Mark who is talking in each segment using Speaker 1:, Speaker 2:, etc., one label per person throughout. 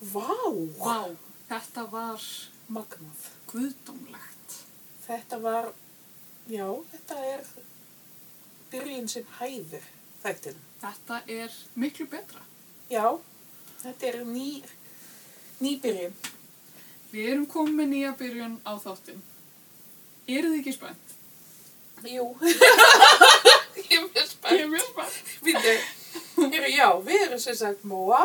Speaker 1: Vá!
Speaker 2: Vá, þetta var magnað, guðdómlegt.
Speaker 1: Þetta var, já, þetta er byrjun sem hæfir þættin.
Speaker 2: Þetta er miklu betra.
Speaker 1: Já, þetta er ný, ný byrjun.
Speaker 2: Við erum komin með nýja byrjun á þáttin. Eru þið ekki spennt?
Speaker 1: Jú. Ég er mjög
Speaker 2: Ég
Speaker 1: spennt.
Speaker 2: er mjög spennt.
Speaker 1: Býtu, heyrðu, já, við erum sem sagt Móa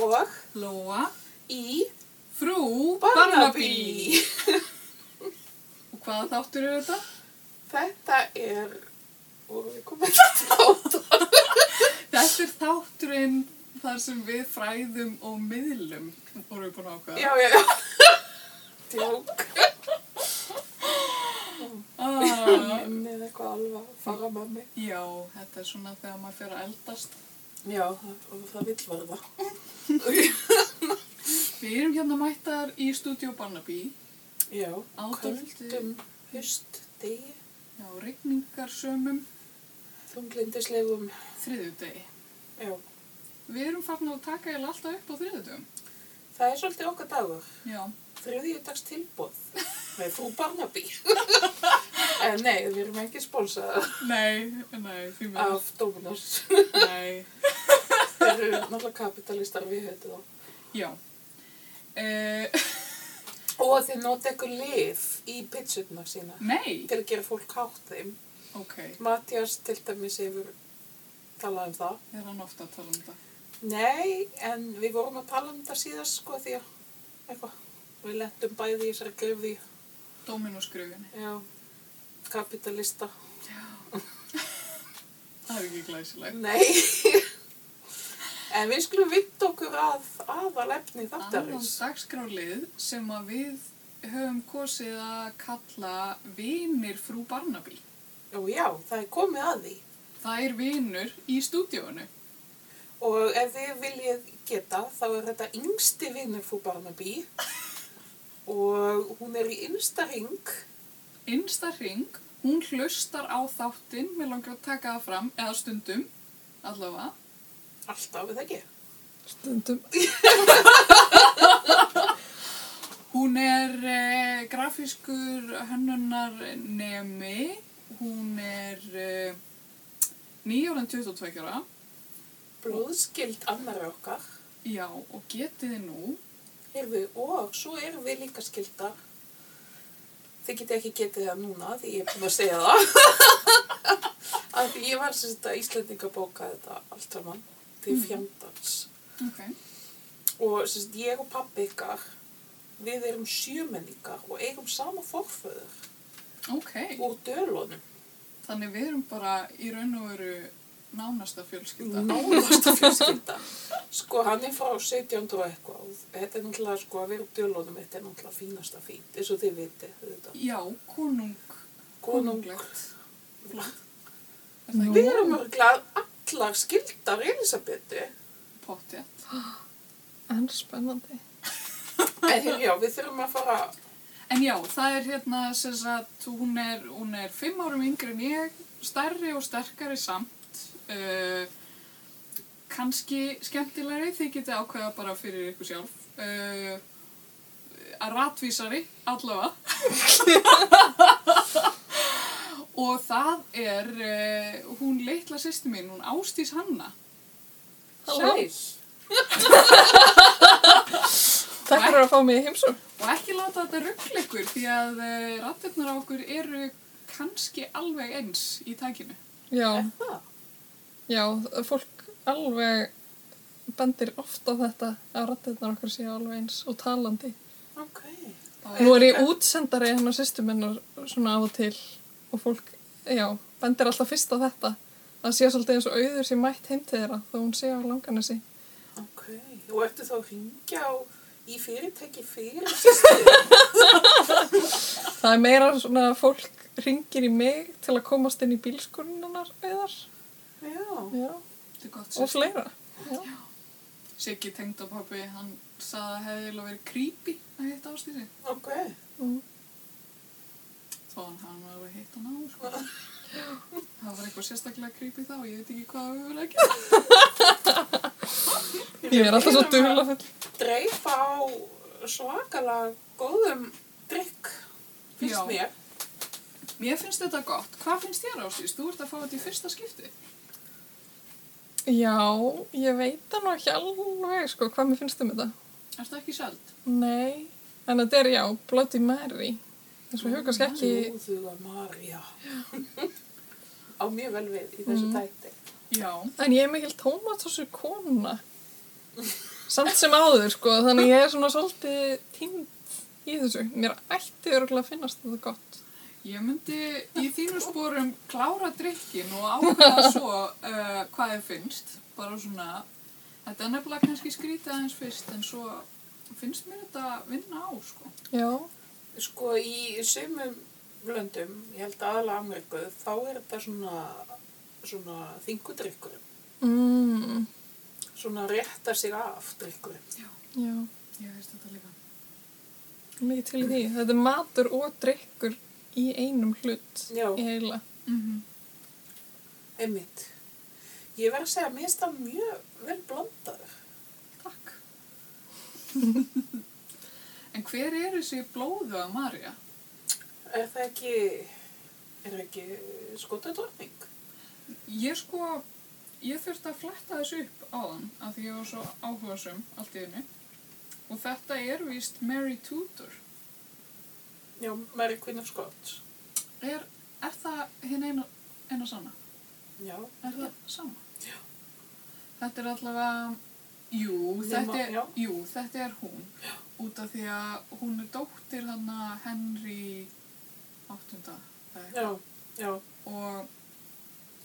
Speaker 1: og
Speaker 2: Lóa,
Speaker 1: í
Speaker 2: frú, Barnaby.
Speaker 1: Barnaby.
Speaker 2: Og hvaða þáttur eru þetta?
Speaker 1: Þetta er, vorum við komið að þátt.
Speaker 2: Þetta er þátturinn þar sem við fræðum og miðlum. Vorum við búin að ákveða?
Speaker 1: Já, já, já. Tjók.
Speaker 2: Ah,
Speaker 1: Með eitthvað alveg að fara með mig.
Speaker 2: já, þetta er svona þegar maður fyrir að eldast.
Speaker 1: Já, það, það vill verða.
Speaker 2: Við erum hérna mættar í stúdíu Barnaby.
Speaker 1: Já,
Speaker 2: Á
Speaker 1: kvöldum, höst, degi,
Speaker 2: Já, regningarsömum
Speaker 1: þunglindislegum,
Speaker 2: þriðjudegi.
Speaker 1: já.
Speaker 2: Við erum farin að taka ég alltaf upp á þriðjudegum.
Speaker 1: Það er svolítið okkar dagur,
Speaker 2: Já.
Speaker 1: þriðjudags tilbúð með frú Barnaby. en nei, við erum ekki spólsað
Speaker 2: Nei, nei, því miður.
Speaker 1: af Dominos.
Speaker 2: Nei.
Speaker 1: Þeir eru náttúrulega kapitalistar við höfðu þá.
Speaker 2: Já. Uh,
Speaker 1: Og þeir nota eitthvað lif í pitsurnar sína
Speaker 2: nei,
Speaker 1: til að gera fólk hátt þeim.
Speaker 2: ok.
Speaker 1: Mattias til dæmis hefur talað um það.
Speaker 2: Er hann ofta að tala um þetta?
Speaker 1: Nei, en við vorum að tala um þetta síðast sko því að eitthvað, við lentum bæði í þessari gröfði,
Speaker 2: Dóminósgröfinni.
Speaker 1: já, kapitalista.
Speaker 2: Það er ekki glæsilegt.
Speaker 1: Nei, en við skulum vinda okkur að aðalefni
Speaker 2: Annan
Speaker 1: þáttarins.
Speaker 2: dagskrálið sem að við höfum kosið að kalla vinir frú Barnaby.
Speaker 1: Jú, já, það er komið að því
Speaker 2: Það er vinur í stúdíónu.
Speaker 1: og ef þið viljið geta þá er þetta yngsti vinnur frú Barnaby og hún er í innsta ring,
Speaker 2: Insta ring, hún hlustar á þáttinn, mér langar að taka það fram, eða stundum, allavega.
Speaker 1: alltaf, eða ekki?
Speaker 2: Stundum. hún er eh, grafískur hönnunarnemi, hún er eh, nýjóran 22 ára,
Speaker 1: Blóðskild annar okkar,
Speaker 2: já, og getiði nú,
Speaker 1: heyrðu, og svo erum við líka skildar. Þið getið ekki getið það núna því ég er búin að segja það. Af því ég var sem þetta Íslandingabóka þetta allt saman til
Speaker 2: Mhm.
Speaker 1: fjandans.
Speaker 2: ok,
Speaker 1: Og sem sagt ég og pappi ykkar, við erum sjömenningar og eigum sama forföður
Speaker 2: ok,
Speaker 1: úr dölunum.
Speaker 2: þannig við erum bara í raun og veru nánasta fjölskylda.
Speaker 1: Nánasta fjölskylda. Sko, hann er frá 1700 og eitthvað. og Þetta er náttúrulega, sko, að vera úr dölunum, þetta er náttúrulega fínasta fínt, eins og þið vitið, þetta.
Speaker 2: Já, konung, konunglegt. Er það
Speaker 1: Við
Speaker 2: ekki
Speaker 1: erum örgulega allar skildar Elisabethi.
Speaker 2: pottjætt?
Speaker 3: En spennandi.
Speaker 1: En já, við þurfum að fara...
Speaker 2: En já, það er hérna, sem sagt, hún er, hún er fimm árum yngri en ég, stærri og sterkari samt, uh, kannski skemmtilegri, þið getið ákveða bara fyrir ykkur sjálf, uh, að ratvísari, allavega. og það er, uh, hún litla sýsti mín, hún Ástís Hanna.
Speaker 3: Halló.
Speaker 1: Sæl.
Speaker 3: Takk fyrir að fá mig í heimsum.
Speaker 2: Og ekki láta þetta ruggla ykkur því að uh, rattirnar á okkur eru kannski alveg eins í tækinu.
Speaker 3: Já,
Speaker 1: Er það?
Speaker 3: já, fólk alveg bendir ofta þetta að rattirnar okkar séu alveg eins og talandi.
Speaker 1: Ok.
Speaker 2: Það
Speaker 3: Nú er ég útsendari hérna hennar sýstum hennar svona af og til og fólk, já, bendir alltaf fyrst á þetta. Það sé svolítið eins og auður sé mætt heim til þeirra þó hún sé á langanessi.
Speaker 1: Ok. Og ertu þá að ringja á í fyrirtæki fyrir sýstir?
Speaker 3: Það er meira svona að fólk ringir í mig til að komast inn í bílskunnunar eðar.
Speaker 1: já.
Speaker 3: Já,
Speaker 2: er gott
Speaker 3: og
Speaker 2: sér.
Speaker 3: fleira. Já.
Speaker 2: Siggi tengdapappi, hann sagði að hefði eiginlega verið creepy að hitta ástísi.
Speaker 1: Ok.
Speaker 3: Mm.
Speaker 2: Þó hann hann var að hitta hann á, sko. Það var eitthvað sérstaklega creepy þá, ég veit ekki hvað við verið að gera.
Speaker 3: Ég er alltaf svo
Speaker 1: Við erum að
Speaker 3: dulafull.
Speaker 1: dreifa á svakalega góðum drikk, finnst
Speaker 2: Já.
Speaker 1: mér.
Speaker 2: Mér finnst þetta gott. Hvað finnst þér ástís? Þú ert að fá þetta í fyrsta skipti.
Speaker 3: Já, ég veit það nú ekki alveg sko hvað mér finnst um þetta.
Speaker 2: Er þetta ekki seld?
Speaker 3: Nei, en þetta er já, Bloody Mary. Þess að hefur kannski ekki,
Speaker 1: Lúðuga Marja. á mjög vel við í þessu
Speaker 3: Mm.
Speaker 1: tætti.
Speaker 2: Já.
Speaker 3: en ég er mikil tómatósu kona. Samt sem áður sko, þannig ég er svona svolítið tímt í þessu. Mér ætti örgulega að finnast þetta gott.
Speaker 2: Ég myndi í þínu spórum klára drikkin og ákveða svo uh, hvað þið finnst. Bara svona, þetta er nefnilega kannski skrítið aðeins fyrst en svo finnst mér þetta vinna á, sko.
Speaker 3: Já,
Speaker 1: Sko í sumum löndum, ég held aðalega Ameríku, þá er þetta svona, svona þingudrykkur.
Speaker 3: mm,
Speaker 1: Svona rétta sig af drykkur.
Speaker 3: já,
Speaker 2: Ég veist þetta líka.
Speaker 3: mikið til í því. Þetta er matur og drikkur í einum hlut
Speaker 1: Já.
Speaker 3: í heila.
Speaker 2: Mm -hmm.
Speaker 1: Einmitt. Ég verð að segja, mér finnst það mjög vel blandaður.
Speaker 2: Takk. en hver er þessi blóðu að Marja?
Speaker 1: Er það ekki, er það ekki skotadrottning?
Speaker 2: Ég sko, ég þurfti að fletta þessu upp áðan af því ég var svo áhugasum allt í einu og þetta er víst Mary Tudor.
Speaker 1: Já, Mary Queen of Scots.
Speaker 2: Er, er það hinn eina, eina sanna?
Speaker 1: Já.
Speaker 2: Er það sama? Já. Þetta er allavega, jú, þetta
Speaker 1: Nema-
Speaker 2: er,
Speaker 1: já.
Speaker 2: jú, þetta er hún já. út af því að hún er dóttir hann að Henry 8.
Speaker 1: Já, já.
Speaker 2: og,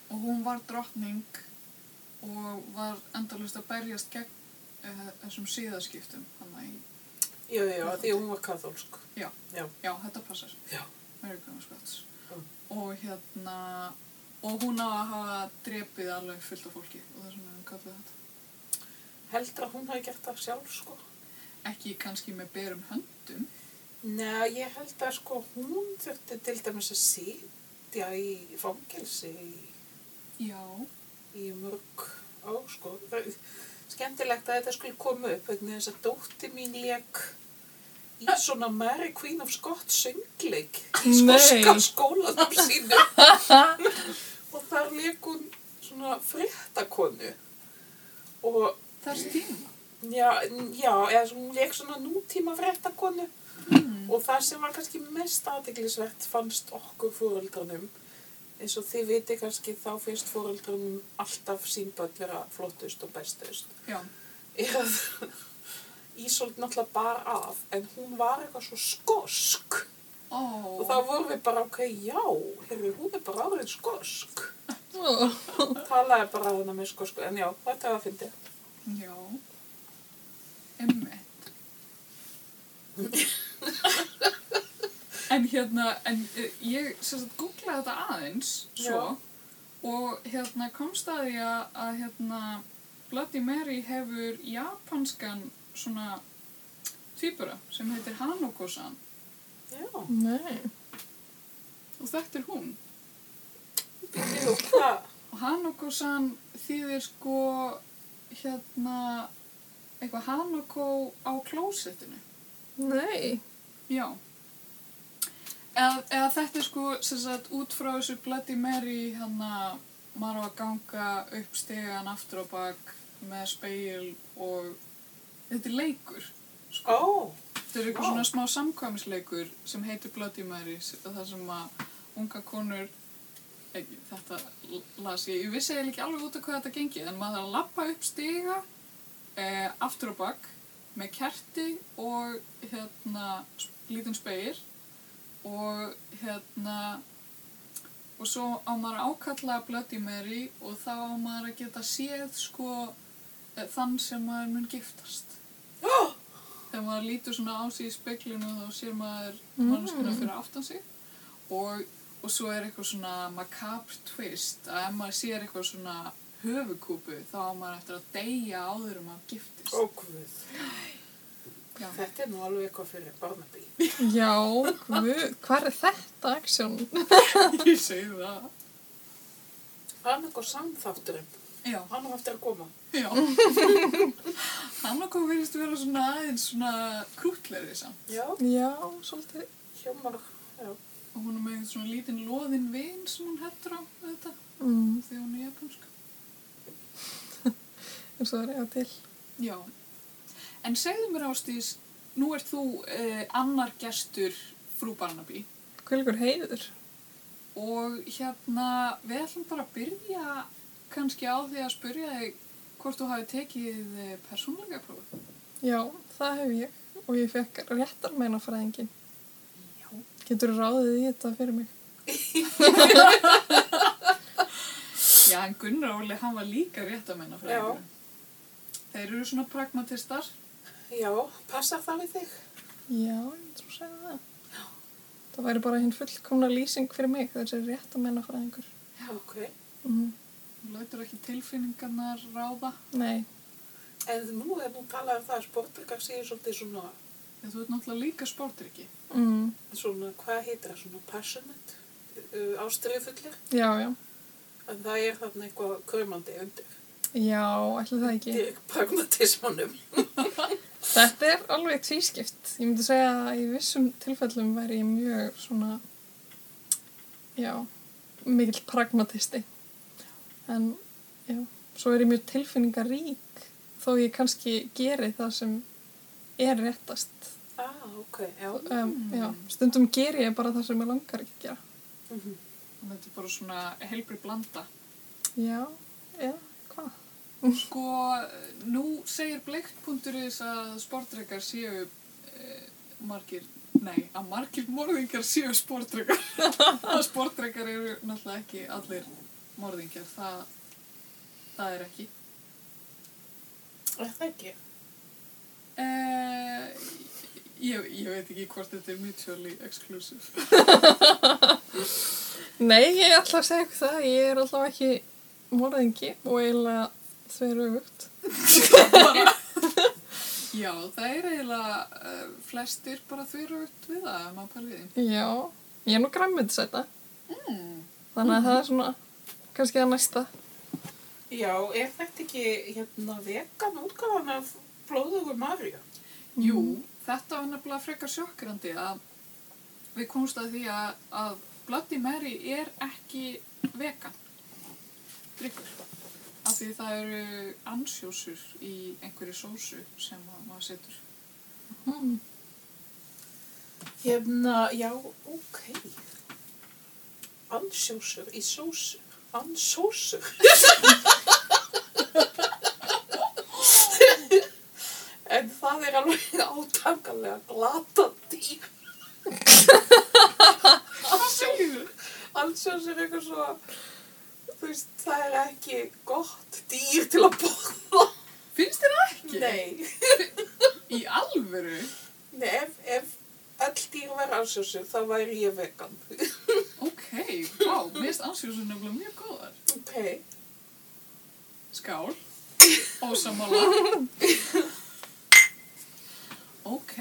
Speaker 2: og hún var drottning og var endalust að berjast gegn uh, þessum síðaskiptum hann í,
Speaker 1: Já, já, já, af því að hún var katholsk.
Speaker 2: já,
Speaker 1: Já.
Speaker 2: já, þetta passar
Speaker 1: Já.
Speaker 2: Mary Queen of Scots
Speaker 1: Mm.
Speaker 2: og hérna og hún á að hafa drepið alveg fullt af fólki og þess vegna hún kallið þetta
Speaker 1: Heldur að hún hafi gert það sjálf, sko.
Speaker 2: ekki kannski með berum höndum
Speaker 1: Nei, ég held að sko hún þurfti til dæmis að sitja í fangilsi í,
Speaker 2: já,
Speaker 1: í mörg á, sko. Það er Skemmtilegt að þetta skulle koma upp vegna þess að dótti mín leik í svona Mary Queen of Scots söngleik í
Speaker 3: Nei.
Speaker 1: skoska skólanum sínu og þar leik hún svona fréttakonu og
Speaker 2: þess tíma
Speaker 1: Já, já, eða svona, hún leik svona nútíma fréttakonu og það sem var kannski mest aðdeglisvert fannst okkur fóröldrunum eins og þið viti kannski þá finnst fóröldrunum alltaf sínböld vera flottust og bestust
Speaker 2: já,
Speaker 1: eða Ísold náttúrulega bar af en hún var eitthvað svo skosk
Speaker 2: ó
Speaker 1: og þá vorum við bara ok, já, heyrðu, hún er bara aðrið skosk
Speaker 3: Ó.
Speaker 1: talaði bara að hana með skosku en já, þetta var að fyndi
Speaker 2: já emmitt en hérna en eh, ég sem sagt googlaði þetta aðeins svo og hérna komst að því að, að hérna Bloody Mary hefur japanskan svona tvíbura sem heitir Hanoko-san
Speaker 1: Já,
Speaker 3: Nei.
Speaker 2: og þetta er hún
Speaker 1: jú, það
Speaker 2: og Hanoko-san þýðir sko hérna eitthvað Hanoko á klósettinu
Speaker 3: Nei.
Speaker 2: Já. Eða, eða þetta er sko, sem sagt, út frá þessu Bloody Mary, hann að maður á að ganga upp stegan aftur á bak með speil og þetta er leikur.
Speaker 1: Ó,
Speaker 2: Þetta er eitthvað
Speaker 1: Vá.
Speaker 2: svona smá samkvæmisleikur sem heitir Bloody Mary, s- þar sem að unga konur, ekki, þetta l- las ég, ég vissi eiginlega ekki alveg út af hvað þetta gengi, en maður þarf að lappa upp stiga eh, aftur á bakk með kerti og hérna s- lítinn spegir og hérna og svo á maður að ákalla Bloody Mary og þá á maður að geta séð sko eh, þann sem maður mun giftast þegar maður lítur svona á sig í speklinu þá sér maður
Speaker 3: Mm.
Speaker 2: mannskuna fyrir aftan sig og, og svo er eitthvað svona macabre twist að ef maður sér eitthvað svona höfukúpu þá á maður eftir að deyja áður um að giftist
Speaker 1: ó guð
Speaker 2: Já.
Speaker 1: Þetta er nú alveg eitthvað fyrir Barnaby.
Speaker 3: Já, guð, hvað er þetta aksjón?
Speaker 2: Ég segi það
Speaker 1: Það er eitthvað samþátturinn.
Speaker 2: Já.
Speaker 1: Hann á eftir að koma.
Speaker 2: Já. Hann okkur verðist vera svona aðeins svona krútlegri samt.
Speaker 1: Já,
Speaker 3: Já, svolítið.
Speaker 1: hljómar. Já.
Speaker 2: Og hún er með svona lítinn loðinn vin sem hún heldur á þetta
Speaker 3: Mm,
Speaker 2: því hún er japansk.
Speaker 3: eins og það er eiga til.
Speaker 2: Já. En segðu mér ástís, nú ert þú eh, annar gestur frú Barnaby
Speaker 3: Hvilgur heiður.
Speaker 2: og hérna við ætlum bara að byrja kannski á því að spyrja þig hvort þú hafi tekið eh, persónleika prófið.
Speaker 3: Já, það hef ég. Og ég fekk réttar meinafræðingin.
Speaker 2: Já.
Speaker 3: Getur ráðið í þetta fyrir mig?
Speaker 2: Já, en Gunnar Óli, hann var líka rétt að menna
Speaker 1: Já.
Speaker 2: fræðingur. Þeir eru svona pragmatistar.
Speaker 1: Já, passar það við þig?
Speaker 3: Já, ég trú að segja það. Það væri bara hinn fullkomna lýsing fyrir mig, þessi rétt að menna fræðingur.
Speaker 1: Já, ok.
Speaker 3: Mm.
Speaker 2: Hún Lætur ekki tilfinningarnar ráða.
Speaker 3: Nei,
Speaker 1: En nú er nú talað um það að sportdrykka séu svolítið svona,
Speaker 2: Þegar þú ert náttúrulega líka sportryggi.
Speaker 3: mm.
Speaker 1: svona, hvað heitir það, svona passionate, uh, ástriðfullir.
Speaker 3: já, já.
Speaker 1: En það er þarna eitthvað krömandi undir.
Speaker 3: Já, ætli það ekki.
Speaker 1: Dirk pragmatismunum.
Speaker 3: Þetta er alveg tvískipt. Ég myndi segja að í vissum tilfellum væri ég mjög svona, já, mikill pragmatisti. En, já, svo er ég mjög tilfinningarík þó ég kannski geri það sem er réttast.
Speaker 1: Ah, ok, já.
Speaker 3: Um, já, stundum geri ég bara það sem ég langar ekki að gera.
Speaker 1: Mhm.
Speaker 2: Og þetta er bara svona helbri blanda.
Speaker 3: Já, eða hvað?
Speaker 2: Sko, nú segir bleikt.is að sportryggar séu eh, margir, nei, að margir morðingar séu sportryggar. að sportryggar eru náttúrulega ekki allir morðingar. Það, það er ekki.
Speaker 1: Er það ekki?
Speaker 2: Eh, ég, ég veit ekki hvort þetta er mutually exclusive.
Speaker 3: Nei, ég ætla að segja ykkur það. Ég er alltaf ekki morðingi og eiginlega þverjöfugt.
Speaker 2: Já, það er eiginlega uh, flestir bara þurrugt við það, ef maður pælir í því.
Speaker 3: Já, ég er nú græmmiðsæta.
Speaker 2: Mm.
Speaker 3: Þannig að það er svona, kannski það næsta.
Speaker 1: Já, er þetta ekki, hérna, vegan útgáðan af blóðugur Marja?
Speaker 2: Jú, Mm. þetta var nefnilega frekar sjokkrandi að við komumst að því að, að Bloody Mary er ekki vegan drikkur. Af því það eru ansjósur í einhverju sósu sem að maður setur.
Speaker 3: Mm.
Speaker 1: Hérna, já, ok. Ansjósur í sósu. Ansósur. en það er alveg átanganlega glatandi.
Speaker 2: Hvað segir þú?
Speaker 1: Ansjósur er eitthvað svo, þú veist, það er ekki gott dýr til að borða.
Speaker 2: Finnst þér það ekki?
Speaker 1: Nei,
Speaker 2: Í alvöru?
Speaker 1: Nei ef, ef öll dýr verður ansjósur, þá væri ég vegan.
Speaker 2: Ok, vá, wow, mér finnst ansjósur nefnilega mjög góðar.
Speaker 1: ok.
Speaker 2: Skál. Ósamála. ok.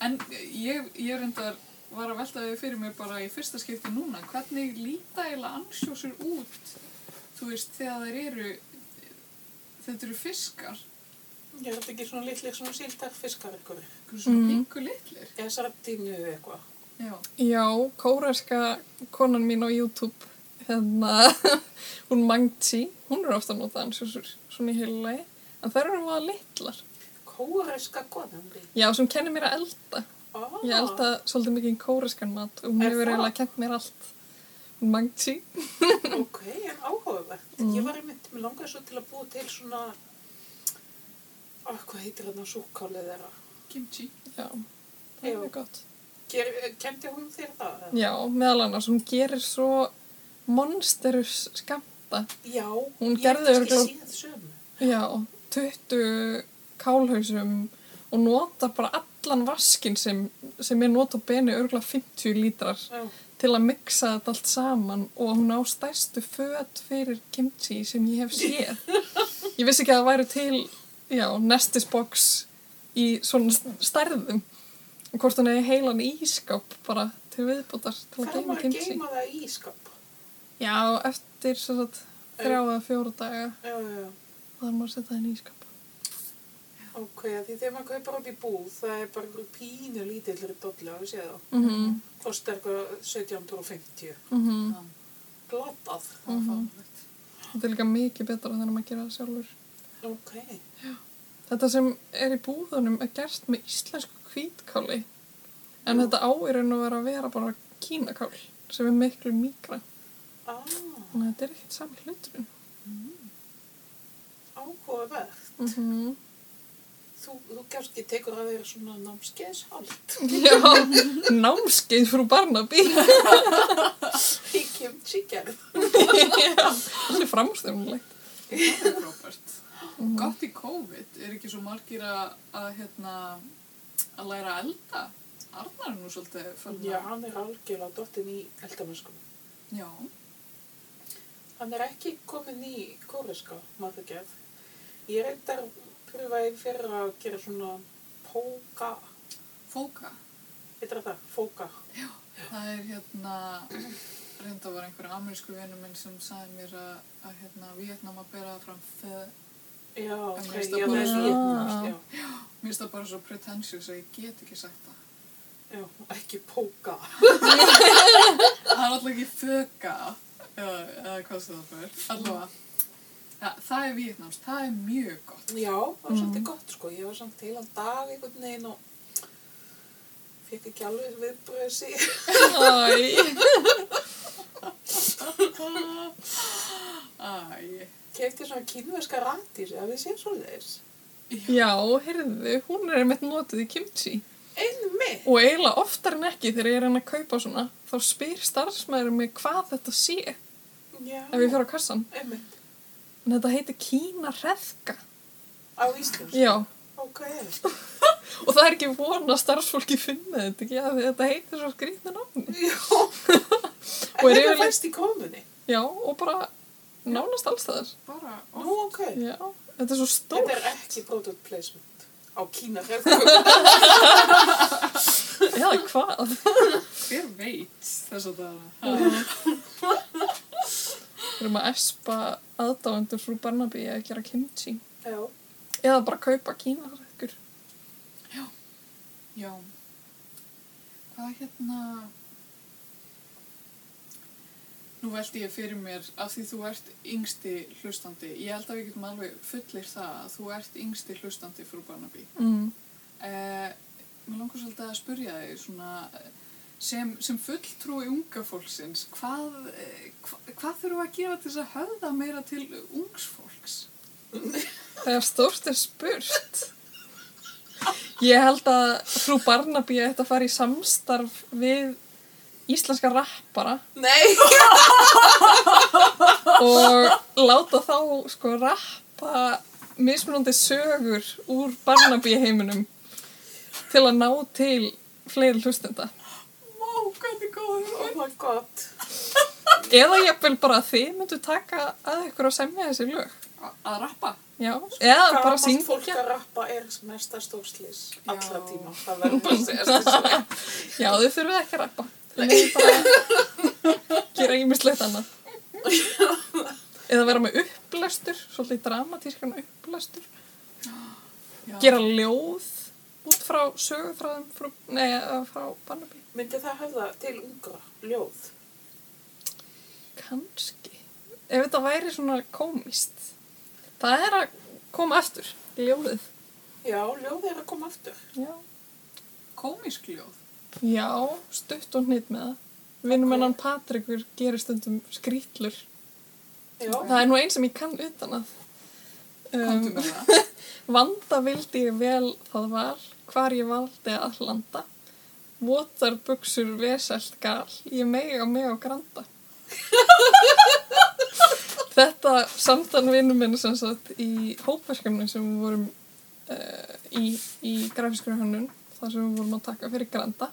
Speaker 2: En ég, ég reyndar var að velta þau fyrir mér bara í fyrsta skipti núna. Hvernig líta eiginlega ansjósur út, þú veist, þegar þeir eru, þetta eru fiskar,
Speaker 1: Ég er þetta ekki svona litlir svona síldarfiskar ykkur.
Speaker 2: einhver svona
Speaker 3: Mhm.
Speaker 2: mm. pingu litlir.
Speaker 1: Ég er sardínu eða eitthvað.
Speaker 2: Já.
Speaker 3: Já, kóreska konan mín á YouTube, hérna, hún Mangtsi, hún er ofta að nota ansjósur svona í heilu lagi. En það eru að litlar.
Speaker 1: Kóreska konan þín.
Speaker 3: Já, sem kennir mér að elda.
Speaker 1: Ah,
Speaker 3: Ég elda svolítið mikið kóreskan mat og hún
Speaker 1: Er
Speaker 3: hefur
Speaker 1: það?
Speaker 3: eiginlega kent mér allt. Hún Mangtsi.
Speaker 1: Ok, en áhugavert.
Speaker 3: Mm.
Speaker 1: Ég var einmitt, mér langaði svo til að búa til svona, ah, hvað heitir þarna súkkálið þeirra?
Speaker 2: Kimchi.
Speaker 3: Já, það er
Speaker 1: Já.
Speaker 3: mjög gott.
Speaker 1: Ger, kendi hún þér það? eða?
Speaker 3: Já, meðal annars, hún gerir svo monsterus skamta.
Speaker 1: Já,
Speaker 3: Hún
Speaker 1: ég hef
Speaker 3: gerði
Speaker 1: kannski
Speaker 3: örugglega-
Speaker 1: séð sömu.
Speaker 3: Já, 20 kálhausum og nota bara allan vaskin sem, sem er nota beni örgulega 50 lítrar
Speaker 1: Já,
Speaker 3: til að mixa þetta allt saman og hún á stærstu föt fyrir kimchi sem ég hef séð. Ég vissi ekki að það væri til, já, nestisbox í svona st- stærðum og hvort hún hefði heilan ískáp bara til viðbútar til að
Speaker 1: hvað
Speaker 3: geima
Speaker 1: maður að
Speaker 3: kimchi.
Speaker 1: geima það í ískap?
Speaker 3: Já, eftir svo að þrjá eða fjóra daga
Speaker 1: Já, já.
Speaker 3: þar maður að setja það inn í skap
Speaker 1: Ok, af því þegar maður kaupar út í búð, það er bara einhver pínu lítillur dollu að við séð þá.
Speaker 3: mm -hmm.
Speaker 1: Kostar eitthvað 1750.
Speaker 3: Mm
Speaker 1: Glatað.
Speaker 2: það var fárlegt.
Speaker 3: þetta er líka mikið betra þegar maður gerir það sjálfur
Speaker 1: Ok.
Speaker 3: þetta sem er í búðunum er gerst með íslensku hvítkáli en þetta á er enn að vera að vera bara kínakál sem er miklu mikra
Speaker 1: Ah,
Speaker 3: þannig að þetta er ekkert sami hluturinn
Speaker 1: áhugavert.
Speaker 3: mm -hmm.
Speaker 1: Þú, þú kannski tekur að vera svona námskeiðshald
Speaker 3: já, námskeið frú Barnaby
Speaker 1: í kimchigerð.
Speaker 3: það er framstofnilegt
Speaker 2: Það er frábært. Gott í COVID er ekki svo margir að, að, hérna, að læra að elda. Arnar er nú svolítið fyrir
Speaker 1: Já, hann er algjörlega dottin í eldamennskum.
Speaker 2: Já.
Speaker 1: Hann er ekki komin í kóreska maturgerð. Ég reyndar pröfaði fyrir að gera svona póka,
Speaker 2: Fóka.
Speaker 1: heitir það, fóka.
Speaker 2: Það er hérna, reynda var einhver amerísku vinnu minn sem sagði mér að, að hérna, Vietnam að bera fram feð.
Speaker 1: Já, ok,
Speaker 2: veist
Speaker 1: já,
Speaker 2: að
Speaker 1: það er
Speaker 3: bara-
Speaker 1: Víetnam, já,
Speaker 2: Mér finnst það bara svo pretentious að ég get ekki sagt það.
Speaker 1: já, ekki póka.
Speaker 2: Það er alltaf ekki föka, eða, eða hvað sem það fyrir. Allavega. Ja, það er Vietnams, það er mjög gott.
Speaker 1: Já, það var
Speaker 3: Mm.
Speaker 1: svolítið gott sko, ég var samt heilan dag einhvern veginn og fekk ekki alveg viðbröðsi.
Speaker 3: Æ.
Speaker 2: Æ,
Speaker 1: Kefti svona kínverska randýr, að við séum svo leiðis.
Speaker 3: já, heyrðu, hún er einmitt notuð í kimchi
Speaker 1: Einmitt!
Speaker 3: og eiginlega oftar en ekki þegar ég er hann að kaupa svona þá spyr starfsmæður mig hvað þetta sé ef
Speaker 1: Já,
Speaker 3: ég fer á kassan
Speaker 1: einmitt.
Speaker 3: en þetta heitir kína reðka
Speaker 1: Á Íslands?
Speaker 3: já,
Speaker 1: Ok,
Speaker 3: og það er ekki von að starfsfólki finna þetta ekki að þetta heitir svo skrýtna námi
Speaker 1: já.
Speaker 3: Og
Speaker 1: En
Speaker 3: er
Speaker 1: þetta
Speaker 3: yfirleitt-
Speaker 1: fæst í komunni?
Speaker 3: já, og bara nánast alls þaðar
Speaker 2: bara
Speaker 1: Nú, ok.
Speaker 3: já, þetta er svo
Speaker 1: Þetta
Speaker 3: stór
Speaker 1: er ekki product placement á Kína refgöku.
Speaker 3: já, hvað
Speaker 2: Hver veit þess að það
Speaker 3: við erum að espa aðdáendur frú Barnaby að gera kimchi
Speaker 1: Já,
Speaker 3: eða bara kaupa kína reðkur
Speaker 2: Já. Hvað hérna... Nú veldi ég fyrir mér að því þú ert yngsti hlustandi. Ég held að við getum alveg fullir það að þú ert yngsti hlustandi frú Barnaby.
Speaker 3: mm.
Speaker 2: Eh, mér langar svolítið að spurja þig svona eh, sem, sem fulltrúi unga fólksins, hvað, eh, hva, hvað þurfum við að gera til þess að höfða meira til ungs fólks?
Speaker 3: þegar stórt er spurt ég held að frú Barnaby ætti að fara í samstarf við íslenska rappara
Speaker 1: nei.
Speaker 3: og láta þá sko rappa mismunandi sögur úr Barnaby heiminum til að ná til fleiri hlustenda
Speaker 2: Má, hvernig góður
Speaker 1: Oh my god.
Speaker 3: eða ég vil bara að þið myndu taka að ykkur að semja þessi lög
Speaker 2: Að rappa?
Speaker 3: já, eða bara
Speaker 1: Gamalt fólk
Speaker 3: syngja
Speaker 1: að rappa er mesta stórslis allra
Speaker 2: Já.
Speaker 1: tíma. Það verður bara að segja þessu.
Speaker 3: já, þið þurfið ekki að rappa þið myndu bara gera ímislegt annað eða vera með upplæstur svolítið dramatískan upplæstur
Speaker 2: Já.
Speaker 3: gera ljóð út frá sögufræðum frú, nei, eða frá Barnaby
Speaker 1: Myndi það höfða til ungra ljóð?
Speaker 3: Kanski. Ef þetta væri svona komist. Það er að koma aftur. Ljóðið.
Speaker 1: Já, ljóð er að koma aftur.
Speaker 3: Já.
Speaker 2: Komisk ljóð?
Speaker 3: Já, stutt og hnýtt með það.
Speaker 1: Ok.
Speaker 3: Vinnum hennan Patrikur gerir stundum skrýtlur.
Speaker 1: Já,
Speaker 3: Það er nú einn sem ég kann utan að.
Speaker 2: Komdu
Speaker 3: Um,
Speaker 2: með það.
Speaker 3: vanda vildi ég vel það var, hvar ég valdi að landa. Votar buksur vesælt gal, ég mega mega granda. Þetta samtan vinnum minn sem sagt í hópverkefni sem við vorum uh, í, í grafískur hönnun, þar sem við vorum að taka fyrir granda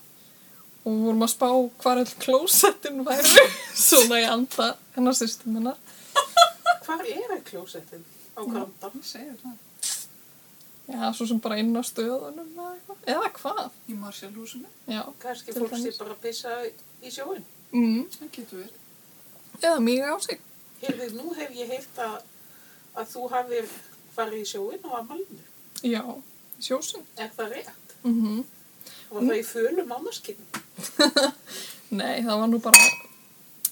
Speaker 3: og við vorum að spá hvar all klósettin væri svona í anda hennar systum hennar.
Speaker 1: hvar er klósettin á Granda?
Speaker 2: Hún segir það.
Speaker 3: Já, svo sem bara inn á stöðunum eða eitthvað. Eða hvað?
Speaker 2: Í Marshall húsinu?
Speaker 3: Já.
Speaker 1: Kanski
Speaker 3: Til
Speaker 1: fólk sé
Speaker 3: dæmis.
Speaker 1: bara að pissa í sjóin.
Speaker 3: Mm.
Speaker 2: Það getur verið.
Speaker 3: Eða mjög á sig.
Speaker 1: heyrðu, nú hef ég heyrt að, að þú hafir farið í sjóin og að malmu.
Speaker 3: Já, sjósund.
Speaker 1: Er það rétt?
Speaker 3: Mm
Speaker 1: Var það í fölu mánaskinni?
Speaker 3: Nei, það var nú bara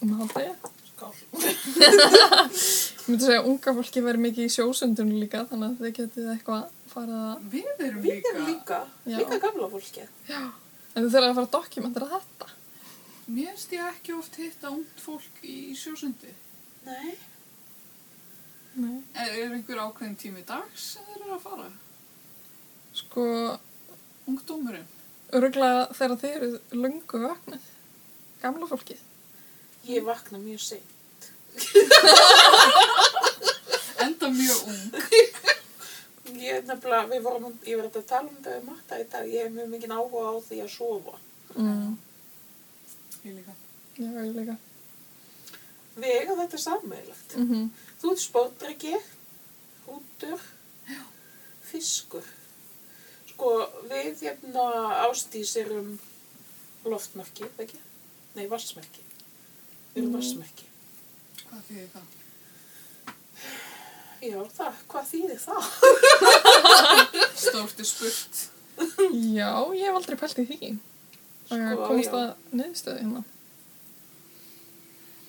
Speaker 3: um haldið.
Speaker 1: Skál.
Speaker 3: Ég myndi segja að unga fólki verið mikið í sjósundun líka þannig að þið getið eitthvað farið að...
Speaker 2: Við erum
Speaker 1: Við
Speaker 2: líka,
Speaker 1: erum líka,
Speaker 3: Já.
Speaker 1: líka gamla fólkið.
Speaker 3: En þið þurfið að fara að dokumentera þetta.
Speaker 2: mér erst ég ekki oft hitta ungt fólk í sjósundi.
Speaker 1: Nei.
Speaker 3: Nei.
Speaker 2: Er, er einhver ákveðin tími dags sem þeir eru að fara?
Speaker 3: Sko,
Speaker 2: Ungdómurinn?
Speaker 3: öruglega þegar þið eru löngu vaknið. Gamla fólkið.
Speaker 1: Ég vakna mjög seint.
Speaker 2: Enda mjög ung.
Speaker 1: Ég er nefnilega, við vorum, ég var að tala um þetta um matta í dag, ég hef mjög mikið áhuga á því að sofa.
Speaker 3: Mm.
Speaker 2: Ég líka.
Speaker 3: Já, ég líka.
Speaker 1: Við eiga þetta sammeilagt.
Speaker 3: Mm -hmm.
Speaker 1: Þú ert spóttryggi, hútur, fiskur. Sko, við hérna ástís erum loftmerki, er það ekki? Nei, vassmerki. Við erum
Speaker 3: Mm.
Speaker 1: vassmerki.
Speaker 2: Hvað þýðir það?
Speaker 1: Já, það, hvað þýðir það?
Speaker 2: Stórt er spurt.
Speaker 3: Já, ég hef aldrei pælt í því. Sko,
Speaker 1: Sko,
Speaker 3: komast
Speaker 1: já.
Speaker 3: að niðurstöðu hérna.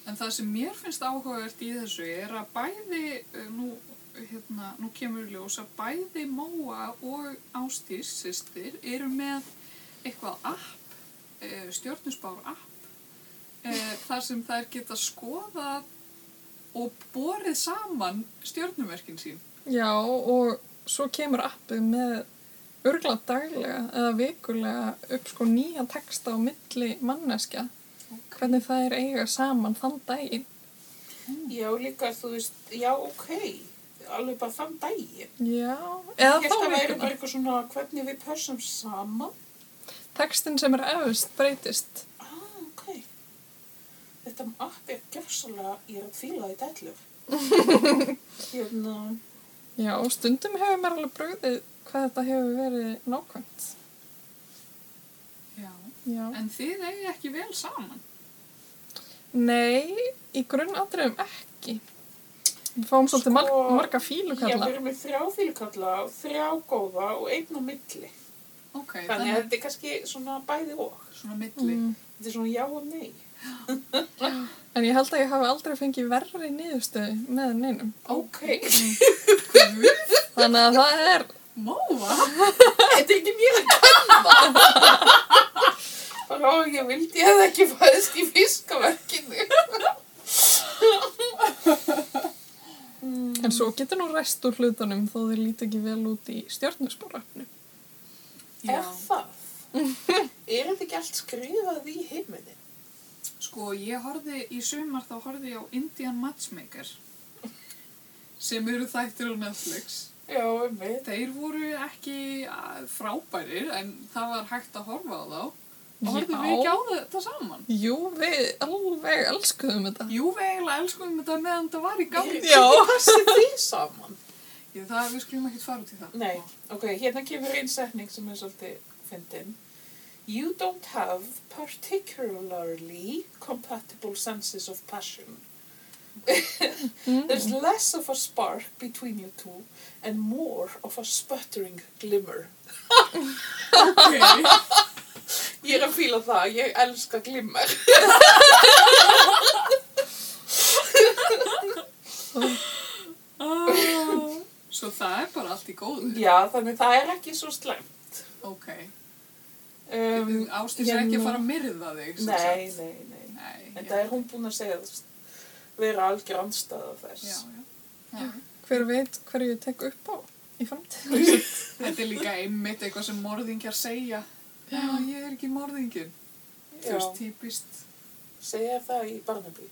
Speaker 2: En það sem mér finnst áhugavert í þessu er að bæði, eh, nú, hérna, nú kemur í ljós að bæði Móa og Ástís sýstir eru með eitthvað app, eh, stjörnusbár app, eh, þar sem þær geta skoðað og borið saman stjörnumerkin sín.
Speaker 3: Já, og svo kemur appið með örgla daglega eða vikulega upp sko nýja texta á milli manneskja hvernig það er eiga saman þann daginn.
Speaker 1: Já, líka, þú veist, já, ok, alveg bara þann daginn.
Speaker 3: Já,
Speaker 1: Ég
Speaker 3: eða
Speaker 1: held
Speaker 3: þá
Speaker 1: að væri bara
Speaker 3: vikuna.
Speaker 1: eitthvað svona hvernig við pössum saman.
Speaker 3: Textin sem er efist breytist.
Speaker 1: Ah, ok. Þetta app er gjörsalega, ég er að fíla í dællur. hérna,
Speaker 3: Já, og stundum hefur mér alveg brugðið hvað þetta hefur verið nákvæmt.
Speaker 2: Já.
Speaker 3: Já.
Speaker 2: En þið eigi ekki vel saman.
Speaker 3: Nei, í grunnatriðum ekki. Við fáum svolítið mar
Speaker 1: Sko,
Speaker 3: marga
Speaker 1: ég
Speaker 3: fílukalla.
Speaker 1: verður með þrjá fílkalla og þrjá góða og einn á milli.
Speaker 2: Ok,
Speaker 1: Þannig að þetta er kannski svona bæði og.
Speaker 2: svona milli.
Speaker 3: Mm.
Speaker 1: Þetta er svona já og nei.
Speaker 3: En ég held að ég hafi aldrei fengið verri niðurstöðu með neinum.
Speaker 1: Ok.
Speaker 2: Mm.
Speaker 3: Þannig að það er,
Speaker 2: Móa?
Speaker 1: þetta er ekki mér að kanna. Bara, ó, ég vildi ég hefði ekki fæðist í fiskaverkinu.
Speaker 3: en svo getur nú rest úr hlutunum þó þau líti ekki vel út í stjórnusbórafnu.
Speaker 1: Er það? er þetta ekki allt skrifað í heiminni?
Speaker 2: Sko, ég horfi í sumar þá horfi ég á Indian Matchmaker sem eru þættir á Netflix.
Speaker 1: Já, um veit.
Speaker 2: Þeir voru ekki að, frábærir en það var hægt að horfa á þá. Og
Speaker 3: Já.
Speaker 2: horfum við ekki á þetta saman?
Speaker 3: Jú, við alveg elskuðum þetta.
Speaker 2: Jú, við eiginlega elskum þetta meðan þetta var í gangi.
Speaker 3: Já.
Speaker 1: Hvernig passir því saman?
Speaker 2: Ég, það, við skulum ekkert fara út í það.
Speaker 1: Nei, ok, hérna kemur einn setning sem er svolítið fyndin. You don't have particularly compatible senses of passion. There's less of a spark between you two and more of a sputtering glimmer.
Speaker 2: Ok.
Speaker 1: Ég er að fíla það, ég elska glimmer.
Speaker 2: Ah. Svo það er bara allt í góðu.
Speaker 1: Já, þannig það er ekki svo slæmt.
Speaker 2: Ok.
Speaker 1: Um,
Speaker 2: Ástís er ekki að
Speaker 1: hérna-
Speaker 2: fara að myrða þig. sem
Speaker 1: Nei,
Speaker 2: sagt.
Speaker 1: nei, nei.
Speaker 2: Nei.
Speaker 1: Þetta er hún búin að segja þú veist, vera algjör andstæða þess.
Speaker 2: Já, já. já.
Speaker 3: Hver veit hverju ég tek upp á í framtíð.
Speaker 2: Þetta er líka einmitt eitthvað sem morðingjar segja. Já, ég er ekki morðingin. Þú
Speaker 1: Já.
Speaker 2: veist, típist.
Speaker 1: Segja það í Barnaby.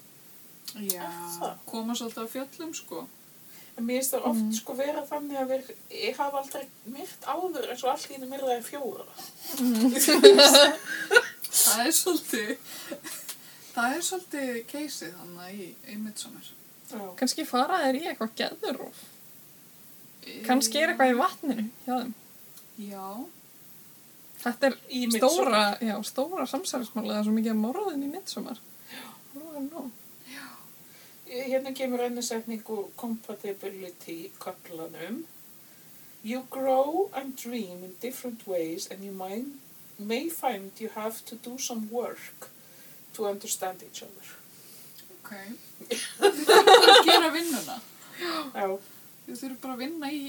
Speaker 2: Já.
Speaker 1: það?
Speaker 2: Koma svolítið af fjöllum, sko.
Speaker 1: En mér finnst það oft
Speaker 3: Mm.
Speaker 1: sko vera þannig að við, ég hafa aldrei myrt áður eins og allt í henni myrðaði fjóra.
Speaker 3: Mm.
Speaker 2: Það er svolítið, það er svolítið keisið hann í, í Midsommar.
Speaker 1: Já.
Speaker 3: Kanski fara þeir í eitthvað geðuróf. Kanski er eitthvað í vatninu hjá þeim.
Speaker 2: Eh, Já,
Speaker 3: Þetta er
Speaker 1: Í
Speaker 3: stóra, já, stóra samsæðismála. Það er svo mikið af morðin í midsommar. Nú er nóg.
Speaker 1: Midsommar. hérna kemur önnur setning úr compatibility kaplanum. You grow and dream in different ways and you mind, may find you have to do some work to understand each other.
Speaker 2: Ok. Að gera vinnuna.
Speaker 3: Oh.
Speaker 1: Já,
Speaker 2: Þið þurfum bara að vinna í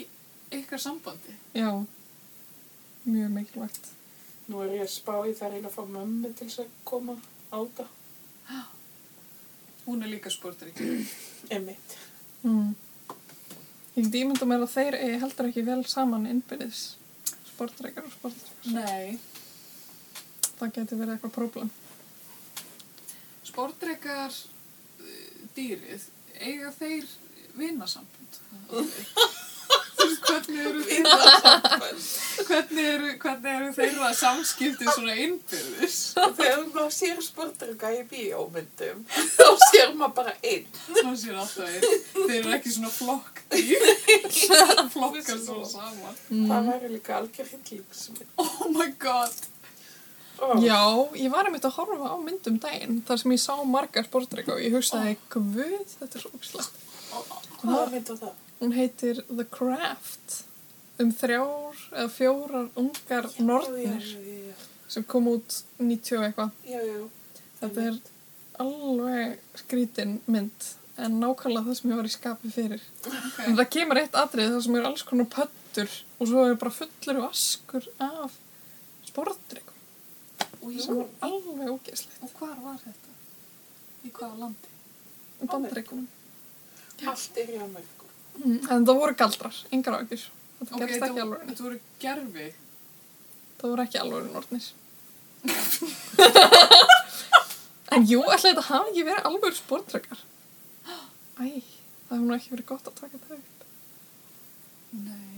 Speaker 2: ykkar sambandi.
Speaker 3: Já, mjög mikilvægt.
Speaker 1: nú er ég að spá í það að reyna að fá mömmu til þess að koma á þetta.
Speaker 2: Hún er líka sportrikið.
Speaker 1: Emmitt.
Speaker 3: Mm. Ég get ímynda mér að þeir eigi heldur ekki vel saman innbyrðis sportreikar og sportreikar.
Speaker 2: Nei.
Speaker 3: Það geti verið eitthvað próblem.
Speaker 2: Sportreikar eh, dýrið, eiga þeir vinasambund? Þú veist, hvernig eru þeirra, hvernig eru, hvernig eru þeirra samskipti svona innbyrðis?
Speaker 1: Þegar maður sér sportrygga í bíómyndum, þá sér maður bara einn.
Speaker 2: Það sér alltaf einn. Þeir eru ekki svona flokk dýr. Flokkar svona saman.
Speaker 3: Mm.
Speaker 1: Það væri líka algjör hittlingsmynd.
Speaker 2: Oh my god.
Speaker 1: Oh.
Speaker 3: Já, ég var einmitt að horfa á myndum daginn þar sem ég sá margar sportreika og ég hugsaði, guð, þetta er svo ógislegt.
Speaker 1: Hvað var mynd á það?
Speaker 3: Hún heitir The Craft um þrjár eða fjórar ungar nornir
Speaker 1: Já, já, já.
Speaker 3: sem kom út 90 og eitthvað.
Speaker 1: Já, já, já.
Speaker 3: Þetta er alveg skrítin mynd en nákvæmlega það sem ég var í skapi fyrir. En
Speaker 2: Okay.
Speaker 3: það kemur eitt atrið þar sem eru alls konar pöttur og svo eru bara fullur og askur af sportdrykkum
Speaker 2: Og,
Speaker 3: sem
Speaker 2: jú,
Speaker 3: er alveg ógeðslegt.
Speaker 2: og hvar var þetta? Í hvaða landi?
Speaker 3: Um bandrykkunum.
Speaker 1: Allt er í Ameríku.
Speaker 3: Mm. En það voru galdrar, engar ákjur. Þetta
Speaker 2: Ok,
Speaker 3: gerist ekki
Speaker 2: þetta-
Speaker 3: alveg.
Speaker 2: Þetta voru gerfi.
Speaker 3: Það voru ekki alveg nornir. en jú, ætla þetta hafi ekki verið alveg sportrekkar. Æ, það hefur nú ekki verið gott að taka það upp.
Speaker 2: Nei.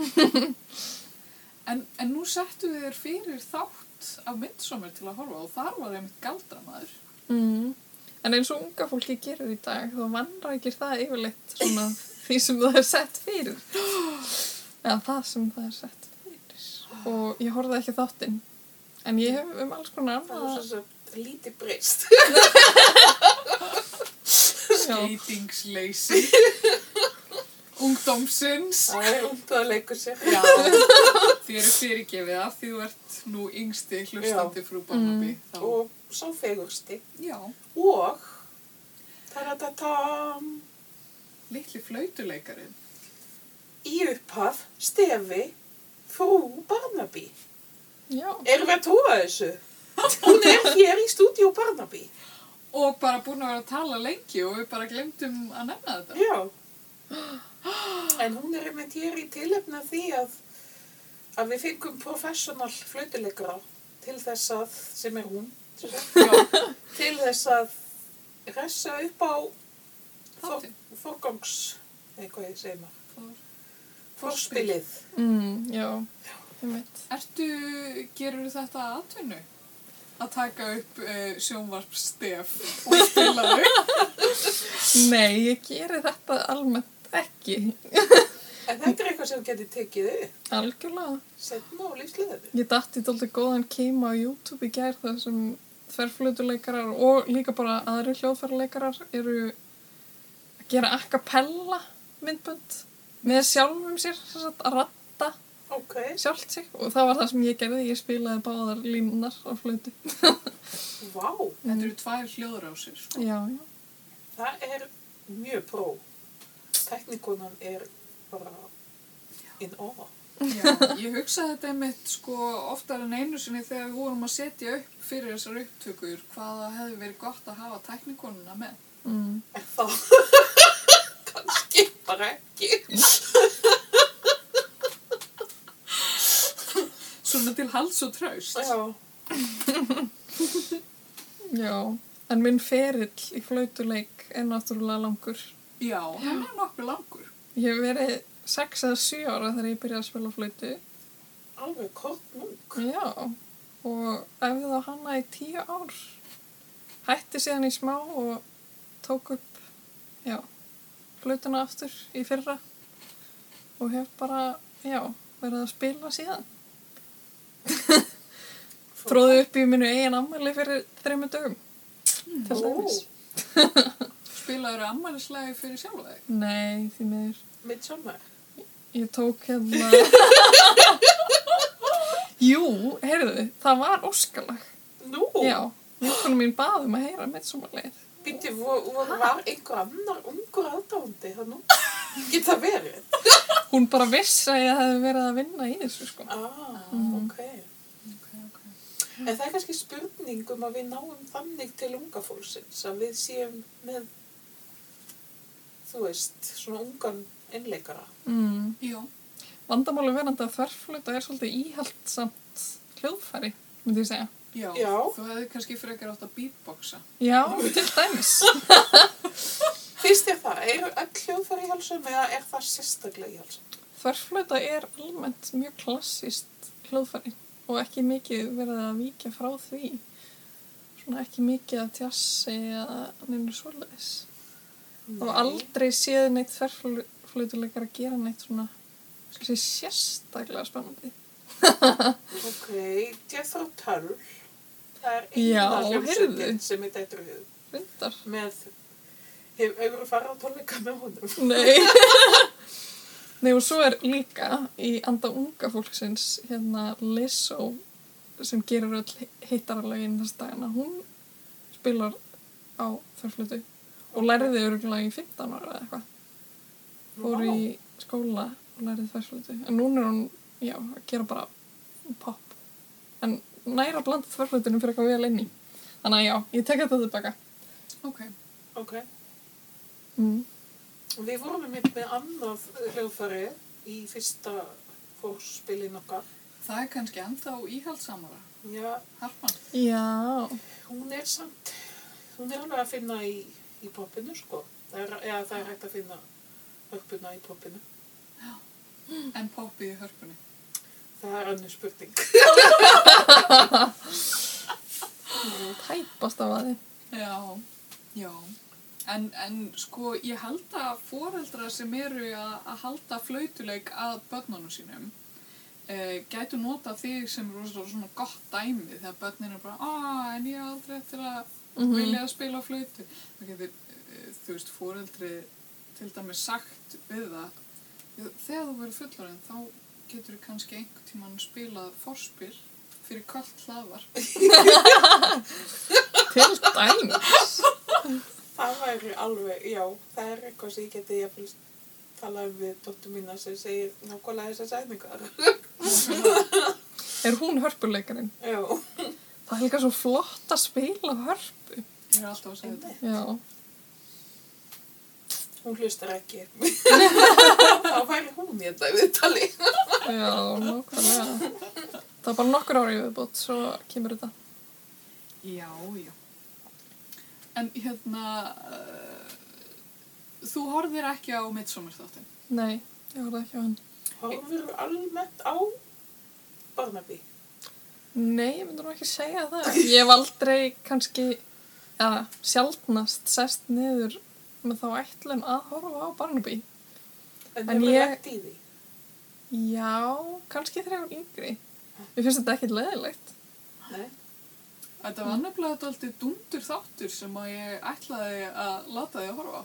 Speaker 2: en, en nú settum við þér fyrir þátt af myndsomur til að horfa og þar var einmitt galdramæður.
Speaker 3: Mm. En eins og unga fólki gerir í dag, þá vannrækir það yfirleitt svona því sem það er sett fyrir. Eða það sem það er sett fyrir. Og ég horfði ekki á þáttinn. En ég hef um alls konar
Speaker 1: Það er
Speaker 3: annað.
Speaker 1: svo svo lítið breyst.
Speaker 3: Já,
Speaker 2: Skeitingsleysi. Ungdómsins.
Speaker 1: Það er umt að leikur sér.
Speaker 2: Já. Þið eru fyrirgefið af því þú ert nú yngsti hlustandi frú Barnaby.
Speaker 3: Mm.
Speaker 2: Þá,
Speaker 1: Og sá fegursti.
Speaker 2: já,
Speaker 1: Og... Taratatam.
Speaker 2: litli flautuleikarin.
Speaker 1: Í upphaf stefi frú Barnaby.
Speaker 3: já.
Speaker 1: Erum við að trúa þessu? Hún er hér í stúdíu Barnaby.
Speaker 2: Og bara búin að vera að tala lengi og við bara glemdum að nefna þetta.
Speaker 1: Já. En hún er einmitt hér í tilefna því að, að við fengum professional flautuleikara til þess að, sem er hún, sem sagt,
Speaker 2: Já,
Speaker 1: til þess að ressa upp á for,
Speaker 2: þáttin.
Speaker 1: forgangs, eitthvað ég segir maður,
Speaker 2: Fór- Forspilið.
Speaker 1: forspilið.
Speaker 3: Mm, já, ég veit.
Speaker 2: Ertu, gerur þetta að atvinnu? Að taka upp uh, sjónvarpstef og spila þau?
Speaker 3: Nei, ég geri þetta almennt ekki.
Speaker 1: En þetta er eitthvað sem getur tekið upp,
Speaker 3: Algjörlega.
Speaker 1: setna á lífsleðinu.
Speaker 3: Ég datt í dálítið góðan keima á YouTube í gær þar sem þverflutuleikarar og líka bara aðri hljóðfæraleikarar eru að gera a cappella myndbönd með sjálfum sér, sem sagt, að ratta
Speaker 1: Ok,
Speaker 3: sjálft sig og það var það sem ég gerði, ég spilaði báðar línunar á flutu.
Speaker 1: vá,
Speaker 2: Þetta eru tvær hljóðrásir, sko.
Speaker 3: Já, já.
Speaker 1: það er mjög pró. Teknikunan er bara in awe.
Speaker 2: Já, ég hugsaði þetta einmitt sko oftar en einu sinni þegar við vorum að setja upp fyrir þessar upptökur hvaða hefði verið gott að hafa teknikonuna með.
Speaker 3: Mm.
Speaker 1: En þá, kannski bara ekki.
Speaker 2: Svona til hals og traust.
Speaker 1: Já,
Speaker 3: Já, en minn ferill í flutuleik er náttúrulega langur.
Speaker 2: Já, hann er nokkuð langur.
Speaker 3: Ég hef verið 6 eða 7 ára þegar ég byrjaði að spila flutu.
Speaker 1: alveg kort núk.
Speaker 3: Já, og æfði þá hana í tíu ár. Hætti síðan í smá og tók upp, já, blutuna aftur í fyrra og hef bara, já, verið að spila síðan. Tróði upp í minu eigin ammæli fyrir þrejum dögum, til
Speaker 1: Ó.
Speaker 3: dæmis.
Speaker 2: spilaður ammælislega fyrir sjálfa þig?
Speaker 3: Nei, því miður.
Speaker 1: Midsommar.
Speaker 3: Ég tók hérna... Jú, heyrðu, það var óskalag.
Speaker 1: Nú,
Speaker 3: Já, vinkonu mín baðum að heyra mitt sumarleið.
Speaker 1: býtti, var einhver annar ungur aðdándi það nú? Geta verið?
Speaker 3: Hún bara vissi að ég hefði verið að vinna í þessu, sko.
Speaker 1: Ah, ok.
Speaker 2: Okay, okay.
Speaker 1: En það er kannski spurning um að við náum þannig til unga fólksins að við séum með, þú veist, svona ungan innleikara.
Speaker 3: Mm.
Speaker 2: Jú,
Speaker 3: Vandamáli verandi að þverfluta er svolítið íhaldsamt hljóðfæri, myndi ég segja.
Speaker 2: já.
Speaker 1: Já.
Speaker 2: Þú hefði kannski frekar átt að beatboxa.
Speaker 3: Já, til dæmis.
Speaker 1: Fyrst er það, eru öll hljóðfæri í hálsum eða er það sérstaklega í hálsum?
Speaker 3: Þverfluta er almennt mjög klassist hljóðfæri og ekki mikið verið að víkja frá því. Svona ekki mikið að tjassi eða neina svoleiðis. Og aldrei séð neitt þverflutuleikar að gera neitt svona þessi sérstaklega spennandi.
Speaker 1: Ok, Jethro Tull, það er
Speaker 3: Já,
Speaker 1: eina hljómsveitin
Speaker 3: heyrðu.
Speaker 1: sem er dættur við
Speaker 3: Rindar.
Speaker 1: með, hefur þú farið á tónleika með honum?
Speaker 3: Nei. Nei og svo er líka í anda unga fólksins hérna Lizzo sem gerir öll hittaralögin þess dagana. Hún spilar á þörflutu og lærði örgulega í 15 ára eða eitthvað. Fór í skóla og lærði þörflutu. En núna er hún, já, að gera bara pop. En næra bland þörflutunum fyrir eitthvað vel inn í. Þannig að já, ég tek þetta tilbaka.
Speaker 2: Ok.
Speaker 1: Ok,
Speaker 3: Mm.
Speaker 1: við vorum einmitt með annað hljóðfæri í fyrsta fórspilin okkar.
Speaker 2: Það er kannski enda á íhaldsamara.
Speaker 1: Já,
Speaker 2: Harpan.
Speaker 3: Já.
Speaker 1: Hún er samt, hún er alveg að finna í, í popinu sko. Það er, ja, það er hægt að finna hörpuna í popinu. Mm.
Speaker 2: En poppið í hörpunni.
Speaker 1: Það er annu spurning.
Speaker 3: Tæpast af aðeins.
Speaker 2: Já, já. En, en sko, ég held að foreldra sem eru að, að halda flautuleik að börnunum sínum e, gætu nota þig sem er rosalega svona gott dæmi þegar börnin er bara, að, en ég er aldrei eftir að vilja að spila á flautu. Það getur, e, þú veist, foreldri til dæmis sagt við það, "Já, þegar þú verður fullorinn þá getur þú kannski einhvern tímann spilað forspil fyrir kallt hlaðvarp.
Speaker 3: Til dæmis.
Speaker 1: Það væri alveg, já, það er eitthvað sem ég geti jafnvel talað um við dóttur mína sem segir nákvæmlega þessar sæningar.
Speaker 3: Er hún hörpuleikarinn?
Speaker 1: já,
Speaker 3: Það er líka svo flott að spila hörpu.
Speaker 2: Ég er alltaf að segja þetta.
Speaker 1: einmitt.
Speaker 3: Já.
Speaker 1: Hún hlustar ekki. Þá væri hún í þetta viðtali.
Speaker 3: Já, nákvæmlega. Það er bara nokkur ári viðbútt, svo kemur þetta.
Speaker 2: Já, já. En hérna, uh, þú horfir ekki á Midsommar þáttin.
Speaker 3: Nei, ég horfði ekki á hann.
Speaker 1: Horfur almennt á Barnaby.
Speaker 3: Nei, ég myndi nú ekki segja það. Ég hef aldrei kannski, eða sjaldnast, sest niður með þá ætlun að horfa á Barnaby.
Speaker 1: En,
Speaker 3: En
Speaker 1: en hefur
Speaker 3: ég-
Speaker 1: lagt í því.
Speaker 3: Já, kannski þegar ég var yngri. Mér finnst þetta ekkit leðilegt.
Speaker 1: Nei.
Speaker 2: Þetta var nefnilega þetta alltaf dundur þáttur sem að ég ætlaði að láta þig að horfa á.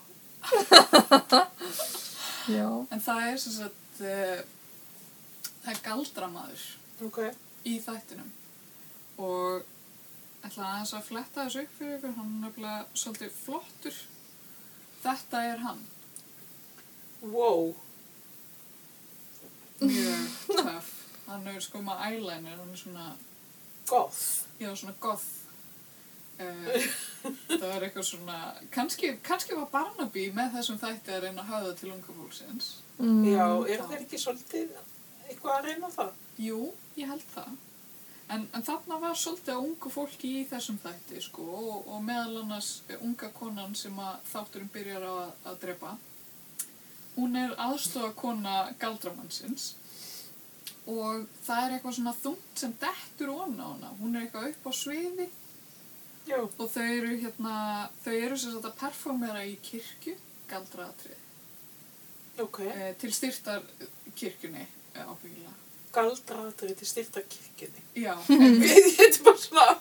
Speaker 3: Já.
Speaker 2: En það er sem sagt, uh, það er galdramaður
Speaker 1: Ok.
Speaker 2: í þættinum. Og ætlaði aðeins að fletta þessu upp fyrir ykkur, hann er nefnilega svolítið flottur. Þetta er hann,
Speaker 1: Wow.
Speaker 2: mjög töff. Hann er sko með eyeliner, hann er svona
Speaker 1: Goth.
Speaker 2: Já, svona goth. Uh, það var eitthvað svona, kannski, kannski var Barnaby með þessum þætti að reyna að hafa það til unga fólksins.
Speaker 3: Mm.
Speaker 1: Já, er það ekki svolítið eitthvað að reyna það?
Speaker 2: Jú, ég held það. En, en þarna var svolítið að ungu fólki í þessum þætti, sko, og, og meðal annars eh, unga konan sem að þátturinn byrjar á að, að drepa. Hún er aðstofakona galdramannsins og það er eitthvað svona þungt sem dettur ón á hana. Hún er eitthvað upp á sviði
Speaker 1: Já.
Speaker 2: Og þau eru hérna, þau eru sem sagt að performera í kirkju, galdraatrið,
Speaker 1: Ok.
Speaker 2: e, til styrtar kirkjunni eh, ábyggilega.
Speaker 1: Galdraðrið til styrta kirkjunni.
Speaker 2: Já,
Speaker 1: Ég heiti bara svona,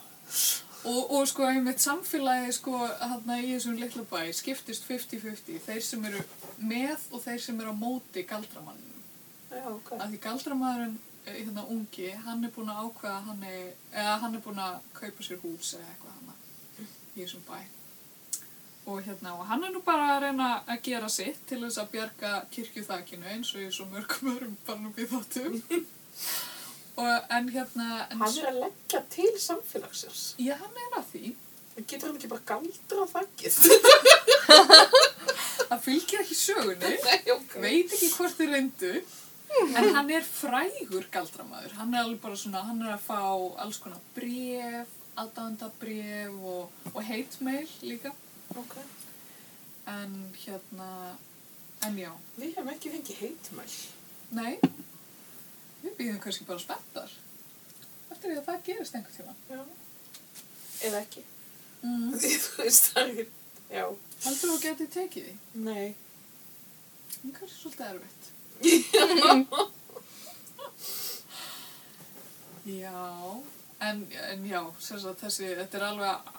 Speaker 2: Og, og sko einmitt samfélagi sko þarna í þessum litlu bæ skiptist 50-50, þeir sem eru með og þeir sem eru á móti galdramanninum.
Speaker 1: Já, ok.
Speaker 2: Af því galdramaðurinn, eh, hérna ungi, hann er búinn að ákveða, að hann er, eða hann er búinn að kaupa sér hús eða eitthvað hann í þessum bæ. Og hérna, og hann er nú bara að reyna að gera sitt til þess að bjarga kirkjuþakinu eins og í svo mörgum öðrum barnum í þáttum. og en hérna, en
Speaker 1: Hann er að leggja til samfélagsins.
Speaker 2: já hann er að því.
Speaker 1: Það getur hann ekki bara galdra þakkið.
Speaker 2: Það fylgir ekki sögunni,
Speaker 1: Nei, ok.
Speaker 2: veit ekki hvort þið reyndu, en hann er frægur galdramaður. Hann er alveg bara svona, hann er að fá alls konar bref, aðdándabref og, og heitmeil líka.
Speaker 1: Ok.
Speaker 2: En hérna, en já,
Speaker 1: Við hefum ekki fengið heitmæl.
Speaker 2: nei, við býðum kannski bara spenntar eftir því að það gerist einhvern tíma.
Speaker 1: Já. Eða ekki.
Speaker 2: Mm.
Speaker 1: Því þú veist það er ekki... Já.
Speaker 2: Heldur þú að getið tekið því?
Speaker 1: Nei.
Speaker 2: Það er kannski svolítið erfitt. Já, en, en já, sem sagt þessi, þetta er alveg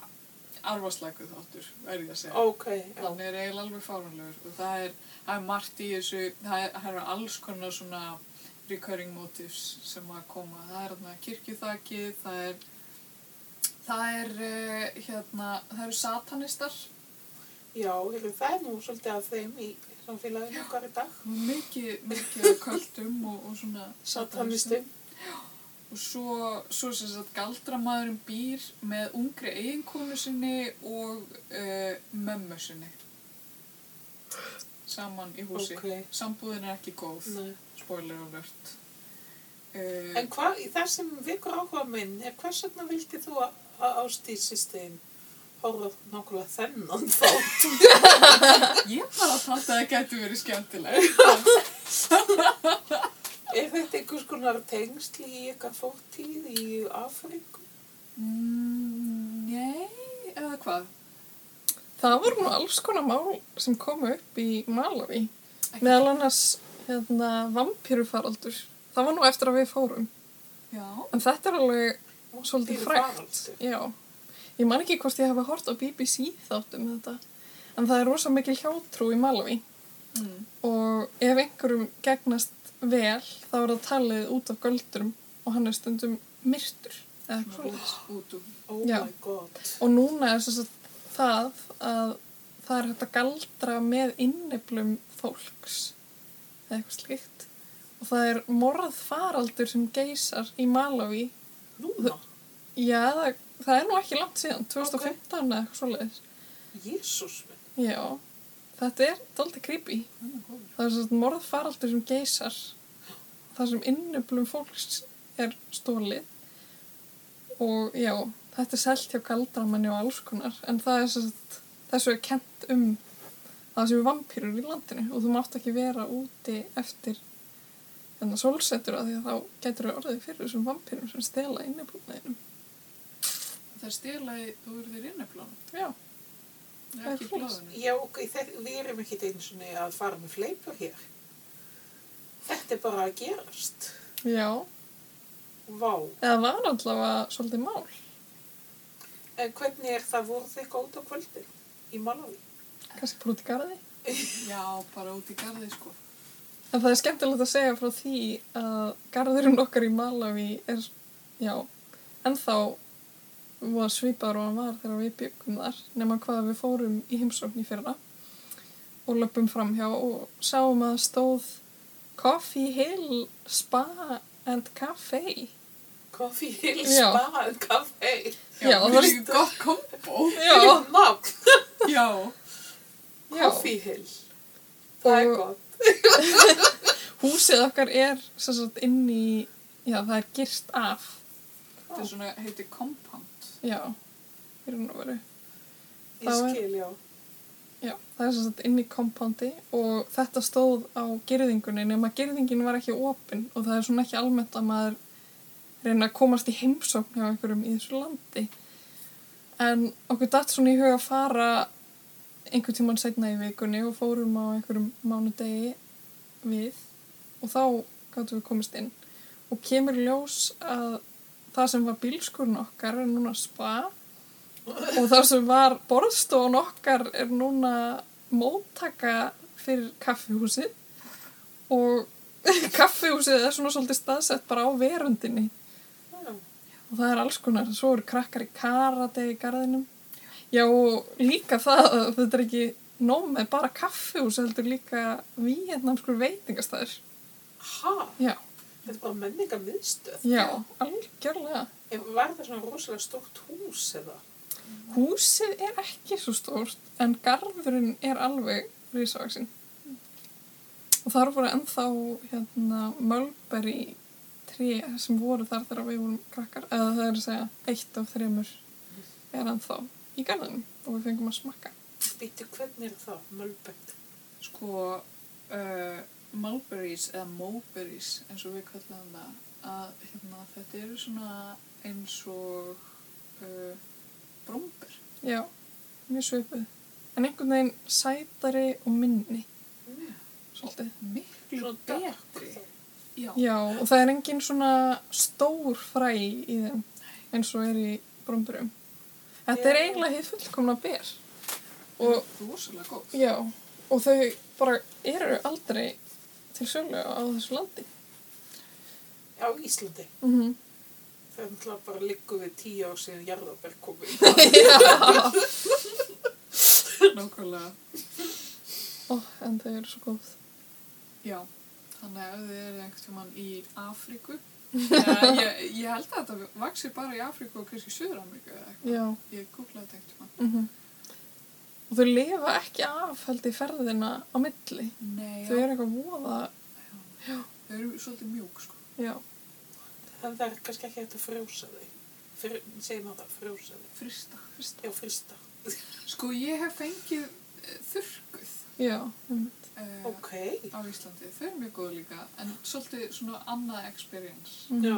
Speaker 2: arfaslagu þáttur, verði ég að segja.
Speaker 1: Ok, já.
Speaker 2: Þannig er eiginlega alveg fárunlegur og það er, það er margt í þessu, það, er, það eru alls konar svona recurring motives sem að koma. Það er þarna kirkjuþakið, það er, það er, eh, hérna, það eru satanistar,
Speaker 1: Já, heyrðu, það er nú svolítið af þeim í samfélaginu okkar í dag.
Speaker 2: mikið, mikið af köldum og, og svona satanistum.
Speaker 1: Satanistum.
Speaker 2: Og svo, svo sem sagt galdramaðurinn býr með ungri eiginkonu sinni og uh, mömmu sinni. Saman í húsi.
Speaker 1: Ok.
Speaker 2: Sambúðin er ekki góð.
Speaker 1: Nei.
Speaker 2: Spoiler alert. Uh,
Speaker 1: En hvað, í það sem vikur áhuga minn er hvers vegna vildi þú að- að ástíðsistegin horfa á nákvæmlega þennan þátt?
Speaker 2: ég bara þátt að það gæti verið skemmtileg.
Speaker 1: er þetta einhvers konar tengsl í eitthvað fórtíð í Afríku?
Speaker 2: Mm, nei, eða hvað?
Speaker 3: Það voru nú alls konar mál sem komu upp í Malawi.
Speaker 2: Ekki-
Speaker 3: Meðal annars hérna, vampýrufaraldur. Það var nú eftir að við fórum.
Speaker 2: Já.
Speaker 3: En þetta er alveg svolítið
Speaker 1: Vampírur
Speaker 3: frægt.
Speaker 1: faraldur.
Speaker 3: Já. Ég man ekki hvort ég hef hort á BBC þáttum þetta. En það er rosa mikil hjátrú í Malawi.
Speaker 2: Mm.
Speaker 3: Og ef einhverjum gegnast vel, þá er það talið út af göldurum og hann er stundum myrtur. Eða eitthvað
Speaker 2: Út,
Speaker 3: svoleiðis.
Speaker 2: út úr.
Speaker 1: Oh
Speaker 3: Já.
Speaker 1: my god.
Speaker 3: Og núna er þess að það að það er hægt að galdra með inniblum fólks eða eitthvað slíkt. Og það er morðfaraldur sem geysar í Malawi.
Speaker 1: Núna?
Speaker 3: Já, það, það er nú ekki langt síðan, 2015 eða eitthvað svoleiðis.
Speaker 1: Jésús minn.
Speaker 3: Já, þetta er dálítið creepy.
Speaker 2: Hann er góður.
Speaker 3: Það er svona morðfaraldur sem geysar þar sem innublum fólks er stólið og já, þetta er selt hjá galdramanni og alls konar en það er svona, þessu er kent um það sem er vampýrur í landinu og þú mátt ekki vera úti eftir þennan sólsetur að því að þá getur þau orðið fyrir þessum vampýrum sem stela innublumæðinum
Speaker 2: Það er stilaði, þú eru þér inneflánum.
Speaker 3: Já,
Speaker 2: Það
Speaker 3: Það
Speaker 2: er
Speaker 3: er
Speaker 2: ekki í
Speaker 3: svoleiðis.
Speaker 2: blóðinu.
Speaker 1: Já, ok, þe- við erum ekki einu sinni að fara með fleipur hér. Þetta er bara að gerast.
Speaker 3: já,
Speaker 1: Vá.
Speaker 3: eða var allavega svolítið mál
Speaker 1: En hvernig er það voruð þið eitthvað út á kvöldin í Malawi?
Speaker 3: kannski bara út í garði
Speaker 2: Já, bara út í garði sko.
Speaker 3: En það er skemmtilegt að segja frá því að garðurinn okkar í Malawi er, já, ennþá var svipaður og hann var þegar við byggum þar, nema hvað við fórum í heimsókn í fyrra og löpum framhjá og sáum að það stóð Coffee Hill Spa and Cafe.
Speaker 1: Coffee Hill
Speaker 3: Já.
Speaker 1: Spa and Café.
Speaker 3: Já, það
Speaker 2: það
Speaker 3: var-
Speaker 2: er líka gott kombo.
Speaker 3: Já,
Speaker 1: Nafn.
Speaker 2: Já.
Speaker 3: já.
Speaker 1: Coffee Hill. Það er
Speaker 3: Og-
Speaker 1: gott.
Speaker 3: Húsið okkar er sem sagt inn í, já, það er girt af,
Speaker 2: Þetta er svona, heitir compound.
Speaker 3: já, í raun og veru.
Speaker 1: Ég
Speaker 3: það er-
Speaker 1: skil, já.
Speaker 3: Já, það er sem sagt inn í kompándi og þetta stóð á gerðingunni nema gerðingin var ekki opinn og það er svona ekki almennt að maður reyna að komast í heimsókn hjá einhverjum í þessu landi. En okkur datt svona í huga að fara einhvern tíman setna í vikunni og fórum á einhverjum mánudegi við og þá gáttum við komist inn. Og kemur í ljós að það sem var bílskurinn okkar er núna spa og þar sem var borðstofan okkar er núna móttaka fyrir kaffihúsið og kaffihúsið er svona svolítið staðsett bara á verundinni
Speaker 1: Já.
Speaker 3: og það er alls konar, svo eru krakkar í karate í garðinum já og líka það að þetta er ekki nóg með bara kaffihús heldur líka víetnamskur veitingastæður
Speaker 1: Ha?
Speaker 3: já,
Speaker 1: Þetta er bara menningar miðstöð.
Speaker 3: já, algjörlega
Speaker 1: Var það svona rosalega stórt hús eða?
Speaker 3: húsið er ekki svo stórt en garðurinn er alveg risavaksin og þar voru ennþá hérna, mölberi tré sem voru þar þegar við vorum krakkar eða það er að segja eitt af þreymur er ennþá í garðinum og við fengum að smakka
Speaker 1: Býttu, hvernig er það? Mölbætt.
Speaker 2: sko uh, mulberries eða mulberries eins og við kallaðum það að hérna, þetta eru svona eins og uh, bromber
Speaker 3: já, mjög svipuð en einhvern veginn sætari og minni svolítið
Speaker 2: miklu
Speaker 1: Svona
Speaker 2: betri
Speaker 1: dökkt.
Speaker 2: já,
Speaker 3: já, og það er engin svona stór fræ í þeim eins og er í bromburum þetta er
Speaker 1: Já.
Speaker 3: eiginlega hið fullkomna ber og
Speaker 2: og rosalega góð
Speaker 3: Já, og þau bara eru aldrei til sölu á þessu landi.
Speaker 1: Á Íslandi.
Speaker 3: Mm -hmm.
Speaker 1: Það er náttúrulega bara liggur við tíu ár síðan jarðabær komið.
Speaker 2: nákvæmlega
Speaker 3: Ó, en þau eru svo góð.
Speaker 2: Já, þannig að ef þið eru einhvern tímann í Afríku Eða, ég, ég held að þetta vaksir bara í Afríku og kannski Suður-Ameríku eða eitthvað.
Speaker 3: Já.
Speaker 2: Ég googlaði þetta einhvern tímann.
Speaker 3: Mhm. Og þau lifa ekki af held í ferðina á milli.
Speaker 2: Nei,
Speaker 3: Þau eru eitthvað voða,
Speaker 2: já. Þau eru svolítið mjúk, sko.
Speaker 3: já,
Speaker 1: En það er kannski ekki hægt að frjósa þau. Fyr, segir maður það, frjósa þau.
Speaker 2: Frista. Frista.
Speaker 1: Já, frista.
Speaker 2: Sko, ég hef fengið eh, þurrkuð
Speaker 3: já, einmitt.
Speaker 2: uh,
Speaker 1: Ok.
Speaker 2: á Íslandi. Þau eru mjög góð líka, en svolítið svona annað experience.
Speaker 3: Mhm.
Speaker 1: Já.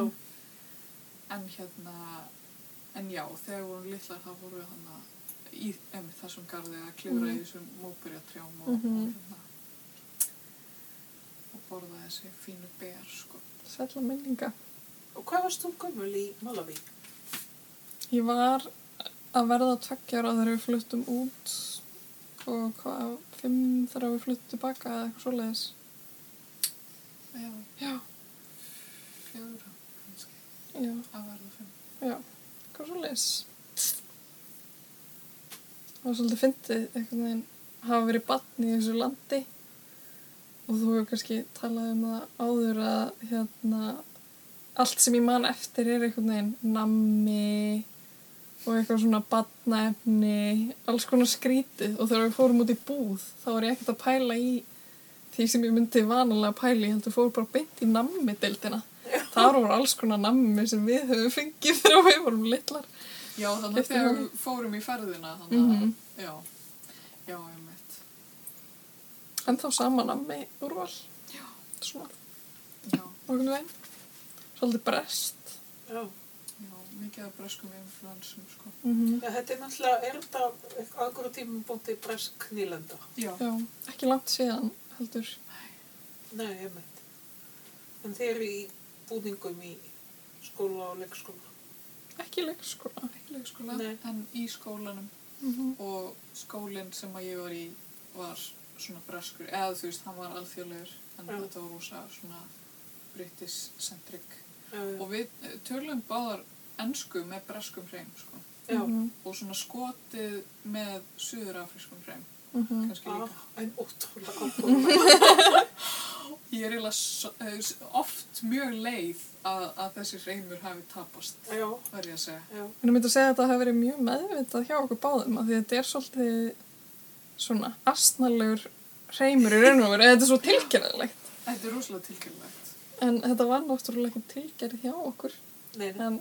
Speaker 2: En hérna, en já, þegar við vorum litlar þá voru við hann að í emi, þessum garði að klifra í
Speaker 3: Mhm.
Speaker 2: þessum móberjatrjám og, og
Speaker 3: Mhm.
Speaker 2: hérna og borða þessi fínu ber, sko.
Speaker 3: Sælla minninga.
Speaker 1: Og hvað varst þú gömul í Malawi?
Speaker 3: Ég var að verða tveggjara þegar við fluttum út og hvað, fimm þegar við fluttum tilbaka eða eitthvað svoleiðis.
Speaker 2: Já,
Speaker 3: Já,
Speaker 2: fjögur kannski,
Speaker 3: já,
Speaker 2: að verða fimm.
Speaker 3: já, eitthvað svoleiðis. Það var svolítið fyndið einhvern veginn hafa verið barn í þessu landi og þú hefur kannski talað um það áður að hérna allt sem ég man eftir er einhvern veginn nammi og eitthvað svona barnaefni, alls konar skrítið og þegar við fórum út í búð þá var ég ekkert að pæla í því sem ég myndi vanalega pæla í heldur fórum bara beint í nammi-deildina þar voru alls konar nammi sem við höfum fengið þegar við vorum litlar
Speaker 2: Já, þannig að
Speaker 3: Keyptum
Speaker 2: þegar
Speaker 3: hann.
Speaker 2: við fórum í ferðina, þannig að,
Speaker 3: Mhm.
Speaker 2: já, já, ég mitt.
Speaker 3: en þá saman nammi úrval svona,
Speaker 2: Já,
Speaker 3: okkur veginn svolítið brest
Speaker 1: Já.
Speaker 2: já, mikið af breskum influensum, sko.
Speaker 3: mm -hmm.
Speaker 1: Já, þetta er náttúrulega, er þetta aðgur tímum búndi bresk nýlenda?
Speaker 2: Já,
Speaker 3: já, ekki langt síðan heldur
Speaker 1: Nei, ég meint. En þeir eru í búningum í skóla og leikskóla.
Speaker 3: ekki sko. leikskóla
Speaker 2: ekki leikskóla,
Speaker 1: Nei.
Speaker 2: en í skólanum
Speaker 3: mm
Speaker 1: Mhm.
Speaker 2: og skólinn sem að ég var í var svona breskur, eða þú veist, hann var alþjóðlegur, en
Speaker 1: Já.
Speaker 2: þetta var rosa svona british-centric.
Speaker 1: Já, já.
Speaker 2: Og við eh, tölum báðar ennsku með breskum hreim, sko,
Speaker 1: já.
Speaker 2: og svona skotið með suðurafrískum hreim,
Speaker 3: -hmm.
Speaker 2: kannski líka.
Speaker 1: Ah, en ótrúlega áhuga.
Speaker 2: Ég er eiginlega s- eh, s- oft mjög leið að, að þessi hreimur hafi tapast,
Speaker 1: já,
Speaker 2: verð ég að segja.
Speaker 1: já.
Speaker 3: En ég myndi að segja að þetta hafi verið mjög meðvitað hjá okkur báðum að því að þetta er svolítið svona astnalegur reymur í raun og veru eða þetta er svo tilgerðilegt.
Speaker 2: Þetta er rosalega tilkjörlegt.
Speaker 3: En þetta var náttúrulega ekki tilgerð hjá okkur
Speaker 1: Nei, nei.
Speaker 3: en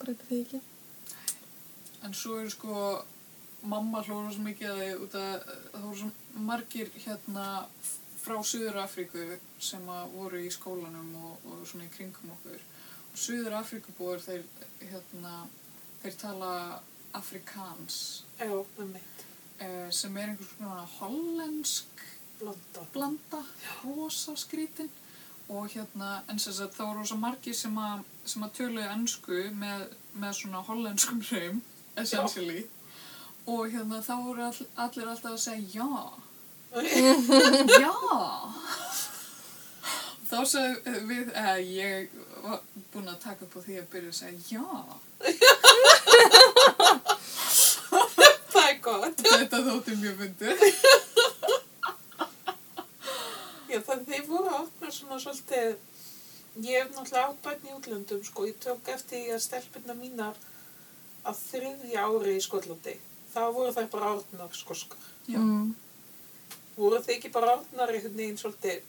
Speaker 3: breytið því ekki.
Speaker 2: En svo eru sko, mamma hlóra svo mikið að þið út að eh, það voru svo margir hérna f- frá Suður Afríku sem að voru í skólanum og, og svona í kringum okkur. Og Suður Afríkubúar þeir hérna, þeir tala afrikans
Speaker 1: Já, með mitt.
Speaker 2: eh, sem er einhvers svona hollensk
Speaker 1: Blanda.
Speaker 2: blanda, rosa skrítin og hérna, en sem sagt það voru rosa margir sem að, sem að töluðu ennsku með, með svona hollenskum hreim essentially og hérna þá voru all, allir alltaf að segja já já þá sagði við eða ég var búin að taka upp á því að byrja að segja já
Speaker 1: það er gott.
Speaker 2: þetta þótti mjög myndið
Speaker 1: Já, þannig þeir voru að opna svona svolítið, ég hef náttúrulega átt börn í útlöndum, sko, ég tók eftir því að stelpunna mínar á þriðja ári í Skotlandi. Þá voru þær bara orðnar skoskar.
Speaker 2: Já.
Speaker 3: Mm.
Speaker 1: Voru þeir ekki bara orðnar einhvern veginn svolítið,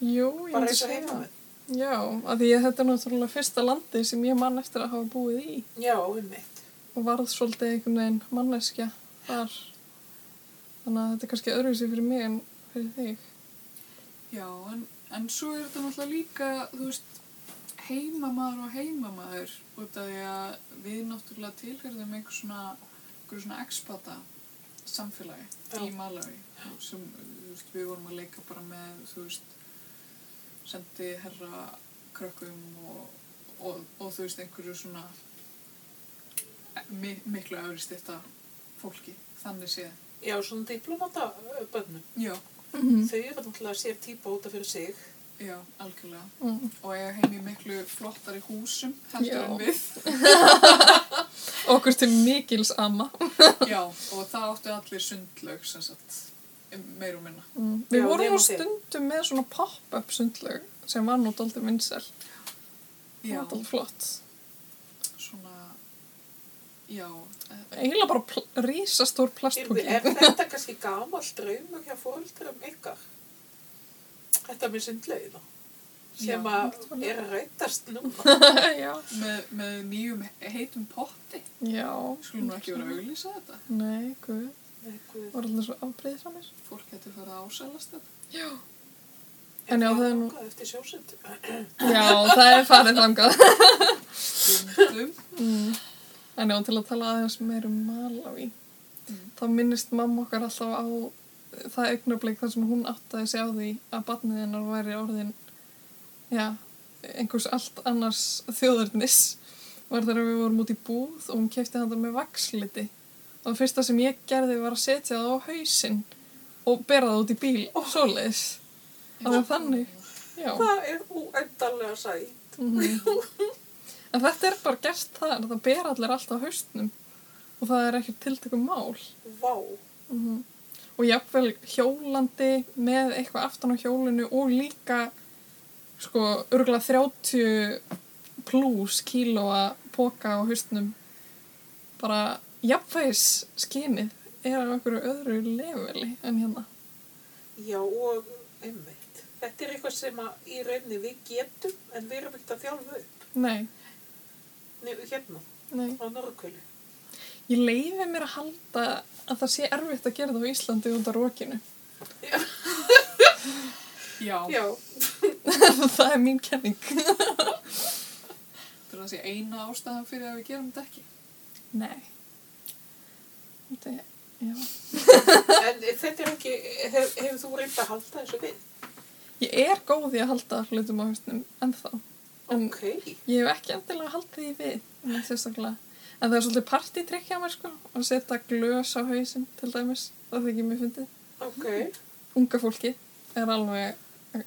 Speaker 3: Jú, ég
Speaker 1: bara eins
Speaker 3: myndi
Speaker 1: og
Speaker 3: segja.
Speaker 1: heimamenn?
Speaker 3: Já, af því að þetta er náttúrulega fyrsta landi sem ég mann eftir að hafa búið í
Speaker 1: Já, um einmitt.
Speaker 3: og varð svolítið einhvern veginn manneskja þar. Þannig að þetta er kannski öðruvísi fyrir mig en fyrir þig.
Speaker 2: Já, en, en svo er þetta náttúrulega líka, þú veist, heimamaður og heimamaður út af því að við náttúrulega tilhörðum einhver svona, einhver svona expata samfélagi
Speaker 1: Já.
Speaker 2: í Malawi sem, þú veist, við vorum að leika bara með, þú veist, sendi herra krökkum og, og, og þú veist, einhverju svona mi, miklu öfri styrta fólki, þannig séð.
Speaker 1: Já, svona diplomata ö, börnum.
Speaker 2: Já,
Speaker 3: Mm.
Speaker 1: Þau eru náttúrulega sér típa út af fyrir sig.
Speaker 2: já, algjörlega.
Speaker 3: Mm.
Speaker 2: og eiga heim í miklu flottari húsum heldur
Speaker 3: Já.
Speaker 2: en við.
Speaker 3: Okkur til mikils amma.
Speaker 2: Já, og það áttu allir sundlaug sem sagt, meir og minna.
Speaker 3: Mm. Við
Speaker 1: Já,
Speaker 3: vorum
Speaker 1: nema
Speaker 3: á
Speaker 1: þig.
Speaker 3: stundum með svona pop-up sundlög sem var nú doldið vinsel. Það
Speaker 2: Já,
Speaker 3: var doldið flott.
Speaker 2: svona, já, eh,
Speaker 3: Eiginlega bara pl rísastór
Speaker 1: Er,
Speaker 3: plastpúki.
Speaker 1: er þetta kannski gamall draumur hjá fóreldrum ykkar? Þetta með sundlaugina sem
Speaker 2: Já,
Speaker 1: að
Speaker 3: einhvern tímann.
Speaker 1: er að rætast núna.
Speaker 3: já.
Speaker 2: með, með nýjum heitum potti.
Speaker 3: Já. sko,
Speaker 2: Skulum nú ekki vera að auglýsa þetta.
Speaker 3: Nei, guð.
Speaker 1: Nei, guð.
Speaker 3: Var allir svo afbreyðið frá mér.
Speaker 2: Fólk getur farið að ásælast þetta.
Speaker 3: Já.
Speaker 1: Er
Speaker 3: En já,
Speaker 1: það
Speaker 3: það er nú-
Speaker 1: þangað Eftir sjósund.
Speaker 3: Já, það er farið þangað.
Speaker 2: Stundum.
Speaker 3: Mm. En já, til að tala aðeins meir um Malawi, þá minnist mamma okkar alltaf á eh, það augnablik þar sem hún áttaði sig á því að barnið hennar væri orðin, já, einhvers allt annars þjóðurnis. Var þegar við vorum út í búð og hún kefti handa með vaksliti. Og það fyrsta sem ég gerði var að setja það á hausinn og bera það út í bíl. Oh. Svoleiðis. Það var þannig. Já.
Speaker 1: Það er úendanlega sætt.
Speaker 3: Mhm. En þetta er bara gert þar, það ber allir alltaf á haustnum og það er ekkert tiltökum mál.
Speaker 1: Vá.
Speaker 3: Og jafnvel hjólandi með eitthvað aftan á hjólinu og líka sko örgulega 30 pluss kílóa póka á haustnum. Bara jafnvegs skinið er af einhverju öðru leveli en hérna.
Speaker 1: Já, og einmitt. Þetta er eitthvað sem að í rauninni við getum en við erum ekkert að þjálfa upp.
Speaker 3: Nei,
Speaker 1: Nei, hérna,
Speaker 3: nei.
Speaker 1: á Norrkölu.
Speaker 3: Ég leiði mér að halda að það sé erfitt að gera það á Íslandi út á rókinu.
Speaker 2: Já,
Speaker 1: Já,
Speaker 3: það er mín kenning.
Speaker 2: þetta er það sé eina ástæðan fyrir að við gerum þetta ekki.
Speaker 3: Nei. Þetta er, já.
Speaker 1: en þetta er ekki, hef, hefur þú reynd að halda þessu við?
Speaker 3: Ég er góð í að halda hlutum á hausnum ennþá. En
Speaker 1: Ok,
Speaker 3: ég hef ekki endilega haldið því við, neitt sérstaklega. En það er svolítið partítrykk hjá mér sko, að setja glös á hausinn til dæmis, það þykir mér fyndið.
Speaker 1: ok.
Speaker 3: Unga fólki er alveg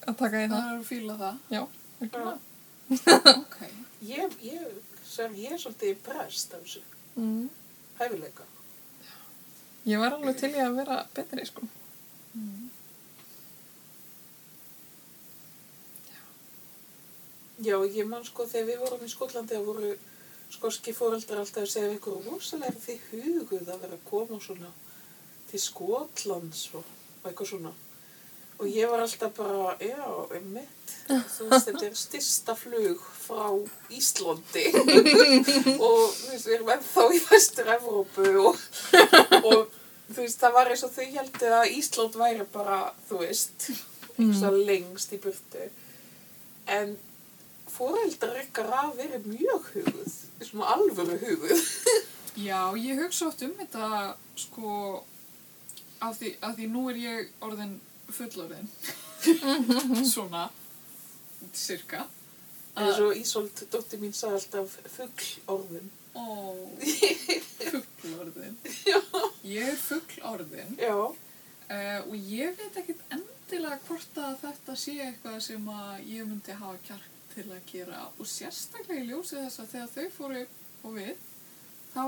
Speaker 3: að taka í
Speaker 2: Það
Speaker 3: það.
Speaker 2: er að fíla það.
Speaker 3: Já, ekki það.
Speaker 2: Ok.
Speaker 1: Ég, ég, sem ég er svolítið impressed af þessu
Speaker 3: Mm.
Speaker 1: hæfileika.
Speaker 3: Ég var alveg til í að vera betri sko.
Speaker 2: Mm.
Speaker 1: Já, ég man sko þegar við vorum í Skotlandi að voru skoski fóreldrar alltaf að segja við ykkur rosalega þið huguð að vera að koma svona til Skotlands og, og eitthvað svona. Og ég var alltaf bara, já, einmitt, þú veist, þetta er styrsta flug frá Íslandi og þú veist, við erum ennþá í Vestur-Evrópu og, og þú veist, það var eins og þau heldur að Ísland væri bara, þú veist, eins og lengst í burtu. En fóreldrar ykkar að vera mjög huguð, svona alvöru huguð.
Speaker 2: Já, ég hugsa oft um þetta sko af því, af því nú er ég orðin fullorðin svona cirka
Speaker 1: Eins og Ísolt, dóttir mín, sagði alltaf fuggl orðum.
Speaker 2: Ó, fuglorðin. Ég er fuglorðin
Speaker 1: Já,
Speaker 2: uh, og ég veit ekkit endilega hvort að þetta sé eitthvað sem að ég myndi hafa kjark til að gera og sérstaklega í ljósi þess að þegar þau fóru og við, þá,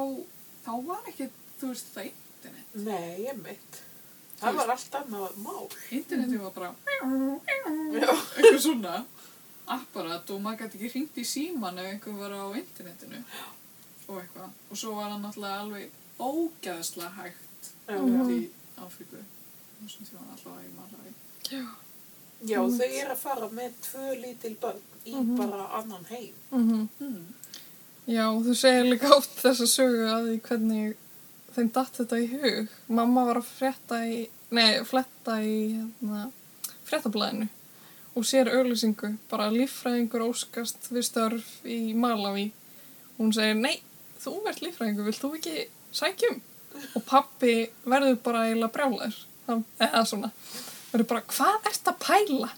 Speaker 2: þá var ekkit, þú veist, það internet.
Speaker 1: nei, ég mitt. Það var allt annað mál.
Speaker 2: Interneti var bara
Speaker 1: Já.
Speaker 2: eitthvað svona apparat og maður gæti ekki hringt í síman ef einhver var á internetinu og eitthvað og svo var hann náttúrulega alveg ógæðslega hægt
Speaker 3: Mhm.
Speaker 1: Já,
Speaker 2: út í Afríku þessum tíma allavega í Malawi
Speaker 3: Já.
Speaker 1: Já, þau eru að fara með tvö lítil börn í
Speaker 3: Mhm.
Speaker 1: bara annan heim.
Speaker 3: mhm.
Speaker 2: hmm.
Speaker 3: Já, þú segir líka oft þessa sögu að því hvernig þeim datt þetta í hug. Mamma var að frétta í, nei, fletta í hérna, fréttablaðinu og sér auglýsingu, bara líffræðingur óskast við störf í Malawi. Hún segir, nei, þú ert líffræðingur, vilt þú ekki sækjum? Og pappi verður bara eiginlega brjálæður, Hann- eða svona. Verður bara, hvað ert að pæla?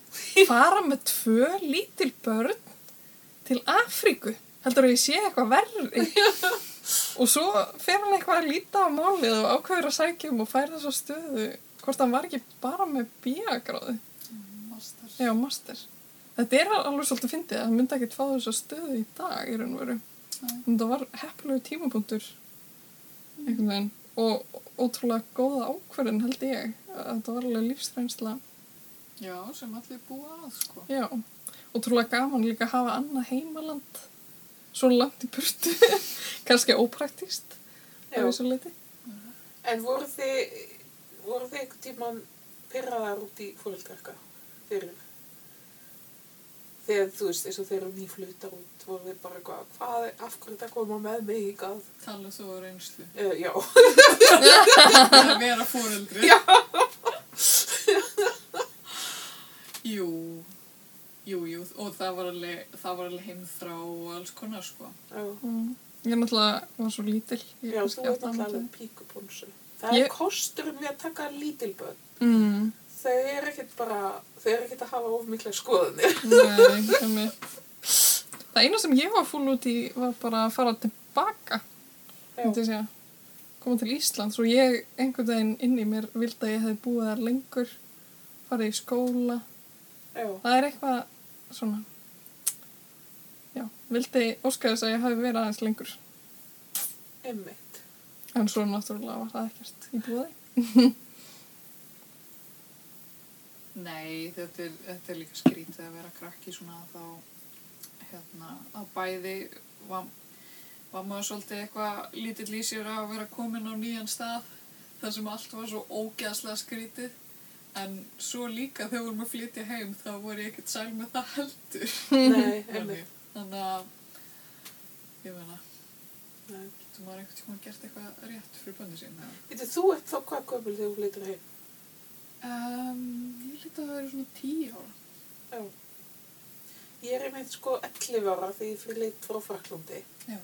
Speaker 3: Fara með tvö lítil börn til Afríku heldur að ég sé eitthvað verri og svo fer hann eitthvað að líta á málið og ákveður að sækja um og fær þess að stöðu hvort hann var ekki bara með bíagráðu
Speaker 2: master
Speaker 3: já, master þetta er alveg svolítið fyndið að hann myndi ekkert fá þess að stöðu í dag í raun og veru
Speaker 2: Nei.
Speaker 3: en það var heppilegu tímapunktur einhvern veginn og ótrúlega góða ákverðin held ég að þetta var alveg lífsreynsla
Speaker 2: já, sem allir búa að sko
Speaker 3: já, ótrúlega gaman líka að hafa annað heimaland svo langt í burtu kannski ópraktist
Speaker 1: Já,
Speaker 3: að þessu leiti.
Speaker 1: en voru þið, voru þið einhvern tímann pyrraðar út í fólkarka fyrir? Þegar, þú veist, eins og þeir eru nýflutar út, voru þið bara eitthvað, hvað, af hverju þetta koma með mig í gað?
Speaker 2: tala þú á reynslu
Speaker 1: Uh, já,
Speaker 2: að vera fóreldri já jú jú, jú, og það var alveg það var alveg heimþrá og alls konar sko
Speaker 1: já,
Speaker 3: Mm. Ég náttúrulega var svo lítil. Ég
Speaker 1: já,
Speaker 3: kannski
Speaker 1: þú veit
Speaker 3: átti annað
Speaker 1: náttúrulega alveg píkupónsu. Það
Speaker 3: Ég-
Speaker 1: er kosturinn við að taka lítil börn.
Speaker 3: til. Mm.
Speaker 1: Þau eru ekkert bara, þau eru ekkert að hafa of mikla skoðunir.
Speaker 3: Nei, einmitt. Það eina sem ég var fúl út í var bara að fara tilbaka,
Speaker 1: Já,
Speaker 3: myndi ég segja. Koma til Íslands og ég einhvern veginn inn í mér vildi að ég hefði búið þar lengur, farið í skóla.
Speaker 1: já,
Speaker 3: Það er eitthvað svona, já, vildi óska þess að ég hafi verið aðeins lengur.
Speaker 1: emmitt.
Speaker 3: En svo náttúrulega var það ekkert í búið.
Speaker 2: Nei, þetta er, þetta er líka skrítið að vera krakki svona þá hérna, að bæði var, var maður svolítið eitthvað lítill í sér að vera komin á nýjan stað þar sem allt var svo ógæðslega skrítið en svo líka þegar vorum að flytja heim þá voru ég ekkert sæl með það heldur
Speaker 1: Nei,
Speaker 2: þannig,
Speaker 1: emmitt.
Speaker 2: þannig að ég meina,
Speaker 1: Nei.
Speaker 2: getur maður einhvern tímann gert eitthvað rétt fyrir bönni sín eða?
Speaker 1: Veitu, þú ert þá hvað gömul þegar þú leitur heim?
Speaker 2: um, Ég lítið að það eru svona tíu ára
Speaker 1: Já. Ég er einmitt sko 11 ára þegar ég fyrir leitt frá Fraklandi.
Speaker 2: Já.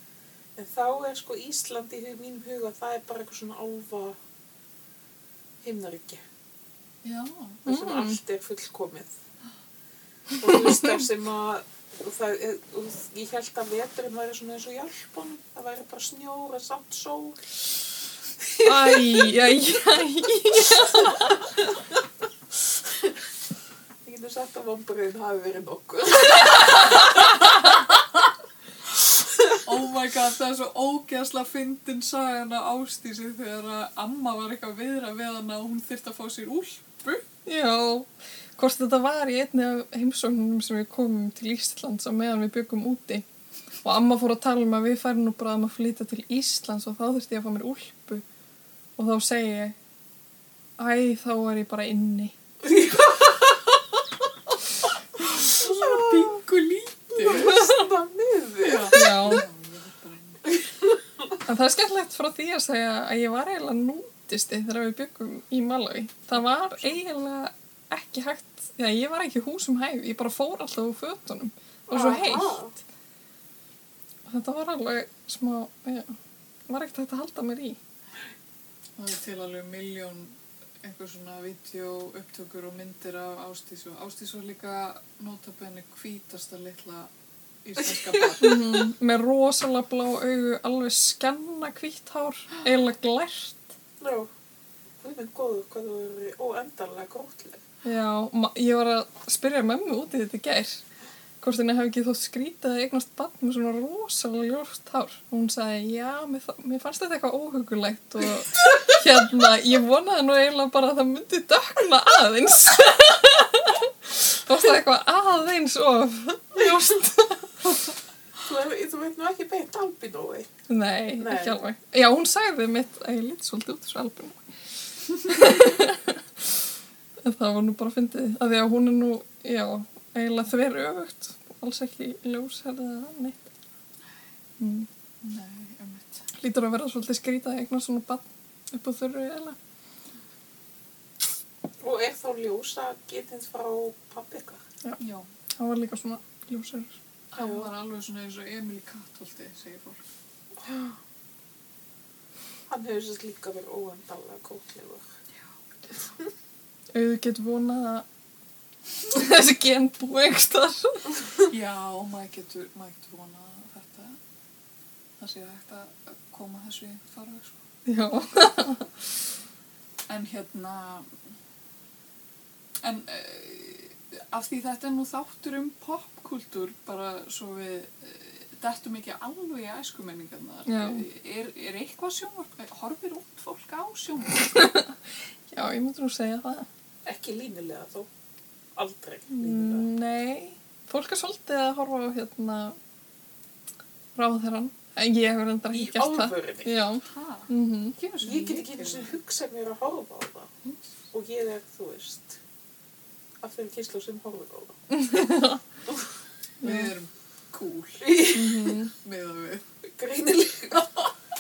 Speaker 1: En þá er sko Ísland í hug- mínum huga, það er bara eitthvað svona álfa himnaríki.
Speaker 2: Já,
Speaker 1: Það sem
Speaker 3: Mm.
Speaker 1: allt er fullkomið. Og þú veist það sem að, og það, er- og ég held að veturinn væri svona eins og hjálpunum. Það væri bara snjóra, samt sól.
Speaker 3: Æj, æj, æj.
Speaker 1: Ég getur sagt að vombriðin hafi verið nokkur.
Speaker 2: Oh my god, það er svo ógeðslega fyndin sagan á Ástísi þegar að amma var eitthvað að viðra við hana og hún þyrfti að fá sér úlpu.
Speaker 3: Já, hvort þetta var í einni af heimsóknum sem við komum til Íslands á meðan við byggum úti og amma fór að tala um að við færum nú bara að maður flytja til Íslands og þá þurfti ég að fá mér úlpu og þá segi ég Æ, þá er ég bara inni
Speaker 2: Svo svona bingu lítið.
Speaker 1: Vestna miður.
Speaker 3: Já,
Speaker 2: Já.
Speaker 3: en það er skemmtilegt frá því að segja að ég var eiginlega nútisti þegar við byggum í Malawi Það var eiginlega ekki hægt, já, ég var ekki húsum hæf, ég bara fór alltaf úr fötunum og svo heitt Þetta var alveg smá, já, var ekkert hægt að halda mér í.
Speaker 2: Það er til alveg miljón einhver svona vídeo, upptökur og myndir af Ástísu. Ástísu var líka notabenni hvítasta litla íslenska barn.
Speaker 3: Mhm. með rosalega blá augu, alveg skenna hvítt hár, eiginlega glært.
Speaker 1: Já. Við minn góðu hvað þú eru óendanlega grótleg.
Speaker 3: Já, ma- ég var að spyrja mömmu út í þetta í gær, hvort henni hafi ekki þótt skrítið að eignast barn með svona rosalega ljórt hár. Og hún sagði, já, mér, þa- mér fannst þetta eitthvað óhugulegt og hérna, ég vonaði nú eiginlega bara að það myndi dökna aðeins. Fannst það eitthvað aðeins of ljóst.
Speaker 1: Þú, er, þú veit nú ekki beint albinói.
Speaker 3: Nei,
Speaker 1: Nei.
Speaker 3: ekki alveg. Já, hún sagði mitt að ég lít svolítið út þessu albinu. en það var nú bara fyndið. Af því að hún er nú, já, eiginlega þver öfugt. Alls ekki ljósherðið eða neitt. Mm.
Speaker 2: Nei, um þetta.
Speaker 3: Lítur að vera svolítið skrítið að eignar svona bann upp á þurru eiginlega.
Speaker 1: Og er þá ljósa getins frá pappi ykkar?
Speaker 2: Já,
Speaker 3: Það var líka svona ljósherður.
Speaker 2: hann var alveg svona eins og Emil í Kattholti, segir fólk.
Speaker 1: Hann hefur sérst líka verið óendanlega grótlegur.
Speaker 3: Auðu get vonað að þessi gen búi einhverstaðar.
Speaker 2: Já, og maður getur, maður getur vonað að þetta, það sé hægt að koma þessu í farveg, sko.
Speaker 3: Já.
Speaker 2: En hérna, en uh, af því þetta er nú þáttur um popkultúr, bara svo við uh, dettum ekki alveg í æskumenningarnar.
Speaker 3: Já.
Speaker 2: Er, er eitthvað sjónvarp, eh, horfir út fólk á sjónvarp?
Speaker 3: Já, ég myndi nú segja það.
Speaker 1: Ekki línulega þó. Aldrei
Speaker 3: Mm,
Speaker 1: línulega.
Speaker 3: Nei, fólk er svolítið að horfa á hérna ráðherran. En ég hefur reyndar
Speaker 1: Í
Speaker 3: ekki gert það.
Speaker 1: alvörinni.
Speaker 3: Já.
Speaker 2: Hæ?
Speaker 3: Mm
Speaker 1: Ég get ekki eins og hugsa mér að horfa á það. Og ég er, þú veist, af þeim kynslu sem horfir á það.
Speaker 2: Við erum cool
Speaker 3: mhm.
Speaker 2: með að við.
Speaker 1: Greinilega.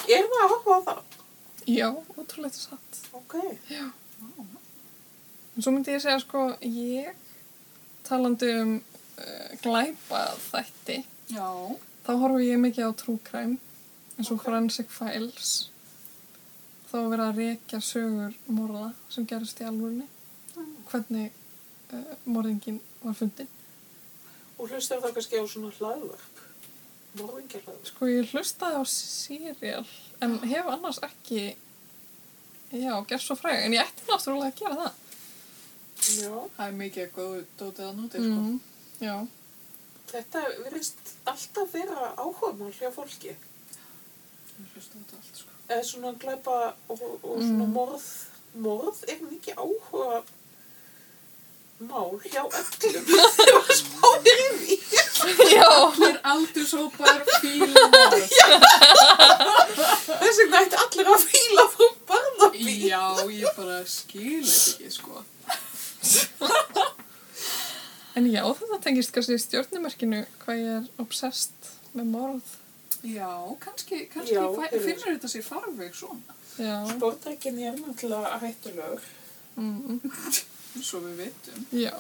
Speaker 1: er það að horfa á það?
Speaker 3: Já, ótrúlega satt.
Speaker 1: Ok.
Speaker 3: En svo myndi ég segja sko, ég talandi um uh, glæpa þætti,
Speaker 2: Já,
Speaker 3: þá horfi ég mikið á True Crime, eins og
Speaker 1: Ok.
Speaker 3: Forensic Files. Þá er verið að rekja sögur morða sem gerist í alvörni.
Speaker 1: Mm.
Speaker 3: Hvernig uh, morðingin var fundin.
Speaker 1: Og hlustar það kannski á svona hlaðvarp. Morðingja
Speaker 3: Sko ég hlustaði á serial en hef annars ekki já, gerð svo fræg en ég ætti náttúrulega að gera það
Speaker 1: Já.
Speaker 2: það er mikið að góðu dótið að núti, sko.
Speaker 3: Já,
Speaker 1: Þetta verðist alltaf vera áhugamál hjá fólki.
Speaker 2: Ég hlusta á þetta allt, sko.
Speaker 1: Eða svona glæpa og, og svona
Speaker 3: Mm.
Speaker 1: morð. Morð er mikið áhuga mál hjá öllum.
Speaker 3: já,
Speaker 2: Allir aldurshópar fíla morð.
Speaker 1: Þess vegna ætti allir að fíla frá barnabí.
Speaker 2: Já, ég bara skil þetta ekki, sko.
Speaker 3: en já þetta tengist kannski stjórnumerkinu hvað ég er obsessed með morð
Speaker 2: Já, kannski, kannski
Speaker 1: Já,
Speaker 2: fæ,
Speaker 1: fyrir.
Speaker 2: finnur þetta sér farveg svona,
Speaker 3: Já,
Speaker 1: Sportækin er náttúrulega hættulegur.
Speaker 3: mm,
Speaker 2: svo við vitum.
Speaker 3: já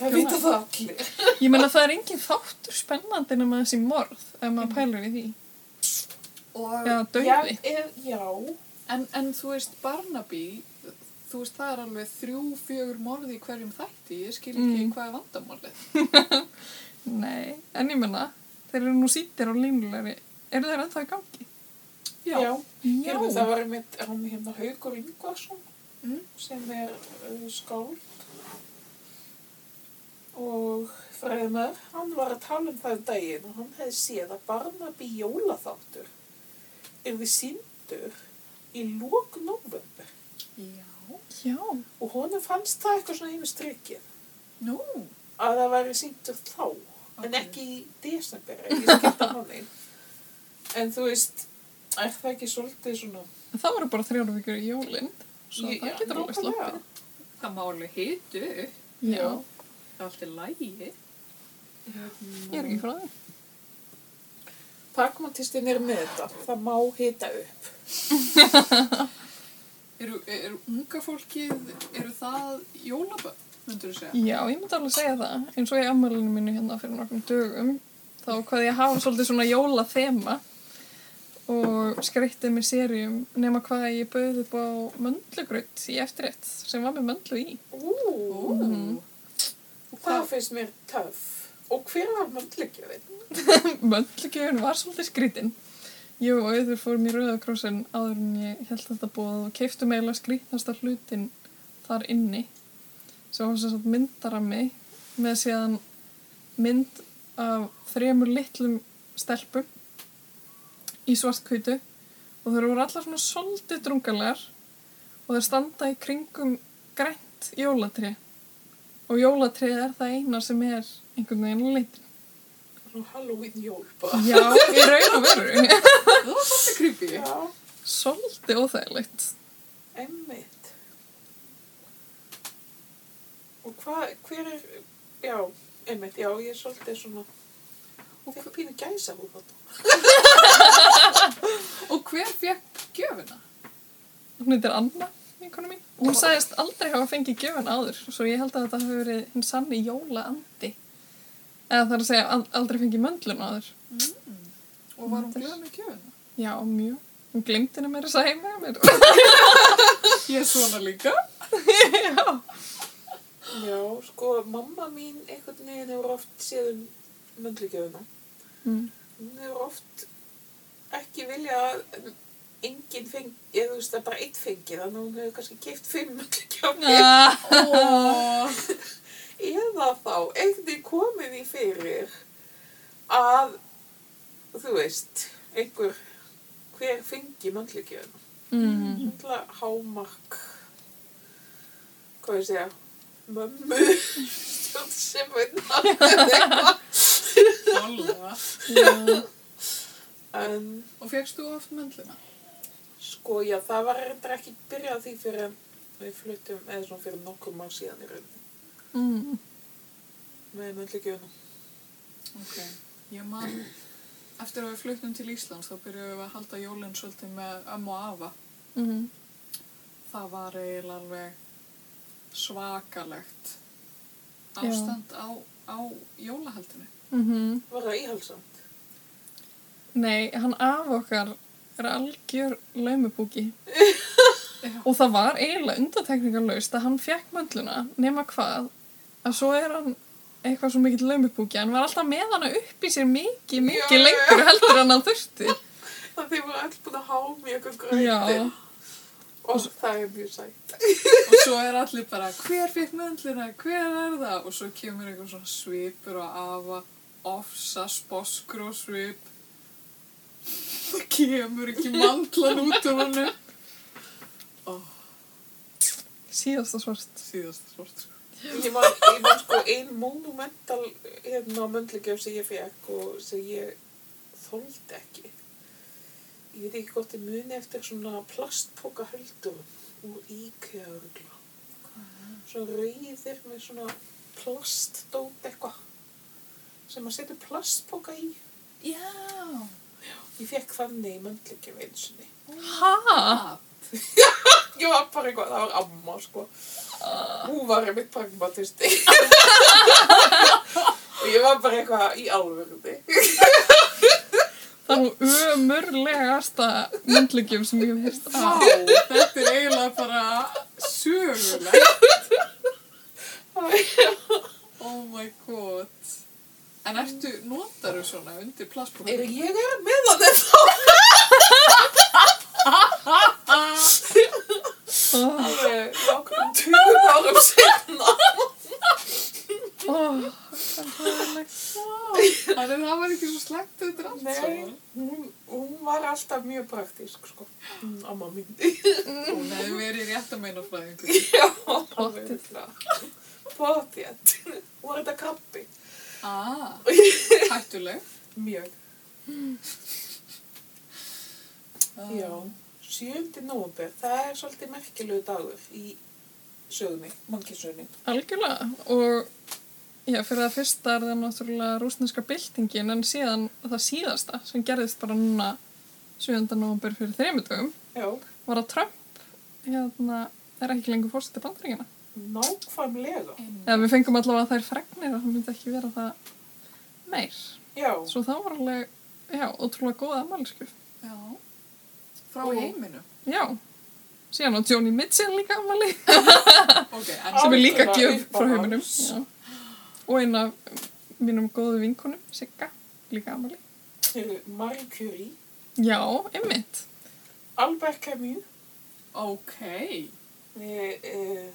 Speaker 1: Það vita það allir.
Speaker 3: Ég meina það er engin þáttur spennandi nema þessi morð ef maður pælur í því
Speaker 2: Og,
Speaker 3: Já,
Speaker 1: Já,
Speaker 3: dauði
Speaker 1: er, já.
Speaker 2: en, en þú veist, Barnaby, þú veist, það er alveg þrjú, fjögur morði í hverjum þætti, ég skil ekki
Speaker 3: Mm.
Speaker 2: hvað er vandamálið.
Speaker 3: Nei, en ég meina þeir eru nú sýttir og línulegri Eru þeir ennþá í gangi?
Speaker 1: Já. já.
Speaker 3: Já,
Speaker 1: Heyrðu, það var einmitt hann hérna Haugur Ingvarsson
Speaker 2: Mm.
Speaker 1: sem er uh, skáld og fremur, hann var að tala um það um daginn og hann hefði séð að Barnaby jólaþáttur er við síndur í lók november
Speaker 2: Já.
Speaker 3: já
Speaker 1: og honum fannst það eitthvað svona yfir strikið
Speaker 2: Nú.
Speaker 1: að það væri síndur þá en
Speaker 2: Ok.
Speaker 1: ekki í desember ef ég skipta hann einn en þú veist, er það ekki svolítið svona
Speaker 3: En það voru bara þrjóra vikur í jólinn, svo
Speaker 1: Ég-
Speaker 3: það
Speaker 1: já,
Speaker 3: getur alveg
Speaker 1: nákvæmlega.
Speaker 3: sloppið.
Speaker 2: Það má alveg hitu,
Speaker 3: Já,
Speaker 1: Já.
Speaker 2: það er allt í lægi.
Speaker 3: ég er ekki frá því.
Speaker 1: Takmantistin er með þetta. Það má hita upp.
Speaker 2: Eru, eru unga fólkið, eru það jólaböð, myndur þú segja?
Speaker 3: Já, ég myndi alveg segja það, eins og í ammælinu mínu hérna fyrir nokkrum dögum, þá hvað ég hafa svolítið svona jólathema og skreyttið með sérium nema hvað ég bauð upp á möndlugrut í eftirrétt sem var með möndlu í.
Speaker 1: Ú,
Speaker 2: Ó. Og
Speaker 1: Mm-hmm. það
Speaker 2: hvað,
Speaker 1: finnst mér töff. Og hver var möndlugjöfin?
Speaker 3: Möndlugjöfun var svolítið skrítin. Ég og auður fórum í Rauðakrósin áður en ég held þetta búið og keiftum eiginlega skrítnasta hlutin þar inni. Svo var þess að myndarami með síðan mynd af þremur litlum stelpum í svartkvítu og þeir voru allar svona svolítið drungalegar og þeir standa í kringum grænt jólatri og jólatrið er það eina sem er einhvern veginn litin.
Speaker 1: Nú Halloween jól bara.
Speaker 3: Já, í raun og veru.
Speaker 2: Það var svolítið creepy.
Speaker 1: Já,
Speaker 3: Svolítið óþægilegt.
Speaker 1: emmitt. Og hvað, hver er, já, emmitt, já, ég er svolítið svona,
Speaker 2: Og,
Speaker 1: fekk pínu gæsa hún þetta.
Speaker 2: og hver fekk gjöfuna?
Speaker 3: Hún heitir Anna, vinkona mín. Hún sagðist aldrei hafa fengið gjöfun áður, svo ég held að þetta hafi verið hinn sanni jólaandi. Eða það er að segja al- aldrei fengið möndlun áður.
Speaker 2: Og var hún glöð með gjöfuna?
Speaker 3: Já, mjög. Hún glemdi henni meira að segja með mér.
Speaker 2: Ég er svona líka.
Speaker 3: Já.
Speaker 1: Já, sko, mamma mín einhvern veginn hefur oft séð um möndlugjöfina.
Speaker 3: Mm.
Speaker 1: Hún hefur oft ekki viljað að enginn fengi, ég þú veist að bara einn fengi, þannig að hún hefur kannski keift fimm möndlugjöfni.
Speaker 3: Ah.
Speaker 2: Ó,
Speaker 1: eða þá einnig komið í fyrir að þú veist, einhver hver fengi möndlugjöfn
Speaker 3: Mm.
Speaker 1: alltaf hámark hvað ég segja mömmu stjórnsemunna
Speaker 2: Þálega.
Speaker 3: Já.
Speaker 1: en
Speaker 2: Og fegst þú oft möndluna?
Speaker 1: sko já það var reyndar ekki byrjað á því fyrir en við fluttum eða svona fyrir nokkur mál síðan í rauninni
Speaker 3: Mm.
Speaker 1: með möndlugjöfnum
Speaker 2: Ok. Ég man, eftir að við fluttum til Íslands þá byrjuðum við að halda jólinn svolítið með ömmu og afa.
Speaker 3: Mm.
Speaker 2: Það var eiginlega alveg svakalegt
Speaker 3: Já.
Speaker 2: ástand á, á jólahaldinu.
Speaker 3: Mhm.
Speaker 1: var það íhalsamt
Speaker 3: Nei, hann af okkar er algjör laumubúki.
Speaker 2: Já.
Speaker 3: Og það var eiginlega undatekningarlaust að hann fekk möndluna nema hvað að svo er hann eitthvað svo mikill laumupúki hann var alltaf með hana upp í sér mikið,
Speaker 1: Já,
Speaker 3: mikið
Speaker 1: já,
Speaker 3: lengur heldur en hann þurfti
Speaker 1: þannig þið voru alls búin að hámi eitthvað
Speaker 3: Já,
Speaker 1: gröndin og það er mjög sætt
Speaker 2: Og svo er allir bara, hver fekk möndluna, hver er það? Og svo kemur einhver svona svipur og afa, ofsa, sposkur og svip. Það kemur ekki mandlan út úr honum. Ó,
Speaker 3: síðasta svart
Speaker 2: síðasta svort sko.
Speaker 1: Ég man, ég man sko ein monumental hérna möndlugjöf sem ég fekk og sem ég þóldi ekki. Ég veit ekki hvort ég muni eftir svona plastpoka höldur úr IKEA örgla. Svona rauðir með svona plastdót eitthvað sem maður setur plastpoka í.
Speaker 2: Já.
Speaker 1: Ég fekk þannig möndlugjöf eins og niður.
Speaker 3: Ha?
Speaker 2: Ah.
Speaker 1: Ég var bara eitthvað, það var amma sko. Hún var einmitt pragmatisti. og ég var bara eitthvað í alvörði.
Speaker 3: Það er nú ömurlegasta möndlugjum sem ég hef hérst
Speaker 2: Vá,
Speaker 3: af
Speaker 2: þetta er eiginlega bara sögulegt. Oh my god. En ertu, notaru svona undir
Speaker 1: Er
Speaker 2: plastbúinu?
Speaker 1: ég er með hann ennþá?
Speaker 3: oh,
Speaker 1: Alveg nokkrum tugum árum senna.
Speaker 3: oh, það er hræðilegt.
Speaker 2: Þannig að það var ekki svo slæmt undir allt sko. saman.
Speaker 1: hún, hún var alltaf mjög praktísk, sko. Mm, Amma mín.
Speaker 2: Hún hefði verið rétt að meina fræðingur.
Speaker 1: Já,
Speaker 3: Pottþétt.
Speaker 1: Pottið. Hún var þetta krabbi.
Speaker 2: Ah, hættuleg.
Speaker 1: Mjög.
Speaker 2: Ah.
Speaker 1: Já. 7. nóvember, það er svolítið merkilegu dagur í sögunni, mannkissögunni.
Speaker 3: Algjörlega og já, fyrir það fyrsta er það náttúrulega rúsneska byltingin en síðan það síðasta sem gerðist bara núna 7. november fyrir þreymur dögum
Speaker 1: Já,
Speaker 3: var að Trump hérna, er ekki lengur fórsetið bandaríkina.
Speaker 1: nákvæmlega.
Speaker 3: Eða við fengum allavega þær fregnir að hann myndi ekki vera það meir.
Speaker 1: Já,
Speaker 3: Svo það var alveg, já, ótrúlega góða ammælisku.
Speaker 2: Já. Frá
Speaker 3: Oh.
Speaker 1: Og-
Speaker 2: heiminu.
Speaker 3: Já, síðan á Joni Mitchell líka ammæli
Speaker 2: Ok, en
Speaker 1: Á-
Speaker 3: sem er líka
Speaker 1: Algjörlega
Speaker 3: gjöf frá
Speaker 1: uppáhalds.
Speaker 3: heiminum. Já. Og eina mínum góðu vinkunum, Sigga, líka Amali.
Speaker 1: Marie Curie,
Speaker 3: Já, einmitt.
Speaker 1: Albert Camus,
Speaker 2: Ok.
Speaker 1: við uh,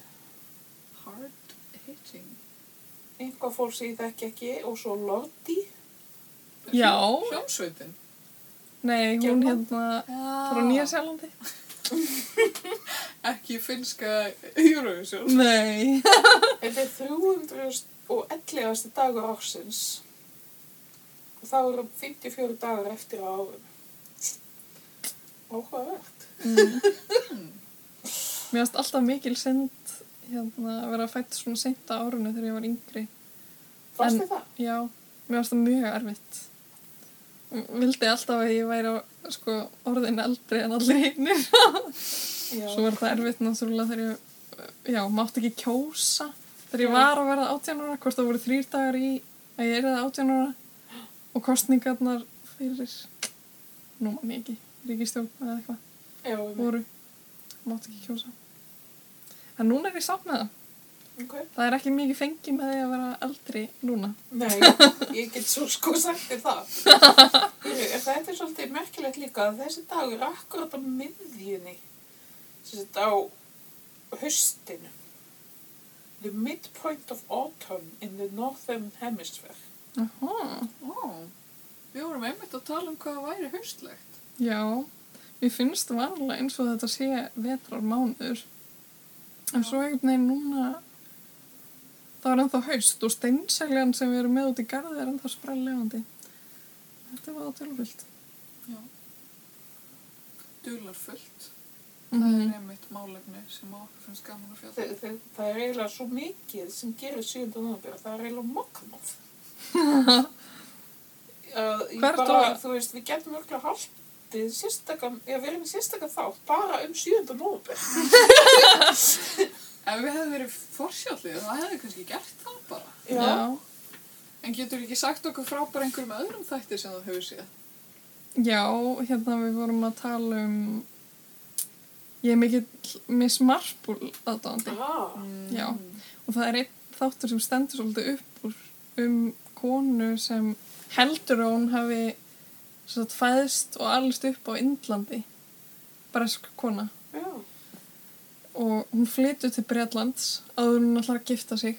Speaker 2: Hard hitting.
Speaker 1: einhvað fólk sem ég þekki ekki og svo Lordi.
Speaker 3: Já.
Speaker 2: Hljómsveitin. Ah,
Speaker 3: Nei, hún
Speaker 1: German?
Speaker 3: hérna frá Nýja-Sjálandi.
Speaker 2: Ekki finnska Eurovision.
Speaker 3: Nei.
Speaker 1: Þetta er 311. dagur ársins. Og það eru 54 dagar eftir á árum. Óhugavert.
Speaker 3: Mm. Mér varst alltaf mikil send hérna, að vera fætt svona sent á árunu þegar ég var yngri. En-
Speaker 1: Fannst þið það?
Speaker 3: Já, mér varst það mjög erfitt. M- Vildi alltaf að ég væri á, sko, orðin eldri en allir hinnir.
Speaker 1: Já.
Speaker 3: Svo var það erfitt náttúrulega þegar ég, já, mátti ekki kjósa. Þegar
Speaker 1: Já.
Speaker 3: ég var að verða 18 ára, hvort það voru þrýr dagar í að ég er það 18 ára og kostningarnar fyrir, nú mann ég ekki, ríkistjórn eða eitthvað
Speaker 1: Já, um,
Speaker 3: voru mátt ekki kjósa en núna er ég sátt með það
Speaker 1: ok.
Speaker 3: það er ekki mikið fengi með því að vera eldri núna
Speaker 1: Nei, ég get svo sko sagt þér það. Heyrðu, en Þetta er svolítið merkilegt líka að þessi dagur er akkurat á miðjunni, sem þetta á haustinu. The midpoint of autumn in the northern hemisphere.
Speaker 3: Aha.
Speaker 2: Ó. Við vorum einmitt að tala um hvað væri haustlegt.
Speaker 3: já, mér finnst vanlega eins og þetta sé vetrar mánuður en svo einhvern veginn núna það er ennþá haust og steinseljan sem við erum með út í garði er ennþá sprellefandi þetta var tölvöld
Speaker 2: Já. Dular fullt. Það
Speaker 3: Mhm.
Speaker 2: er einmitt málefni sem á okkur finnst gaman að fjalla.
Speaker 1: Það, það, það er eiginlega svo mikið sem gerir 7. november, það er eiginlega magnað. Uh, ég
Speaker 3: Hvert
Speaker 1: bara,
Speaker 3: var-
Speaker 1: þú veist, við getum örgulega haldið sérstaka, já, við erum sérstaka þátt bara um 7. november.
Speaker 2: Ef við hefðum verið forsjálið, þá hefðum við kannski gert það bara.
Speaker 3: já,
Speaker 2: En getur ekki sagt okkur frá bara einhverjum öðrum þætti sem þú hefur séð?
Speaker 3: Já, hérna við vorum að tala um ég er mikill Miss Marple aðdáðandi
Speaker 1: Ah.
Speaker 3: Já. og það er einn þáttur sem stendur svolítið upp úr um konu sem heldur að hún hafi svo sagt, fæðst og allist upp á Indlandi bresk kona
Speaker 1: Já.
Speaker 3: og hún flytur til Bretlands áður en hún ætlar að gifta sig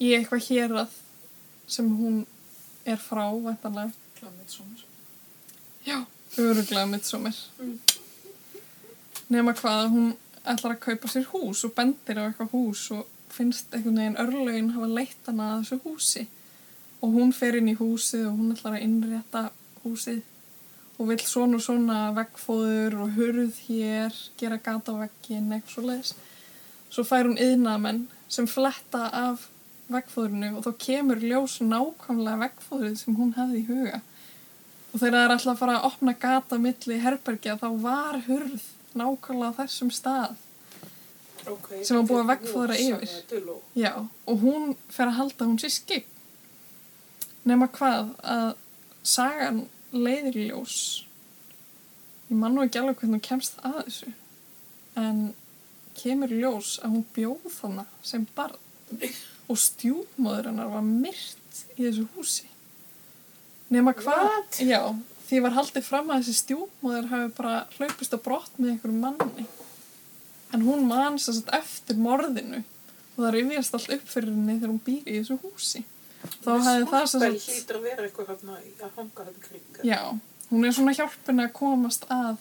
Speaker 3: í eitthvað hérað sem hún er frá væntanlega
Speaker 2: Klamitsómar.
Speaker 3: Já, öruglega midsommar.
Speaker 1: Mm.
Speaker 3: Nema hvað að hún ætlar að kaupa sér hús og bendir á eitthvað hús og finnst einhvern veginn örlögin hafa leitt hana að þessu húsi. Og hún fer inn í húsið og hún ætlar að innrétta húsið og vill svona og svona veggfóður og hurð hér, gera gata á veggin, eitthvað svo leiðis. Svo fær hún yðnaðamenn sem fletta af veggfóðurinu og þá kemur í ljós nákvæmlega veggfóðurinn sem hún hefði í huga. Og þegar það er alltaf að fara að opna gata milli herbergja þá var hurð nákvæmlega á þessum stað.
Speaker 1: okay,
Speaker 3: sem var búið að
Speaker 1: þetta er
Speaker 3: veggfóðra yfir.
Speaker 1: rosalega duló.
Speaker 3: Já, og hún fer að halda að hún sé skip. Nefna hvað að sagan leiðir í ljós. Ég man nú ekki alveg hvernig hún kemst að þessu. En kemur í ljós að hún bjóð þarna sem barn og stjúpmóður hennar var myrt í þessu húsi. Nefna hvað
Speaker 1: What?
Speaker 3: Já, því var haldið fram að þessi stjúpmóður hafi bara hlaupist á brott með einhverjum manni. En hún man sem sagt eftir morðinu og það rifjast allt upp fyrir henni þegar hún býr í þessu húsi. Þá hefði það sem
Speaker 1: Það
Speaker 3: sagt...
Speaker 1: hlýtur að vera eitthvað hérna í- að hanga þetta kring.
Speaker 3: Já, hún er svona hjálpin að komast að.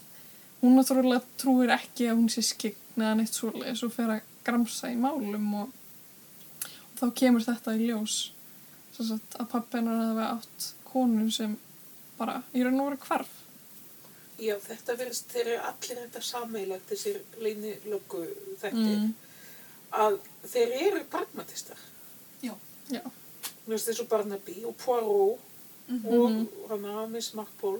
Speaker 3: Hún náttúrulega trúir ekki að hún sé skikn eða neitt svoleiðis og fer að gramsa í málum og, og þá kemur þetta í ljós. Svo sagt að pappinar hefði átt konu sem bara í raun og veru hvarf.
Speaker 1: Já, þetta verðist, þeir eru allir þetta sameilagt, þessir leynilöku þetta,
Speaker 3: Mm.
Speaker 1: að þeir eru pragmatistar.
Speaker 3: Já.
Speaker 1: Þú veist þessu Barnaby og Poirot
Speaker 3: Mhm,
Speaker 1: og hana Miss Marple.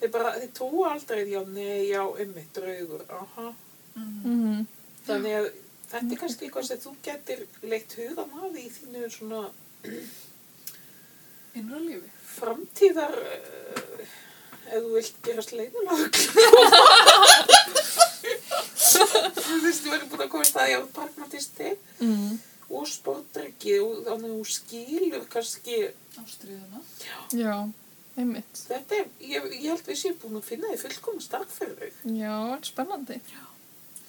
Speaker 1: Þeir bara, þeir trúa aldrei, já, nei, já, ummi, draugur, aha.
Speaker 3: Mm
Speaker 1: Þannig að þetta er kannski eitthvað sem þú getur leitt hugan að í þínu svona
Speaker 2: Innra lífi.
Speaker 1: framtíðar uh, ef þú vilt gerast leiðinlag þú veist, þú verður búin að komast að ég á pragmatisti
Speaker 3: -hmm.
Speaker 1: og sportdrykk fólki og þannig að hún skilur kannski
Speaker 2: ástriðuna.
Speaker 3: já, einmitt.
Speaker 1: þetta er, ég, ég held við séum búin að finna því fullkomna starf fyrir þau
Speaker 3: Já, en spennandi.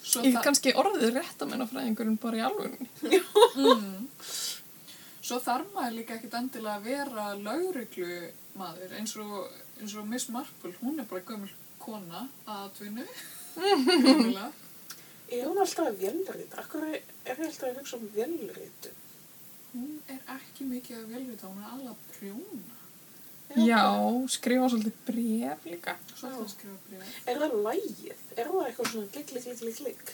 Speaker 2: Svo
Speaker 3: Ég
Speaker 2: það-
Speaker 3: kannski orðið rétt að menna fræðingurinn bara í alvörunni.
Speaker 2: Mm. Svo þarf maður líka ekkit endilega að vera lauruglu maður eins og, eins og Miss Marple, hún er bara gömul kona að atvinnu. Gömulega.
Speaker 1: er hún alltaf að velrið akkur er er ég alltaf að hugsa um velrið
Speaker 2: Hún er ekki mikið að velvita, hún er alveg að prjóna.
Speaker 3: Já, skrifa svolítið bref líka.
Speaker 2: Svolítið
Speaker 1: Já.
Speaker 2: að skrifa bregð.
Speaker 1: er það lægið, er það eitthvað svona glik, glik, glik, glik, glik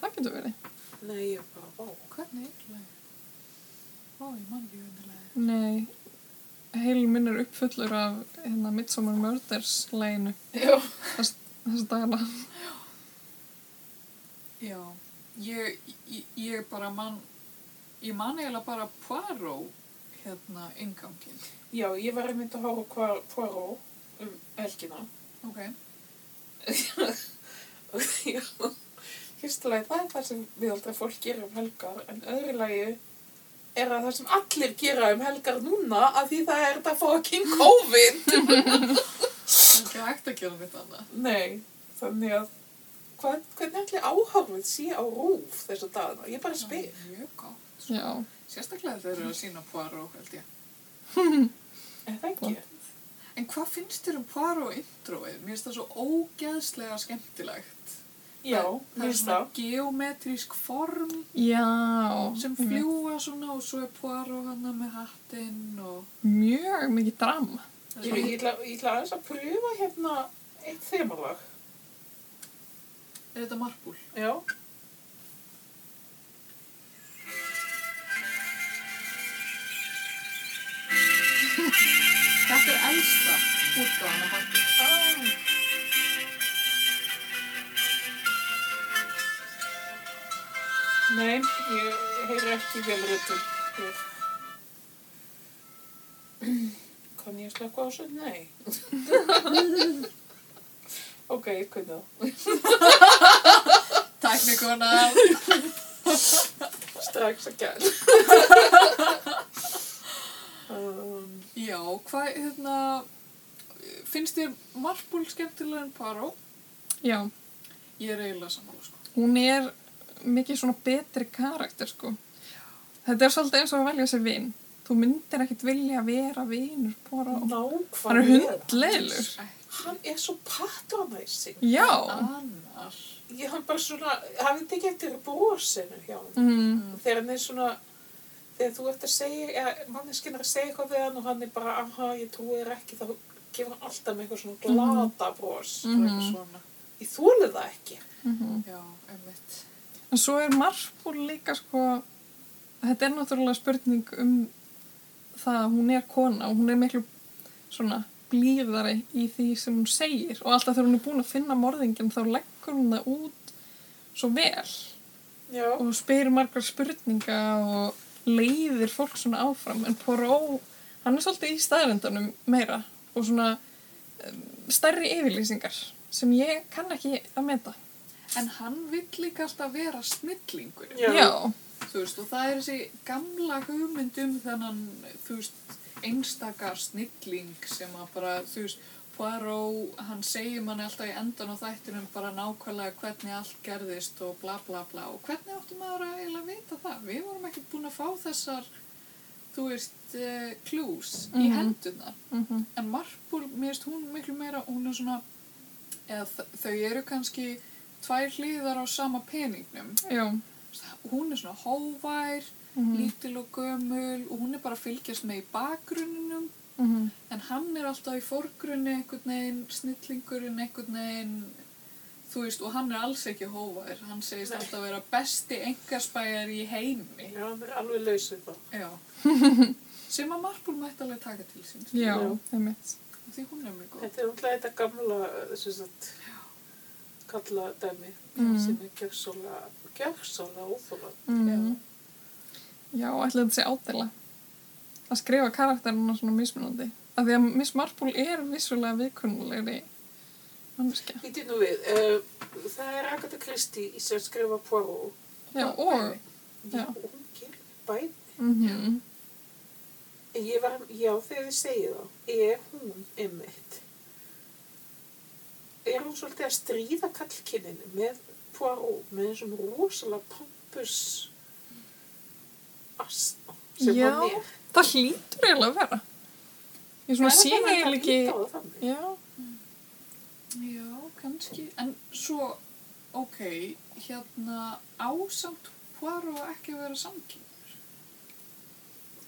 Speaker 3: Það getur verið.
Speaker 1: nei, ég er bara, vá
Speaker 2: Hvernig er lagið? Ó, ég man ekki hvernig lagið.
Speaker 3: Nei, heil minn er uppfullur af hérna Midsommar Murders læginu
Speaker 2: Já.
Speaker 3: þess, þess dagana.
Speaker 2: Já, ég, ég, ég bara man, ég man eiginlega bara Poirot hérna ingangin.
Speaker 1: já, ég var einmitt að horfa á hvar Poiró um elgina
Speaker 2: Ok.
Speaker 1: Já. fyrsta lagi það er það sem við aldrei fólk gera um helgar en öðru lagi er að það sem allir gera um helgar núna að því það er þetta fucking COVID
Speaker 2: Það er ekki hægt að gera neitt annað.
Speaker 1: nei, þannig að hvað, hvernig allir áhafið sé á rúf þessa dagana, ég bara
Speaker 2: Það
Speaker 1: spyr
Speaker 2: er mjög gott.
Speaker 3: Já,
Speaker 2: Sérstaklega þegar þeir eru að sína Poirot, held ég.
Speaker 1: er það ekki?
Speaker 2: En hvað finnst þér um Poirot introið? Mér finnst það svo ógeðslega skemmtilegt. það,
Speaker 1: já,
Speaker 2: það Mm-hmm. er
Speaker 1: mér
Speaker 2: svona
Speaker 1: stað
Speaker 2: geometrísk form
Speaker 3: já.
Speaker 2: sem
Speaker 3: einmitt.
Speaker 2: fljúa svona og svo er Poirot hana með hattinn og...
Speaker 3: Mjög mikið drama.
Speaker 1: ég, ég, ætla, ég ætla aðeins að pröfa hérna eitt þemalag
Speaker 2: Er þetta margúl?
Speaker 1: já
Speaker 2: Þetta er elsta útgáðan af margúl.
Speaker 1: ah. Nei, ég heyri ekki vel röttum. Kann ég slökka á þessu? Nei. ok, ég kunni það.
Speaker 2: Tæknikonar!
Speaker 1: Strax að gæl. um,
Speaker 2: Já, hvað, hérna, finnst þér margúl skemmtilega en Poirot?
Speaker 3: Já,
Speaker 2: Ég er eiginlega sammála, sko.
Speaker 3: hún er mikið svona betri karakter sko. Þetta er svolítið eins og að velja sér vin. Þú myndir ekkit vilja vera vinur bara og
Speaker 1: Nákvæmlega.
Speaker 3: hann er hundleilur.
Speaker 1: Hann er svo patronizing.
Speaker 3: Já.
Speaker 2: Annar.
Speaker 1: Ég hann bara svona, hafið þið ekki eftir brosinu hjá hann?
Speaker 3: Mm.
Speaker 1: þegar hann er svona þegar þú ert að segja eða manneskinn er að segja eitthvað við hann og hann er bara aha, ég trúi þér ekki þá gefur hann alltaf með eitthvað svona glata bros
Speaker 2: Mm
Speaker 3: Mhm.
Speaker 2: Svona.
Speaker 1: ég þóli það ekki
Speaker 2: Já, einmitt.
Speaker 3: En svo er Marpúl líka sko, þetta er náttúrulega spurning um það að hún er kona og hún er miklu svona blíðari í því sem hún segir og alltaf þegar hún er búin að finna morðingin þá leggur hún það út svo vel
Speaker 1: já,
Speaker 3: og spyrir margar spurninga og leiðir fólk svona áfram en Poró, hann er svolítið í staðrendunum meira og svona um, stærri yfirlýsingar sem ég kann ekki að meta.
Speaker 2: En hann vill líka alltaf vera snillingur.
Speaker 1: Já.
Speaker 2: Þú veist, og það er þessi gamla hugmynd um þennan, þú veist, einstaka snilling sem að bara, þú veist, Poirot, hann segir manni alltaf í endan á þættinum bara nákvæmlega hvernig allt gerðist og bla bla bla og hvernig áttum maður að eiginlega vita það? Við vorum ekki búin að fá þessar, þú veist, eh, clues í
Speaker 3: Mhm.
Speaker 2: hendunar.
Speaker 3: Mm
Speaker 2: En Marpur, mér finnst hún miklu meira, hún er svona, eða þ- þau eru kannski tvær hliðar á sama peningnum.
Speaker 3: Já.
Speaker 2: Hún er svona hóvær, lítil og gömul og hún er bara að fylgjast með í bakgrunninum.
Speaker 3: Mhm.
Speaker 2: En hann er alltaf í fórgrunni einhvern veginn, snillingurinn einhvern veginn, þú veist, og hann er alls ekki hóvær. Hann segist
Speaker 1: Nei.
Speaker 2: alltaf vera besti engarspæjar í heimi.
Speaker 1: já, hann er alveg laus við það
Speaker 2: Já. Sem að Marpur mætti alveg taka til sín. skilur.
Speaker 3: Já,
Speaker 1: Já.
Speaker 3: einmitt.
Speaker 2: Því hún er mjög góð.
Speaker 1: þetta er alltaf þetta gamla eh, sem sagt kalla dæmi
Speaker 3: Mhm.
Speaker 1: sem er gjörsóla gjörsóla óþóla
Speaker 3: Mm. Já, ætlaði þetta sé ádela. Að skrifa karakterina svona mismunandi. Af því að Miss Marple er vissulega viðkunnulegri manneskja.
Speaker 1: Ítti nú við, uh, það er Agatha Christie sem skrifa Poirot
Speaker 3: Já,
Speaker 2: Já,
Speaker 3: og
Speaker 1: Já,
Speaker 3: Já.
Speaker 1: hún gerir bæði
Speaker 3: Mhm.
Speaker 1: Ég var, já, þegar þið segið þá, er hún einmitt? Er hún svolítið að stríða kallkinninu með Poirot, með þessum rosalega pompus asna sem
Speaker 3: Já,
Speaker 1: hann er?
Speaker 3: Það hlýtur eiginlega að vera. Ég svona sé eiginlega ekki...
Speaker 1: ekki...
Speaker 3: Já.
Speaker 2: Já, kannski. En svo, ok, hérna ásamt Poirot ekki að vera samkynur.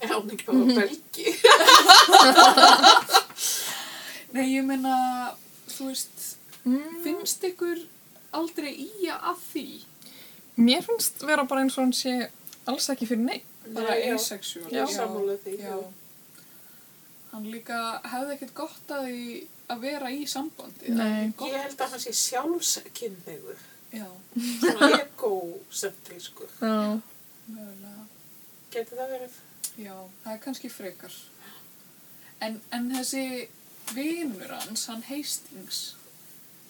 Speaker 1: Er hún ekki bara
Speaker 3: Mhm.
Speaker 1: belgi?
Speaker 2: Nei, ég meina, þú veist,
Speaker 3: Mm.
Speaker 2: finnst ykkur aldrei í að því?
Speaker 3: Mér finnst vera bara eins og hann sé alls ekki fyrir neitt.
Speaker 2: Bara
Speaker 1: Nei, já,
Speaker 2: asexual.
Speaker 1: ég er sammála því,
Speaker 2: Já.
Speaker 1: já.
Speaker 2: Hann líka hefði ekkert gott að, því að vera í sambandi.
Speaker 3: Nei.
Speaker 2: Gott.
Speaker 1: Ég held að hann sé sjálfskinniður,
Speaker 2: Já,
Speaker 1: svona egocentriskur.
Speaker 3: Já.
Speaker 2: mögulega.
Speaker 1: Geti það verið?
Speaker 2: Já, það er kannski frekar. En, en þessi vinur hans, hann Hastings,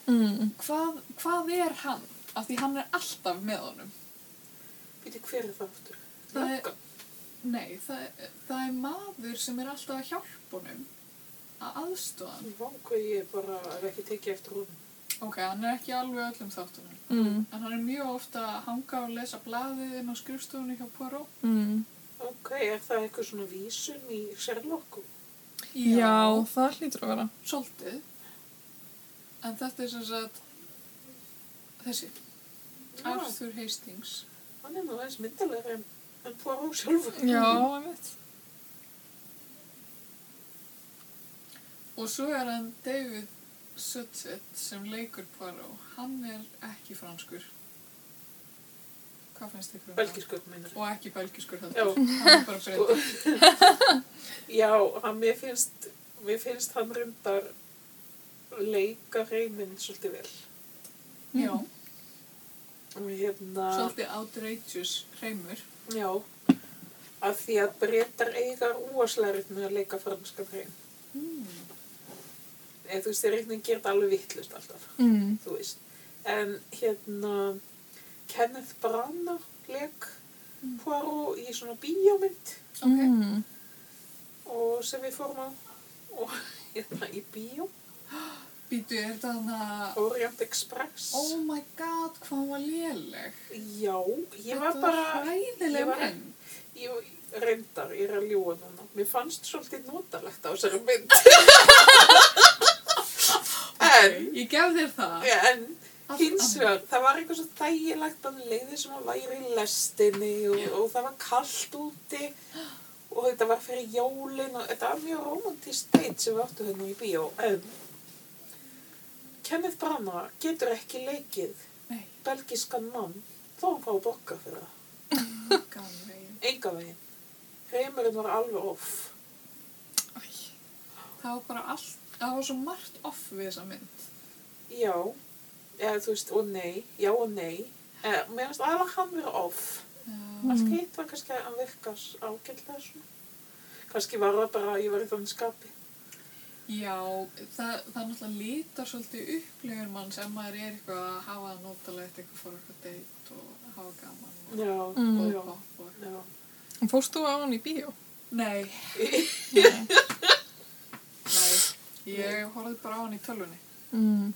Speaker 3: Mm.
Speaker 2: hvað, hvað er hann? Af því hann er alltaf með honum.
Speaker 1: Býti hver er það aftur?
Speaker 2: Það er-
Speaker 1: Löggan.
Speaker 2: Nei, það, er- það er maður sem er alltaf að hjálpa honum að aðstofa hann.
Speaker 1: Vá, hvað ég bara hef ekki tekið eftir hún.
Speaker 2: Ok, hann er ekki alveg í öllum þáttunum.
Speaker 3: Mm.
Speaker 2: En hann er mjög ofta að hanga og lesa blaðið inn á skrifstofunni hjá Poirot.
Speaker 3: Mm.
Speaker 1: Ok, er það eitthvað svona vísun í Sherlocku?
Speaker 3: Já, það hlýtur að vera.
Speaker 2: Svolítið. En þetta er sem sagt þessi,
Speaker 1: Já.
Speaker 2: Arthur Hastings.
Speaker 1: Ah, Hann er nú aðeins myndalegri en, en Poirot sjálfur.
Speaker 3: Já, ég veit.
Speaker 2: Og svo er hann David Sutset sem leikur Poirot. Hann er ekki franskur. Hvað finnst ykkur um það?
Speaker 1: Belgisköld meinar.
Speaker 2: Og ekki belgiskur
Speaker 1: Já,
Speaker 2: heldur. Hann er bara
Speaker 1: sko.
Speaker 2: breytið.
Speaker 1: Já, hann, mér finnst, mér finnst hann reyndar leika reyminn svolítið vel.
Speaker 2: Já,
Speaker 1: Og hérna,
Speaker 2: svolítið outrageous hreimur.
Speaker 1: já, af því að breytar eiga úaslarið með að leika franskan reym. Hmm. Eða þú veist, þeir reynir að gera þetta alveg vittlust alltaf.
Speaker 3: Mm.
Speaker 1: þú veist en hérna Kenneth Branagh leik
Speaker 2: Mm.
Speaker 1: Poirot í svona bíómynd
Speaker 2: Ok.
Speaker 3: Mm.
Speaker 1: og sem við fórum á og hérna í bíó
Speaker 2: Býtu, er þetta hann að...
Speaker 1: Orient Express
Speaker 2: Oh my god, hvað hún var léleg.
Speaker 1: já, ég var
Speaker 2: Þetta
Speaker 1: bara ég
Speaker 2: Hræðileg
Speaker 1: var-
Speaker 2: mynd.
Speaker 1: ég, reyndar, ég er að ljúa núna mér fannst svolítið notalegt á þessari mynd en
Speaker 2: Ég gef þér það.
Speaker 1: en
Speaker 2: Allt
Speaker 1: Hins
Speaker 2: annað.
Speaker 1: vegar, það var eitthvað svo þægilegt að leiði sem að væri í lestinni og, og það var kallt úti og þetta var fyrir jólin og þetta var mjög romantist date sem við áttu hérna í bíó en Kenneth Branagh getur ekki leikið
Speaker 2: Nei,
Speaker 1: belgiskan mann þó hann fá að bokka fyrir það
Speaker 2: gamlegin.
Speaker 1: enga veginn reymurinn var alveg off
Speaker 3: Æ.
Speaker 2: Það var bara allt... Það var svo margt off við þessa mynd.
Speaker 1: já, eða þú veist, og nei já og nei, eða, mér finnst aðra hann vera off
Speaker 2: Já.
Speaker 3: Mm.
Speaker 1: Allt hitt var kannski að virka ágætlega svona. Kannski var það bara að ég var í þannig skapi.
Speaker 2: Já, það, það náttúrulega lítar svolítið upplifur mann sem maður er eitthvað að hafa það notalegt eitthvað fór eitthvað deitt og hafa gaman og
Speaker 1: Já,
Speaker 3: Mm.
Speaker 2: og
Speaker 1: já,
Speaker 2: popp og...
Speaker 1: já.
Speaker 3: En Fórst þú á hann í bíó?
Speaker 2: Nei,
Speaker 3: Nei.
Speaker 2: nei, ég horfði bara á hann í tölvunni.
Speaker 3: Mm.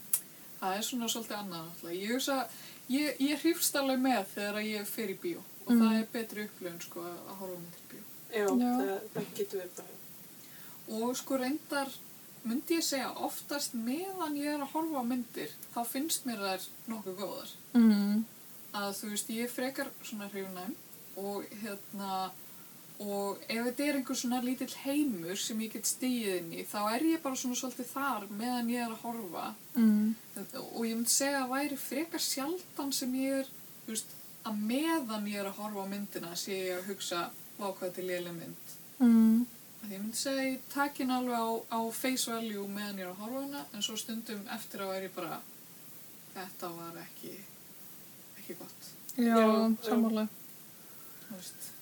Speaker 2: Það er svona svolítið annað náttúrulega. Ég hugsa, ég, ég hrifst alveg með þegar ég fer í bíó og
Speaker 3: Mm.
Speaker 2: það er betri upplifun sko að horfa á mynd í bíó.
Speaker 1: Já,
Speaker 3: Já.
Speaker 1: Það, það getur við bara.
Speaker 2: Og sko reyndar, myndi ég segja oftast meðan ég er að horfa á myndir þá finnst mér þær nokkuð góðar.
Speaker 3: Mm.
Speaker 2: að þú veist, ég er frekar svona hrifnæm og hérna og ef þetta er einhver svona lítill heimur sem ég get stíð inn í þá er ég bara svona svolítið þar meðan ég er að horfa
Speaker 3: Mm.
Speaker 2: og ég myndi segja að væri frekar sjaldan sem ég er, þú veist, að meðan ég er að horfa á myndina sé ég að hugsa vá hvað þetta er léleg mynd
Speaker 3: Mm.
Speaker 2: að ég myndi segja að ég takin alveg á, á face value meðan ég er að horfa á hana en svo stundum eftir að væri bara þetta var ekki ekki gott
Speaker 3: Já,
Speaker 1: Já,
Speaker 3: sammála.
Speaker 2: þú veist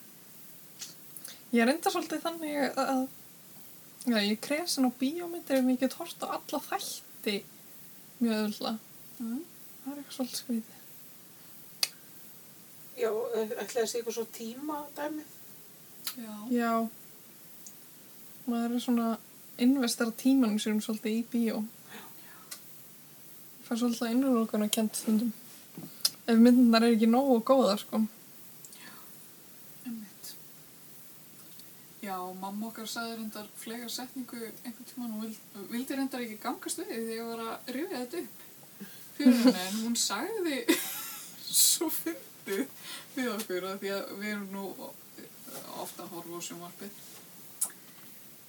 Speaker 3: Ég reyndar svolítið þannig að já, ég er kresin á bíómyndir en ég get hort á alla þætti mjög öðvölda.
Speaker 2: Mm.
Speaker 3: Það er eitthvað svolítið skrítið.
Speaker 1: Já, ætlaði að sé eitthvað svo tíma dæmi.
Speaker 2: Já.
Speaker 3: Já, maður er svona investara tímanum sérum svolítið í bíó. Fær svolítið innrúlokun að kent stundum. Ef myndunar er ekki nógu góðar, sko.
Speaker 2: Einmitt. Já, mamma okkar sagði reyndar flega setningu einhvern tímann og vild, vildi reyndar ekki gangast við því þegar ég var að rifja þetta upp fyrir henni en hún sagði svo fyndið við okkur að því að við erum nú ofta að horfa á sjónvarpið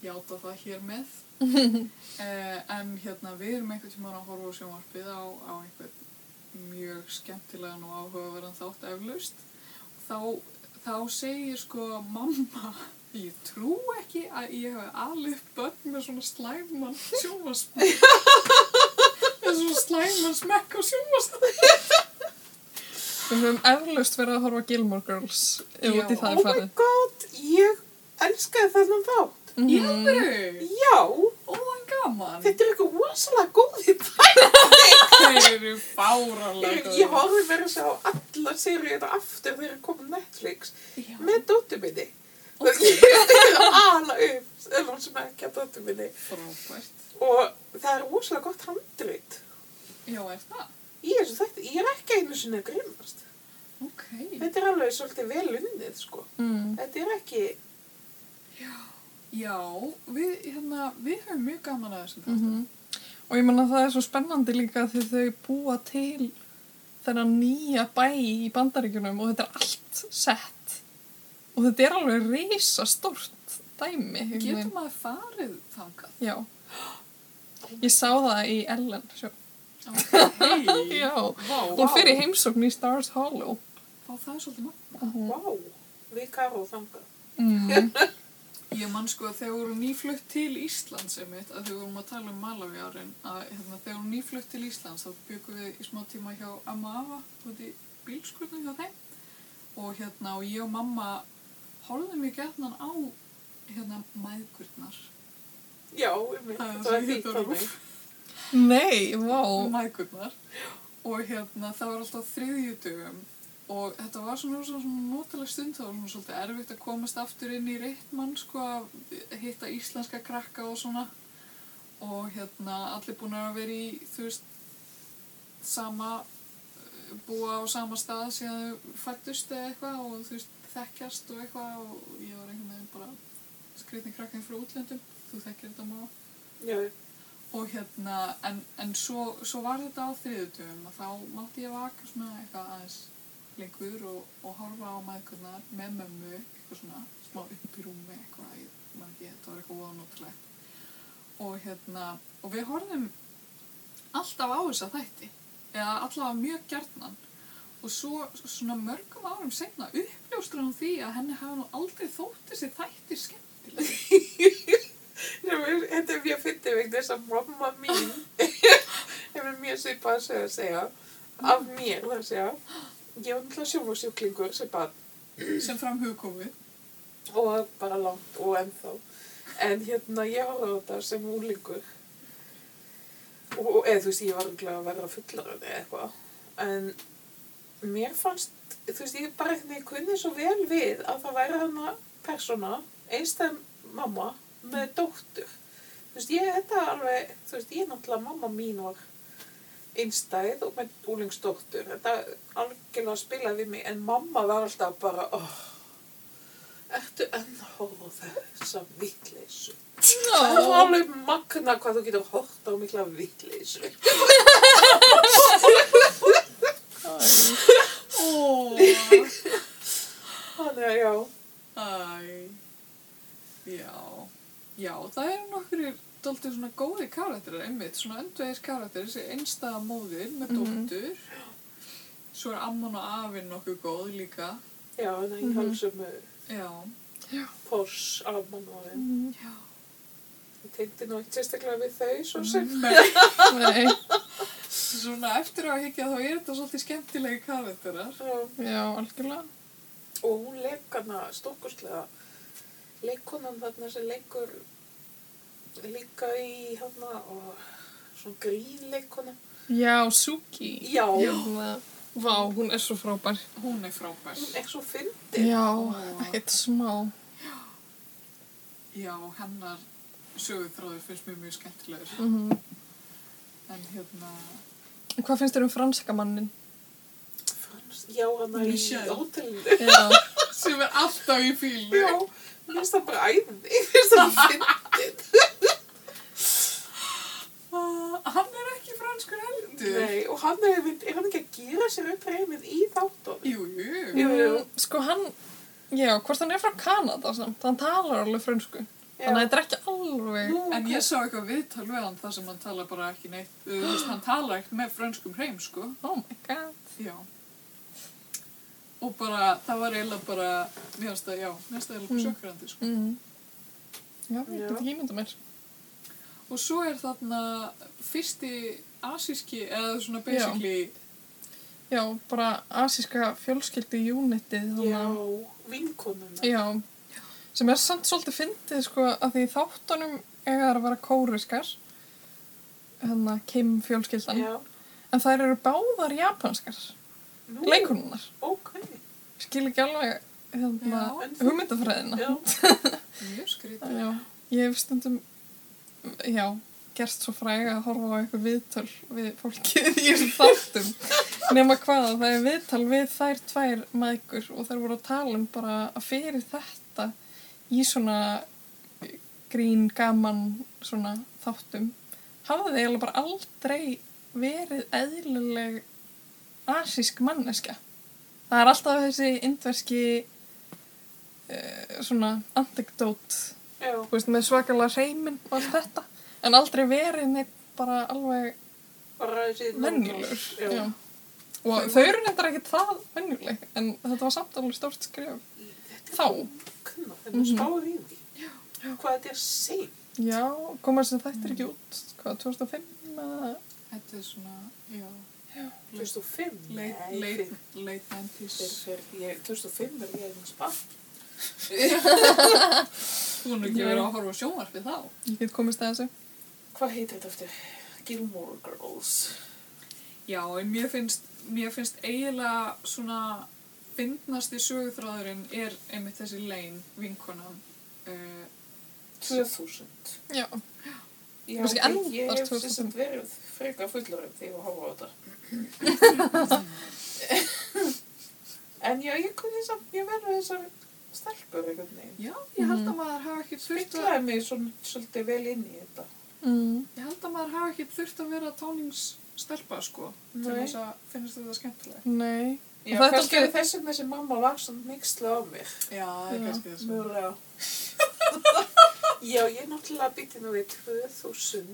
Speaker 2: játa það hér með eh, en hérna við erum einhvern tímann að horfa á sjónvarpið á, á einhvern mjög skemmtilegan og áhugaverðan þátt eflaust þá, þá segir sko mamma ég trú ekki að ég hef alið börn með svona slæman sjómasmekk með svona slæman smekk á sjómasmekk
Speaker 3: Við höfum eflaust verið að horfa á Gilmore Girls ef
Speaker 2: Já.
Speaker 3: út í það
Speaker 1: Oh
Speaker 3: er
Speaker 1: my
Speaker 3: farið.
Speaker 1: god, ég elskaði þennan þátt.
Speaker 3: Mhm.
Speaker 2: í alvöru,
Speaker 1: Já,
Speaker 2: ó en gaman
Speaker 1: þetta er eitthvað rosalega góði þætt.
Speaker 2: þeir eru fáralega
Speaker 1: Ég horfði verið að sjá allar seríuna aftur þegar ég kom á Netflix með dóttu minni.
Speaker 2: Ok.
Speaker 1: Okay. Ég er að ala upp sem hann sem ekki að dóttu minni.
Speaker 2: frábært
Speaker 1: Og það er rosalega gott handrit.
Speaker 2: já er það,
Speaker 1: Í þessu þætti, ég er ekki einu sinni að grínast.
Speaker 2: ok
Speaker 1: Þetta er alveg svolítið vel unnið, sko.
Speaker 3: Mm.
Speaker 1: Þetta er ekki,
Speaker 2: já, við, hérna, við höfum mjög gaman að þessum
Speaker 3: Mm Og ég menna það er svo spennandi líka því þau búa til þennan nýja bæ í bandaríkjunum og þetta er allt sett. Og þetta er alveg reysa stort dæmi. einhvern
Speaker 2: getur
Speaker 3: veginn.
Speaker 2: maður farið þangað
Speaker 3: Já. Ég sá það í Ellen. Sjó.
Speaker 2: ok,
Speaker 3: Já.
Speaker 2: vá,
Speaker 3: Hún fer í heimsókn í Stars Hollow.
Speaker 2: vá, það er svolítið maður
Speaker 1: vá, við karum þangað.
Speaker 3: Mm.
Speaker 2: Ég man sko að þegar voru nýflutt til Íslands einmitt, að þegar vorum að tala um Malawi árin, að hérna, þegar voru nýflutt til Íslands þá byggum við í smá tíma hjá Amma Ava, út í bílskurðum hjá þeim og hérna og ég og mamma horfðum mjög gætnan á hérna mæðgurnar.
Speaker 1: Já, um
Speaker 2: Það
Speaker 3: Ah,
Speaker 2: er
Speaker 1: það er
Speaker 2: svo
Speaker 1: fínt
Speaker 2: hittar
Speaker 1: að mig.
Speaker 2: rúf.
Speaker 3: Nei, vá.
Speaker 2: mækurnar og hérna það var alltaf þriðjutugum og þetta var svona, svona, svona notaleg stund það var svona svolítið erfitt að komast aftur inn í rittmann sko að hitta íslenska krakka og svona og hérna allir búin að vera í þú veist sama eh, búa á sama stað síðan þau fættust eða eitthvað og þú veist þekkjast og eitthvað og ég var einhvern veginn bara skritin krakkan frá útlöndum þú þekkir þetta má
Speaker 1: Já,
Speaker 2: og hérna, en, en svo, svo var þetta á þriðutöfum og þá mátti ég vaka svona eitthvað aðeins lengur og, og horfa á maðkurnar með mömmu, eitthvað svona smá upp í rúmi eitthvað, ég maður ekki, þetta var eitthvað óðanótilegt og hérna, og við horfum alltaf á þessa þætti eða allavega mjög gjarnan og svo svona mörgum árum senna uppljóstur hann því að henni hafa nú aldrei þótt þessi þætti skemmtileg
Speaker 1: Nei, Þetta er mjög fyndið vegna þess að mamma mín hefur mjög svipað að segja, segja af mér, það er að segja ég var náttúrulega sjómasjúklingur sem bara,
Speaker 2: sem fram hugkomið
Speaker 1: og bara langt og ennþá en hérna ég horfði á þetta sem úlingur og og- eða þú veist ég var örugglega að verða fullar eða eitthvað en mér fannst þú veist ég bara eitthvað kunni svo vel við að það væri hana persóna einstæðum mamma með dóttur þú veist ég þetta er alveg þú veist ég náttúrulega mamma mín var einstæð og með úlingsdóttur þetta algjörlega spilaði við mig en mamma var alltaf bara oh, ertu enn að horfa á þessa vittleysu það er
Speaker 3: Ó.
Speaker 1: alveg magna hvað þú getur hort á mikla vittleysu
Speaker 2: Óh
Speaker 1: þannig að já
Speaker 2: Æ, já, já, það eru nokkur daldið svona góði karakterar einmitt, svona öndvegis karakterar, þessi einstæða móðir með
Speaker 3: Mhm.
Speaker 2: dóttur, svo er amman og afinn nokkuð góð líka,
Speaker 1: já en það er talsum með
Speaker 2: já,
Speaker 1: Porsche af mannvarinn
Speaker 3: Mm,
Speaker 2: já,
Speaker 1: ég tengdi nú ekki sérstaklega við þau svo sem
Speaker 2: Men,
Speaker 3: Nei,
Speaker 2: svona eftir á að higgja þá er þetta svolítið skemmtilegi karakterar,
Speaker 1: Já.
Speaker 3: já, algjörlega.
Speaker 1: og hún leikana stórkustlega leikonan þarna sem leikur líka í hérna og svona grínleikona
Speaker 3: Já, Suki.
Speaker 1: já,
Speaker 3: Hérna, vá, hún er svo frábær.
Speaker 2: hún er frábær,
Speaker 1: hún er svo fyndin
Speaker 3: Já,
Speaker 2: Ó.
Speaker 3: ekkert smá.
Speaker 2: Já. Já, hennar sögutráður finnst mér mjög skemmtilegur.
Speaker 3: Mm
Speaker 2: En hérna,
Speaker 3: Hvað finnst þér um franska mannin?
Speaker 1: Frans, já, hann er í
Speaker 2: Michel.
Speaker 1: hótelinu.
Speaker 3: Já,
Speaker 2: sem er alltaf í fílu.
Speaker 1: Já, mér finnst það bara æðið. Mér finnst það fyndið.
Speaker 2: Ah, Hann er ekki franskur heldur.
Speaker 1: Nei, og hann er, er hann ekki að gera sér upp reymið í þáttunum?
Speaker 2: Jú, jú.
Speaker 1: Jú, jú.
Speaker 3: Mm, sko hann, já, hvort hann er frá Kanada samt, hann talar alveg frönsku. Þannig að þetta er ekki alveg,
Speaker 1: Nú,
Speaker 2: En
Speaker 1: ok.
Speaker 2: ég sá eitthvað viðtal við hann þar sem hann tala bara ekki neitt. Þú veist, hann tala ekkert með frönskum hreim, sko.
Speaker 3: oh my god.
Speaker 2: Já. Og bara, það var eiginlega bara, mér finnst það, já, mér finnst það eiginlega
Speaker 3: Mm.
Speaker 2: sjokkverandi, sko.
Speaker 3: Mm. Já,
Speaker 1: Já.
Speaker 3: ég get ekki ímynda mér.
Speaker 2: Og svo er þarna fyrsti asíski, eða svona basically,
Speaker 3: Já, bara asíska fjölskyldi unitið, þannig
Speaker 1: Já,
Speaker 3: að,
Speaker 1: vinkonuna.
Speaker 3: já, sem er samt svolítið fyndið, sko, að því í þáttunum eiga þær að vera kóriskar, hérna, Kim fjölskyldan,
Speaker 1: Já,
Speaker 3: en þær eru báðar japanskar,
Speaker 1: nú,
Speaker 3: leikununar.
Speaker 1: Ok,
Speaker 3: Skil ekki alveg, hérna,
Speaker 2: Já,
Speaker 1: en þú-
Speaker 3: hugmyndafræðina.
Speaker 1: já.
Speaker 2: mjög skrítið.
Speaker 3: Já, ég hef stundum, já, gerst svo fræg að horfa á eitthvað viðtöl við fólkið í þessum þáttum. Nefna hvað, það er viðtal við þær tvær mækur og þær voru að tala um bara að fyrir þetta í svona grín, gaman, svona þáttum, hafði þið eiginlega bara aldrei verið eðlileg asísk manneska. Það er alltaf þessi indverski eh, svona anekdót
Speaker 1: Já,
Speaker 3: þú veist, með svakalega reymin og allt þetta, en aldrei verið neitt bara alveg
Speaker 1: bara þessi
Speaker 3: venjulegur.
Speaker 1: Já.
Speaker 3: Já. Og þau eru neitt ekkert það venjuleg, en þetta var samt alveg stórt skref. Þá,
Speaker 1: Kunna, þannig að
Speaker 3: Mhm.
Speaker 1: spáði í því. Hvað þetta er seint.
Speaker 3: já, koma sem þetta er ekki út, hvað, 2005 eða,
Speaker 2: Þetta er svona, já,
Speaker 1: 2005?
Speaker 2: late,
Speaker 1: Nei,
Speaker 2: late,
Speaker 1: fyrir-
Speaker 2: late 90s.
Speaker 1: fyrir- fyrir- ég- 2005 er ég einhvers bann.
Speaker 2: Þú er nú ekki verið að horfa á sjónvarpið þá.
Speaker 3: ég get komist að þessu.
Speaker 1: Hvað heitir þetta eftir? Gilmore Girls.
Speaker 2: Já, en mér finnst, mér finnst eiginlega svona fyndnasti sögutráðurinn er einmitt þessi lein vinkonan. Uh,
Speaker 1: 2000.
Speaker 3: Já,
Speaker 1: Já,
Speaker 3: Kannski
Speaker 1: ok,
Speaker 3: endar
Speaker 1: ég hef
Speaker 3: 2000.
Speaker 1: sem sagt verið frekar fullorinn þegar ég var að horfa á þetta. en já, ég kunni samt, ég verði þessar stelpur einhvern veginn.
Speaker 2: já, ég held að
Speaker 3: Mhm.
Speaker 2: maður hafa ekki þurft að,
Speaker 1: Spytlaði mig svona, svolítið vel inn í þetta.
Speaker 3: mm.
Speaker 2: ég held að maður hafa ekki þurft að vera táningsstelpa, sko, til
Speaker 1: Nei.
Speaker 2: þess að finnast þetta skemmtilegt.
Speaker 3: nei,
Speaker 1: Já,
Speaker 3: það er
Speaker 1: kannski
Speaker 3: dálítið-
Speaker 1: er þess vegna sem mamma var svona nýksla á mig.
Speaker 2: Já, það
Speaker 3: Já.
Speaker 2: er kannski þess að.
Speaker 1: Mögulega. Já, ég náttúrulega bytti nú við 2000.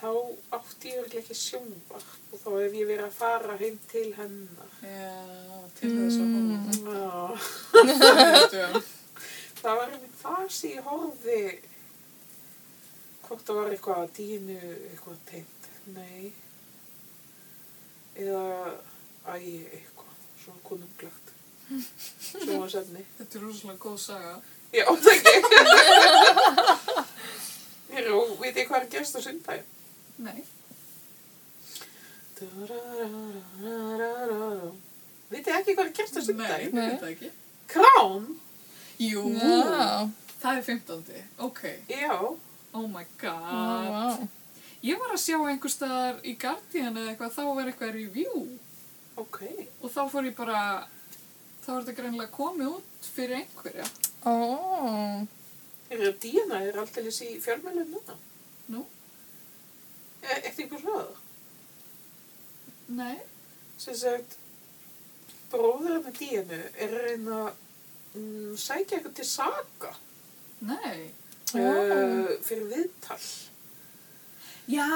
Speaker 1: Þá átti ég örugglega ekki sjónvarp og þá hef ég verið að fara heim til hennar.
Speaker 2: Já, til þess að horfa.
Speaker 3: Mm.
Speaker 1: Já.
Speaker 2: Mm.
Speaker 1: Það var einmitt það sem ég horfði hvort það var eitthvað að dínu eitthvað tengt. Nei. Eða, æ, eitthvað, svona konunglegt. Svona senni.
Speaker 2: Þetta er rosalega góð saga.
Speaker 1: Já, takk ég. Hér, og veit ég hvað er gerst á sundaginn?
Speaker 2: Nei.
Speaker 1: Veit ég ekki hvað er gerst á
Speaker 2: Nei,
Speaker 1: sundaginn?
Speaker 2: ég veit það ekki.
Speaker 1: Krám?
Speaker 2: Jú,
Speaker 3: já,
Speaker 2: það er 15. Ok,
Speaker 1: Já.
Speaker 2: oh my god.
Speaker 3: já,
Speaker 2: Ég var að sjá einhver staðar í Guardian eða eitthvað, þá var eitthvað review
Speaker 1: Ok.
Speaker 2: og þá fór ég bara, þá var þetta greinlega komið út fyrir einhverja.
Speaker 3: ó,
Speaker 1: Hér, dína er alltaf í fjölmjölum núna.
Speaker 2: Nú?
Speaker 1: E Eftir ykkur hlöður.
Speaker 2: Nei?
Speaker 1: Sem sagt, bróðurinn með dínu er að reyna að mm, sækja eitthvað til saga
Speaker 2: Nei.
Speaker 3: Já.
Speaker 1: uh, fyrir viðtal.
Speaker 2: Já,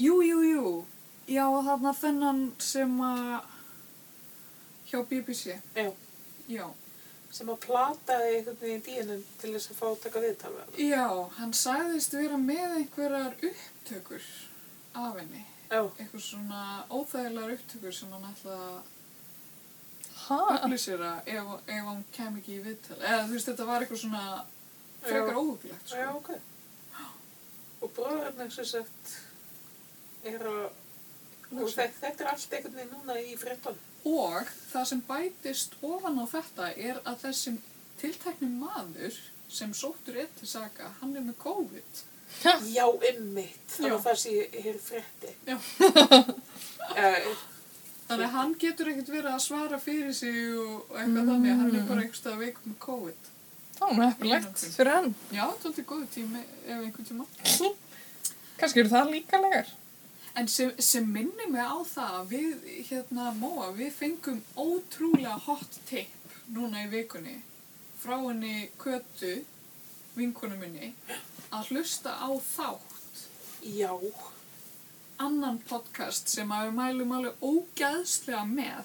Speaker 2: jú, jú, jú. Já, þarna þennan sem að, hjá BBC.
Speaker 1: Já.
Speaker 2: Já.
Speaker 1: Sem að plataði einhvern veginn dínu til þess að fá að taka viðtal við hann.
Speaker 2: Já, hann sagðist vera með einhverjar upptökur af henni.
Speaker 1: Já.
Speaker 2: Eitthvað svona óþægilegar upptökur sem hann ætlaði að
Speaker 3: hæ,
Speaker 2: upplýsera ef, ef hann kem ekki í viðtal eða þú veist þetta var eitthvað svona frekar óhugulegt
Speaker 1: Já,
Speaker 2: sko.
Speaker 1: ok. Og bróðurinn sem sagt er að og
Speaker 2: Ljósa.
Speaker 1: þe- þetta er allt einhvern veginn núna í fréttan.
Speaker 2: og það sem bætist ofan á þetta er að þessi tiltekni maður sem sóttur er til saka, hann er með COVID.
Speaker 1: Já, ymmit. Það
Speaker 2: Já.
Speaker 1: var það sem ég hefði frétti.
Speaker 2: Já.
Speaker 1: Eh,
Speaker 2: Þannig að hann getur ekkert verið að svara fyrir sig og eitthvað þannig, hann er
Speaker 1: Mm.
Speaker 2: bara einhverstað veikum með COVID.
Speaker 3: Það var nú heppilegt fyrir hann.
Speaker 2: Já, þetta er góðu tími ef einhvern tíma.
Speaker 3: Kannski eru það líka legar.
Speaker 2: En sem, sem minni mig á það að við, hérna, Móa, við fengum ótrúlega hot tip núna í vikunni frá henni Kötu, vinkonu minni, að hlusta á þátt
Speaker 1: já.
Speaker 2: annan podcast sem að við mælum alveg ógæðslega með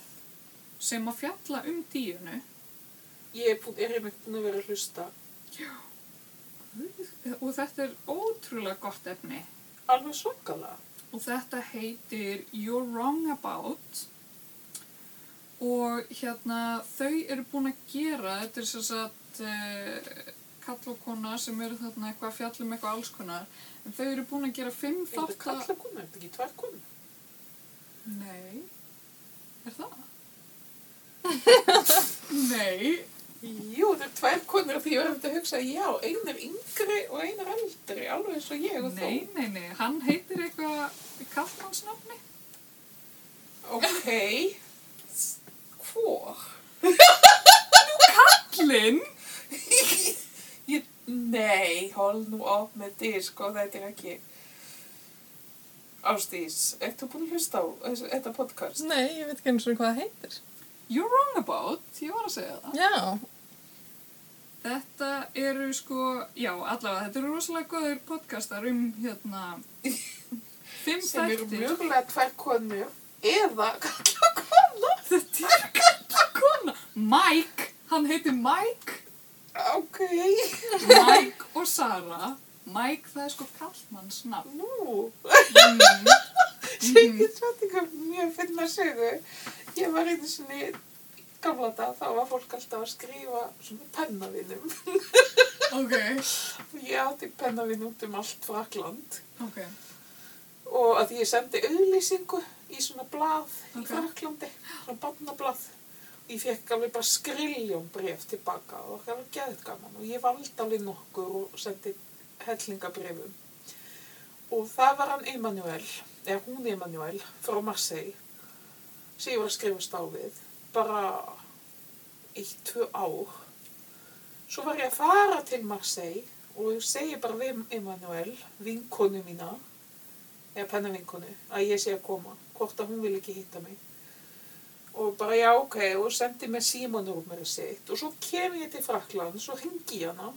Speaker 2: sem að fjalla um díunu.
Speaker 1: Ég er, búin, er einmitt búin að vera að hlusta.
Speaker 2: Og þetta er ótrúlega gott efni.
Speaker 1: Alveg svakalega.
Speaker 2: og þetta heitir You're Wrong About og hérna þau eru búin að gera þetta er sem sagt uh, kall og kona sem eru þarna eitthvað fjallum eitthvað alls konar en þau eru búin að gera fimm
Speaker 1: Er þetta
Speaker 2: þátt
Speaker 1: kalla kona? Er þetta ekki tvær kona?
Speaker 2: Nei, er það? Nei,
Speaker 1: Jú, það er tvær konur því ég var eftir að hugsa, já, ein er yngri og ein er eldri, alveg eins og ég og
Speaker 2: nei, nei, nei, hann heitir eitthvað kallmannsnafni
Speaker 1: þú. Ok, hvor?
Speaker 2: Kallinn?
Speaker 1: Ég, nei, hold nú op með disk og þetta er ekki... Ástís, ert þú búin að hlusta á þessu- þetta podcast?
Speaker 3: Nei, ég veit ekki eins og hvað það heitir.
Speaker 2: You're Wrong About, ég var að segja það
Speaker 3: Já.
Speaker 2: Þetta eru sko, já, allavega, þetta eru rosalega góður podcastar um, hérna, fimm
Speaker 1: Sem eru
Speaker 2: þættir.
Speaker 1: mjögulega tvær konur eða kalla
Speaker 2: Þetta er kalla kona. Mike, hann heitir Mike,
Speaker 1: kona. Ok,
Speaker 2: Mike og Sara. Mike, það er sko kallmannsnafn.
Speaker 1: nú,
Speaker 2: Mm. Mhm.
Speaker 1: segið svo þetta er mjög finna sögu. Ég var einu sinni í gamla dag, þá var fólk alltaf að skrifa svona pennavinum.
Speaker 2: Ok,
Speaker 1: Ég átti pennavinn út um allt Frakland
Speaker 2: ok,
Speaker 1: og að ég sendi auðlýsingu í svona blað í
Speaker 2: Ok.
Speaker 1: Fraklandi, svona barnablað. Ég fekk alveg bara skriljón bref tilbaka og það var gæðið gaman og ég valdi alveg nokkur og sendi hellingabrefum. Og það var hann Emanuel, eða hún Emanuel, frá Marseille, sem ég var að skrifast á við, bara eitt, tvö ár. Svo var ég að fara til Marseille og segi bara við Emanuel, vinkonu mína, eða pennavinkonu, að ég sé að koma, hvort að hún vil ekki hitta mig. Og bara já, ok, og sendi mér símanúmerið sitt og svo kem ég til Frakland, svo ringi ég hana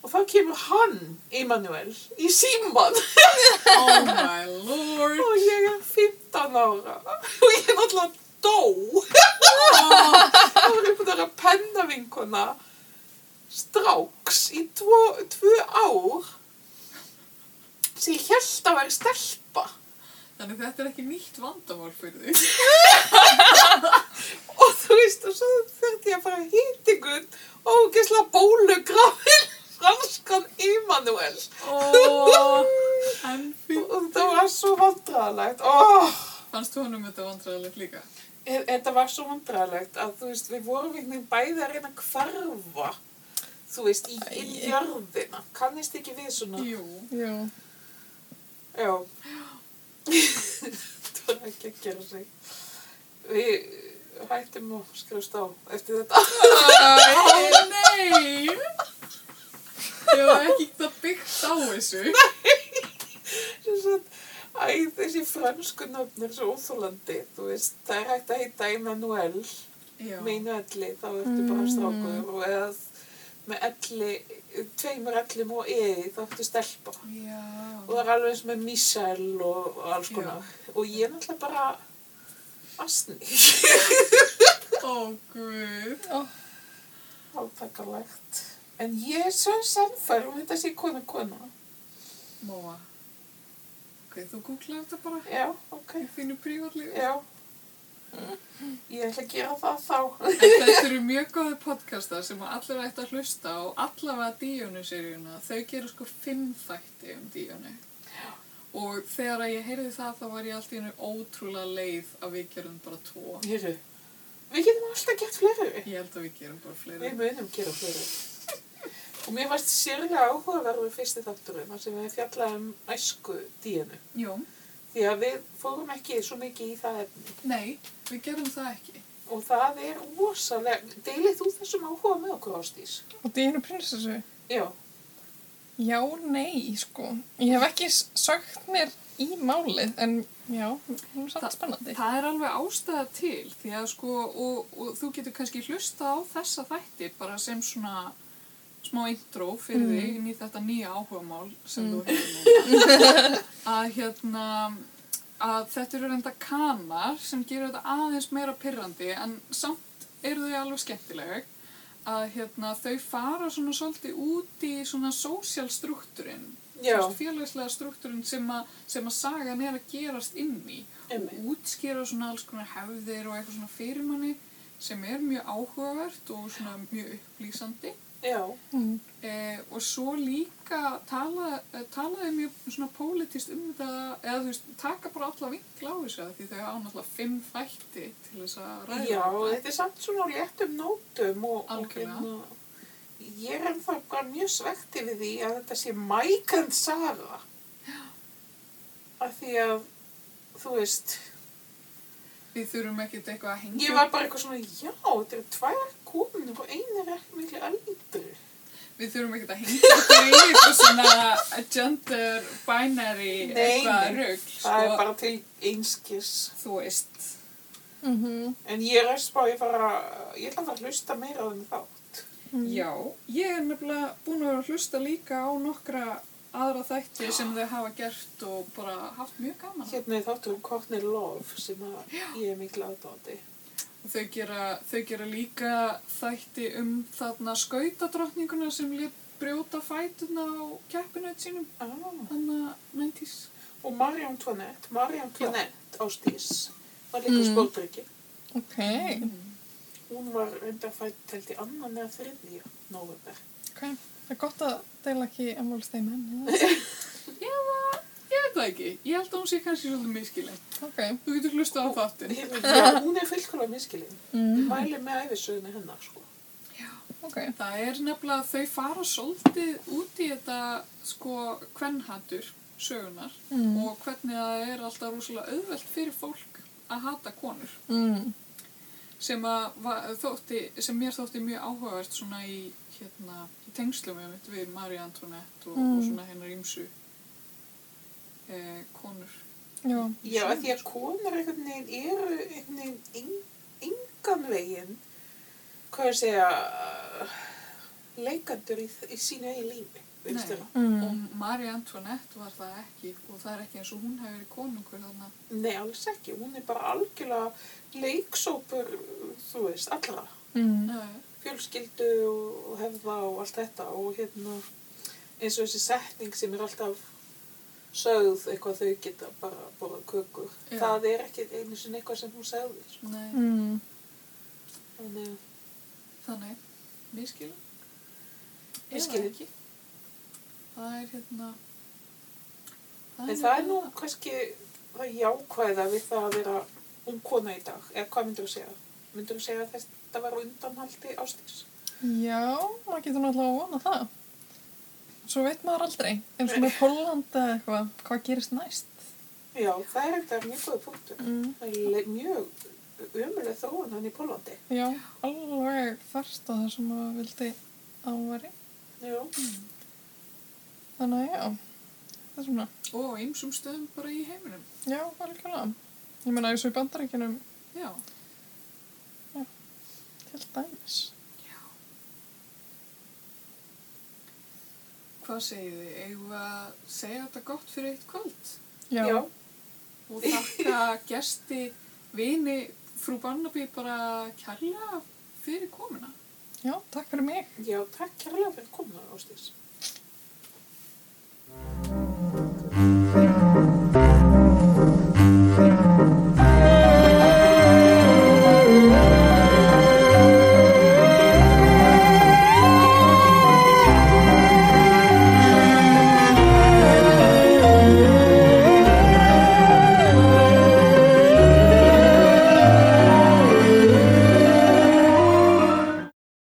Speaker 1: og þá kemur hann, Emanuel, í síman
Speaker 2: oh my lord,
Speaker 1: og ég er 15 ára og ég er náttúrulega dó. Það var einhvern veginn að penna vinkona stráks í tvo, tvö ár sem ég held að vera stelpa.
Speaker 2: þannig þetta er ekki nýtt vandamál fyrir þig.
Speaker 1: Og þú veist, og svo þurfti ég að fara hýtingun og gæsla bólugrafin franskan Immanuel.
Speaker 2: Oh, en
Speaker 1: Og
Speaker 2: fyrir,
Speaker 1: þetta var svo vandræðalegt. Oh,
Speaker 2: fannst þú honum þetta vandræðilegt líka?
Speaker 1: þetta var svo vandræðalegt að þú veist, við vorum einhvern veginn bæði að reyna að hverfa. Þú veist, í, inn í jörðina. Kannist ekki við svona.
Speaker 2: Jú.
Speaker 3: Jú.
Speaker 1: Já. það var ekki að gera sig. Við hættum og skrifst á eftir þetta.
Speaker 2: Ó nei! Ég var ekki það byggt á þessu.
Speaker 1: Sem sagt, Æ, þessi fransku nöfn er svo óþólandi, þú veist, það er hægt að heita Emanuel
Speaker 2: Já. Mm.
Speaker 1: með einu elli, þá ertu bara strákur og eða með elli, tveimur ellum og eði, þá ertu stelpa.
Speaker 2: Já.
Speaker 1: Og það er alveg eins með Michel og, og alls
Speaker 2: Já.
Speaker 1: konar. Og ég er náttúrulega bara asni,
Speaker 2: Ó guð.
Speaker 1: átakalegt. En ég er svo samfær um þetta sé kona kona.
Speaker 2: Móa. Ok, þú googlaði þetta bara.
Speaker 1: Já, ok,
Speaker 2: Ég finnur prívatlíf.
Speaker 1: já. Ég ætla að gera það þá.
Speaker 2: Þetta eru mjög góði podcastar sem að allir ætti að hlusta á allavega Díónu-seríuna. Þau gerur sko fimm þætti um Díónu. Og þegar að ég heyrði það þá var ég allt í hennu ótrúlega leið að við gerum bara tvo.
Speaker 1: Hérru, Við getum alltaf gett fleiri.
Speaker 2: Ég held að við gerum bara fleiri.
Speaker 1: Við munum gera fleiri. Og mér varst sérlega áhugaverður fyrsti þátturinn þar sem við fjallaðum um æsku díinu.
Speaker 2: Jú,
Speaker 1: Því að við fórum ekki svo mikið í það efni.
Speaker 2: nei, við gerum það ekki.
Speaker 1: Og það er rosalega, deilið þú þessum áhuga með okkur ástís?
Speaker 3: Og dýru prinsessu?
Speaker 1: Já,
Speaker 3: Já, nei, sko. Ég hef ekki s- sagt mér í málið, en já, hún er
Speaker 2: Það-
Speaker 3: samt spennandi.
Speaker 2: Það er alveg ástæða til því að sko, og, og þú getur kannski hlusta á þessa þætti bara sem svona smá intro fyrir
Speaker 3: Mm.
Speaker 2: þig inn í þetta nýja áhugamál sem
Speaker 3: Mm.
Speaker 2: þú hefur núna. að hérna, að þetta eru reynda kanar sem gerir þetta aðeins meira pirrandi en samt eru þau alveg skemmtileg að hérna, þau fara svona svolítið út í svona social struktúrin
Speaker 1: já,
Speaker 2: félagslega struktúrin sem, að- sem að sagan er að gerast inn í
Speaker 1: emmi.
Speaker 2: útskýra svona alls konar hefðir og eitthvað svona fyrir manni sem er mjög áhugavert og svona mjög upplýsandi
Speaker 1: Já,
Speaker 3: Mm.
Speaker 2: eh, og svo líka tala, eh, talaði mjög svona pólitist um þetta eða þú veist, taka bara alla vinkla á þessu af því þau hafa náttúrulega fimm þætti til þess að ræða
Speaker 1: já,
Speaker 2: þetta.
Speaker 1: þetta er samt svona á léttum nótum og, og
Speaker 2: Algjörlega.
Speaker 1: ég er ennþá bara mjög svekti við því að þetta sé Mike and Sarah. Af því að, þú veist,
Speaker 2: við þurfum ekkert eitthvað að hengja
Speaker 1: Ég var bara eitthvað svona, já, þetta eru tvær konur og einu er ekki miklu eldri.
Speaker 2: við þurfum ekkert að hengja okkur í eitthvað svona gender binary
Speaker 1: Nei, nei.
Speaker 2: eitthvað rugg
Speaker 1: Það er
Speaker 2: sko,
Speaker 1: bara til einskis.
Speaker 2: þú veist
Speaker 3: Mm
Speaker 1: En ég er að spá, ég fara, ég ætla að fara að hlusta meira á þenni þátt.
Speaker 2: Já, ég er nefnilega búin að vera að hlusta líka á nokkra aðra þætti sem þau hafa gert og bara haft mjög gaman. af.
Speaker 1: Hérna er þáttur um Courtney Love sem að ég er miklu aðdáði.
Speaker 2: Þau gera, þau gera líka þætti um þarna skautadrottninguna sem lét brjóta fætuna á keppinaut sínum,
Speaker 1: Ah.
Speaker 2: þannig að 90s.
Speaker 1: Og Mariam Toinette, Mariam Toinette ástís, var líka
Speaker 3: Mm.
Speaker 1: mm. spóldryggi.
Speaker 3: Ok.
Speaker 1: Hún var reyndar fætt telt í annan eða þriðja november.
Speaker 3: Ok. Það er gott að deila ekki ammálsteinu henni.
Speaker 2: Ég var, ég veit það ekki, ég held að hún sé kannski svolítið miskilin.
Speaker 3: Ok.
Speaker 2: Þú getur hlusta á þáttin.
Speaker 1: Hérna, Já, hún er fullkóla miskilinn.
Speaker 3: Mm.
Speaker 1: Mæli með æfisöðinu hennar, sko.
Speaker 3: Ok.
Speaker 2: Það er nefnilega að þau fara svolítið út í þetta sko kvennhatur sögunar.
Speaker 3: Mm.
Speaker 2: og hvernig það er alltaf rúslega auðvelt fyrir fólk að hata konur
Speaker 3: Mm.
Speaker 2: sem, að, va- þótti, sem mér þótti mjög áhugavert svona í, hérna, í tengslum einmitt við Marie Antoinette og,
Speaker 3: Mm.
Speaker 2: og svona hennar ímsu eh, konur
Speaker 3: Já.
Speaker 1: Já,
Speaker 2: Sumar,
Speaker 1: af því að konur einhvern veginn eru einhvern veginn en- engan veginn, hvað ég að segja, uh, leikandur í, í sínu eigin lífi, veist
Speaker 2: Nei.
Speaker 1: þér?
Speaker 3: Mm.
Speaker 2: og Marie Antoinette var það ekki og það er ekki eins og hún hefur verið konungur þarna
Speaker 1: Nei, alls ekki. Hún er bara algjörlega leiksópur, uh, þú veist, allra.
Speaker 3: Mm.
Speaker 2: Nei,
Speaker 1: Fjölskyldu og og hefða og allt þetta og hérna eins og þessi setning sem er alltaf sögð eitthvað þau geta bara borðað kökur.
Speaker 2: Já.
Speaker 1: Það er ekki einu sinni eitthvað sem hún segði, sko.
Speaker 2: nei,
Speaker 3: Mm.
Speaker 1: Þannig að
Speaker 2: þannig miskilum Eða
Speaker 1: Misskilin.
Speaker 2: ekki það er hérna
Speaker 1: En það er nú
Speaker 2: nefnilega-
Speaker 1: kannski það jákvæða við það að vera ung kona í dag. Eða hvað myndur þú segja? Myndur þú segja að þetta var á undanhaldi ástís?
Speaker 3: Já, maður getur náttúrulega að vona það. Svo veit maður aldrei. Eins og með Holland eða eitthvað, hvað gerist næst?
Speaker 1: Já, það er eitthvað mjög góð punktur.
Speaker 3: Mm.
Speaker 1: Það er le- mjög umuleg þróun hann í Pólandi.
Speaker 3: Já, alveg þarst á það sem maður vildi áværi.
Speaker 1: Já.
Speaker 3: Þannig að já, það er svona,
Speaker 2: og á ymsum stöðum bara í heiminum
Speaker 3: já, algjörlega. Ég meina eins og í bandaríkjunum
Speaker 2: já,
Speaker 3: til dæmis.
Speaker 2: hvað segið þið? eigum við að segja þetta gott fyrir eitt kvöld
Speaker 3: Já,
Speaker 1: Já.
Speaker 2: og þakka gesti vini frú Barnaby bara kærlega fyrir komuna
Speaker 3: já, takk fyrir mig.
Speaker 1: Já, takk kærlega fyrir komuna ástís.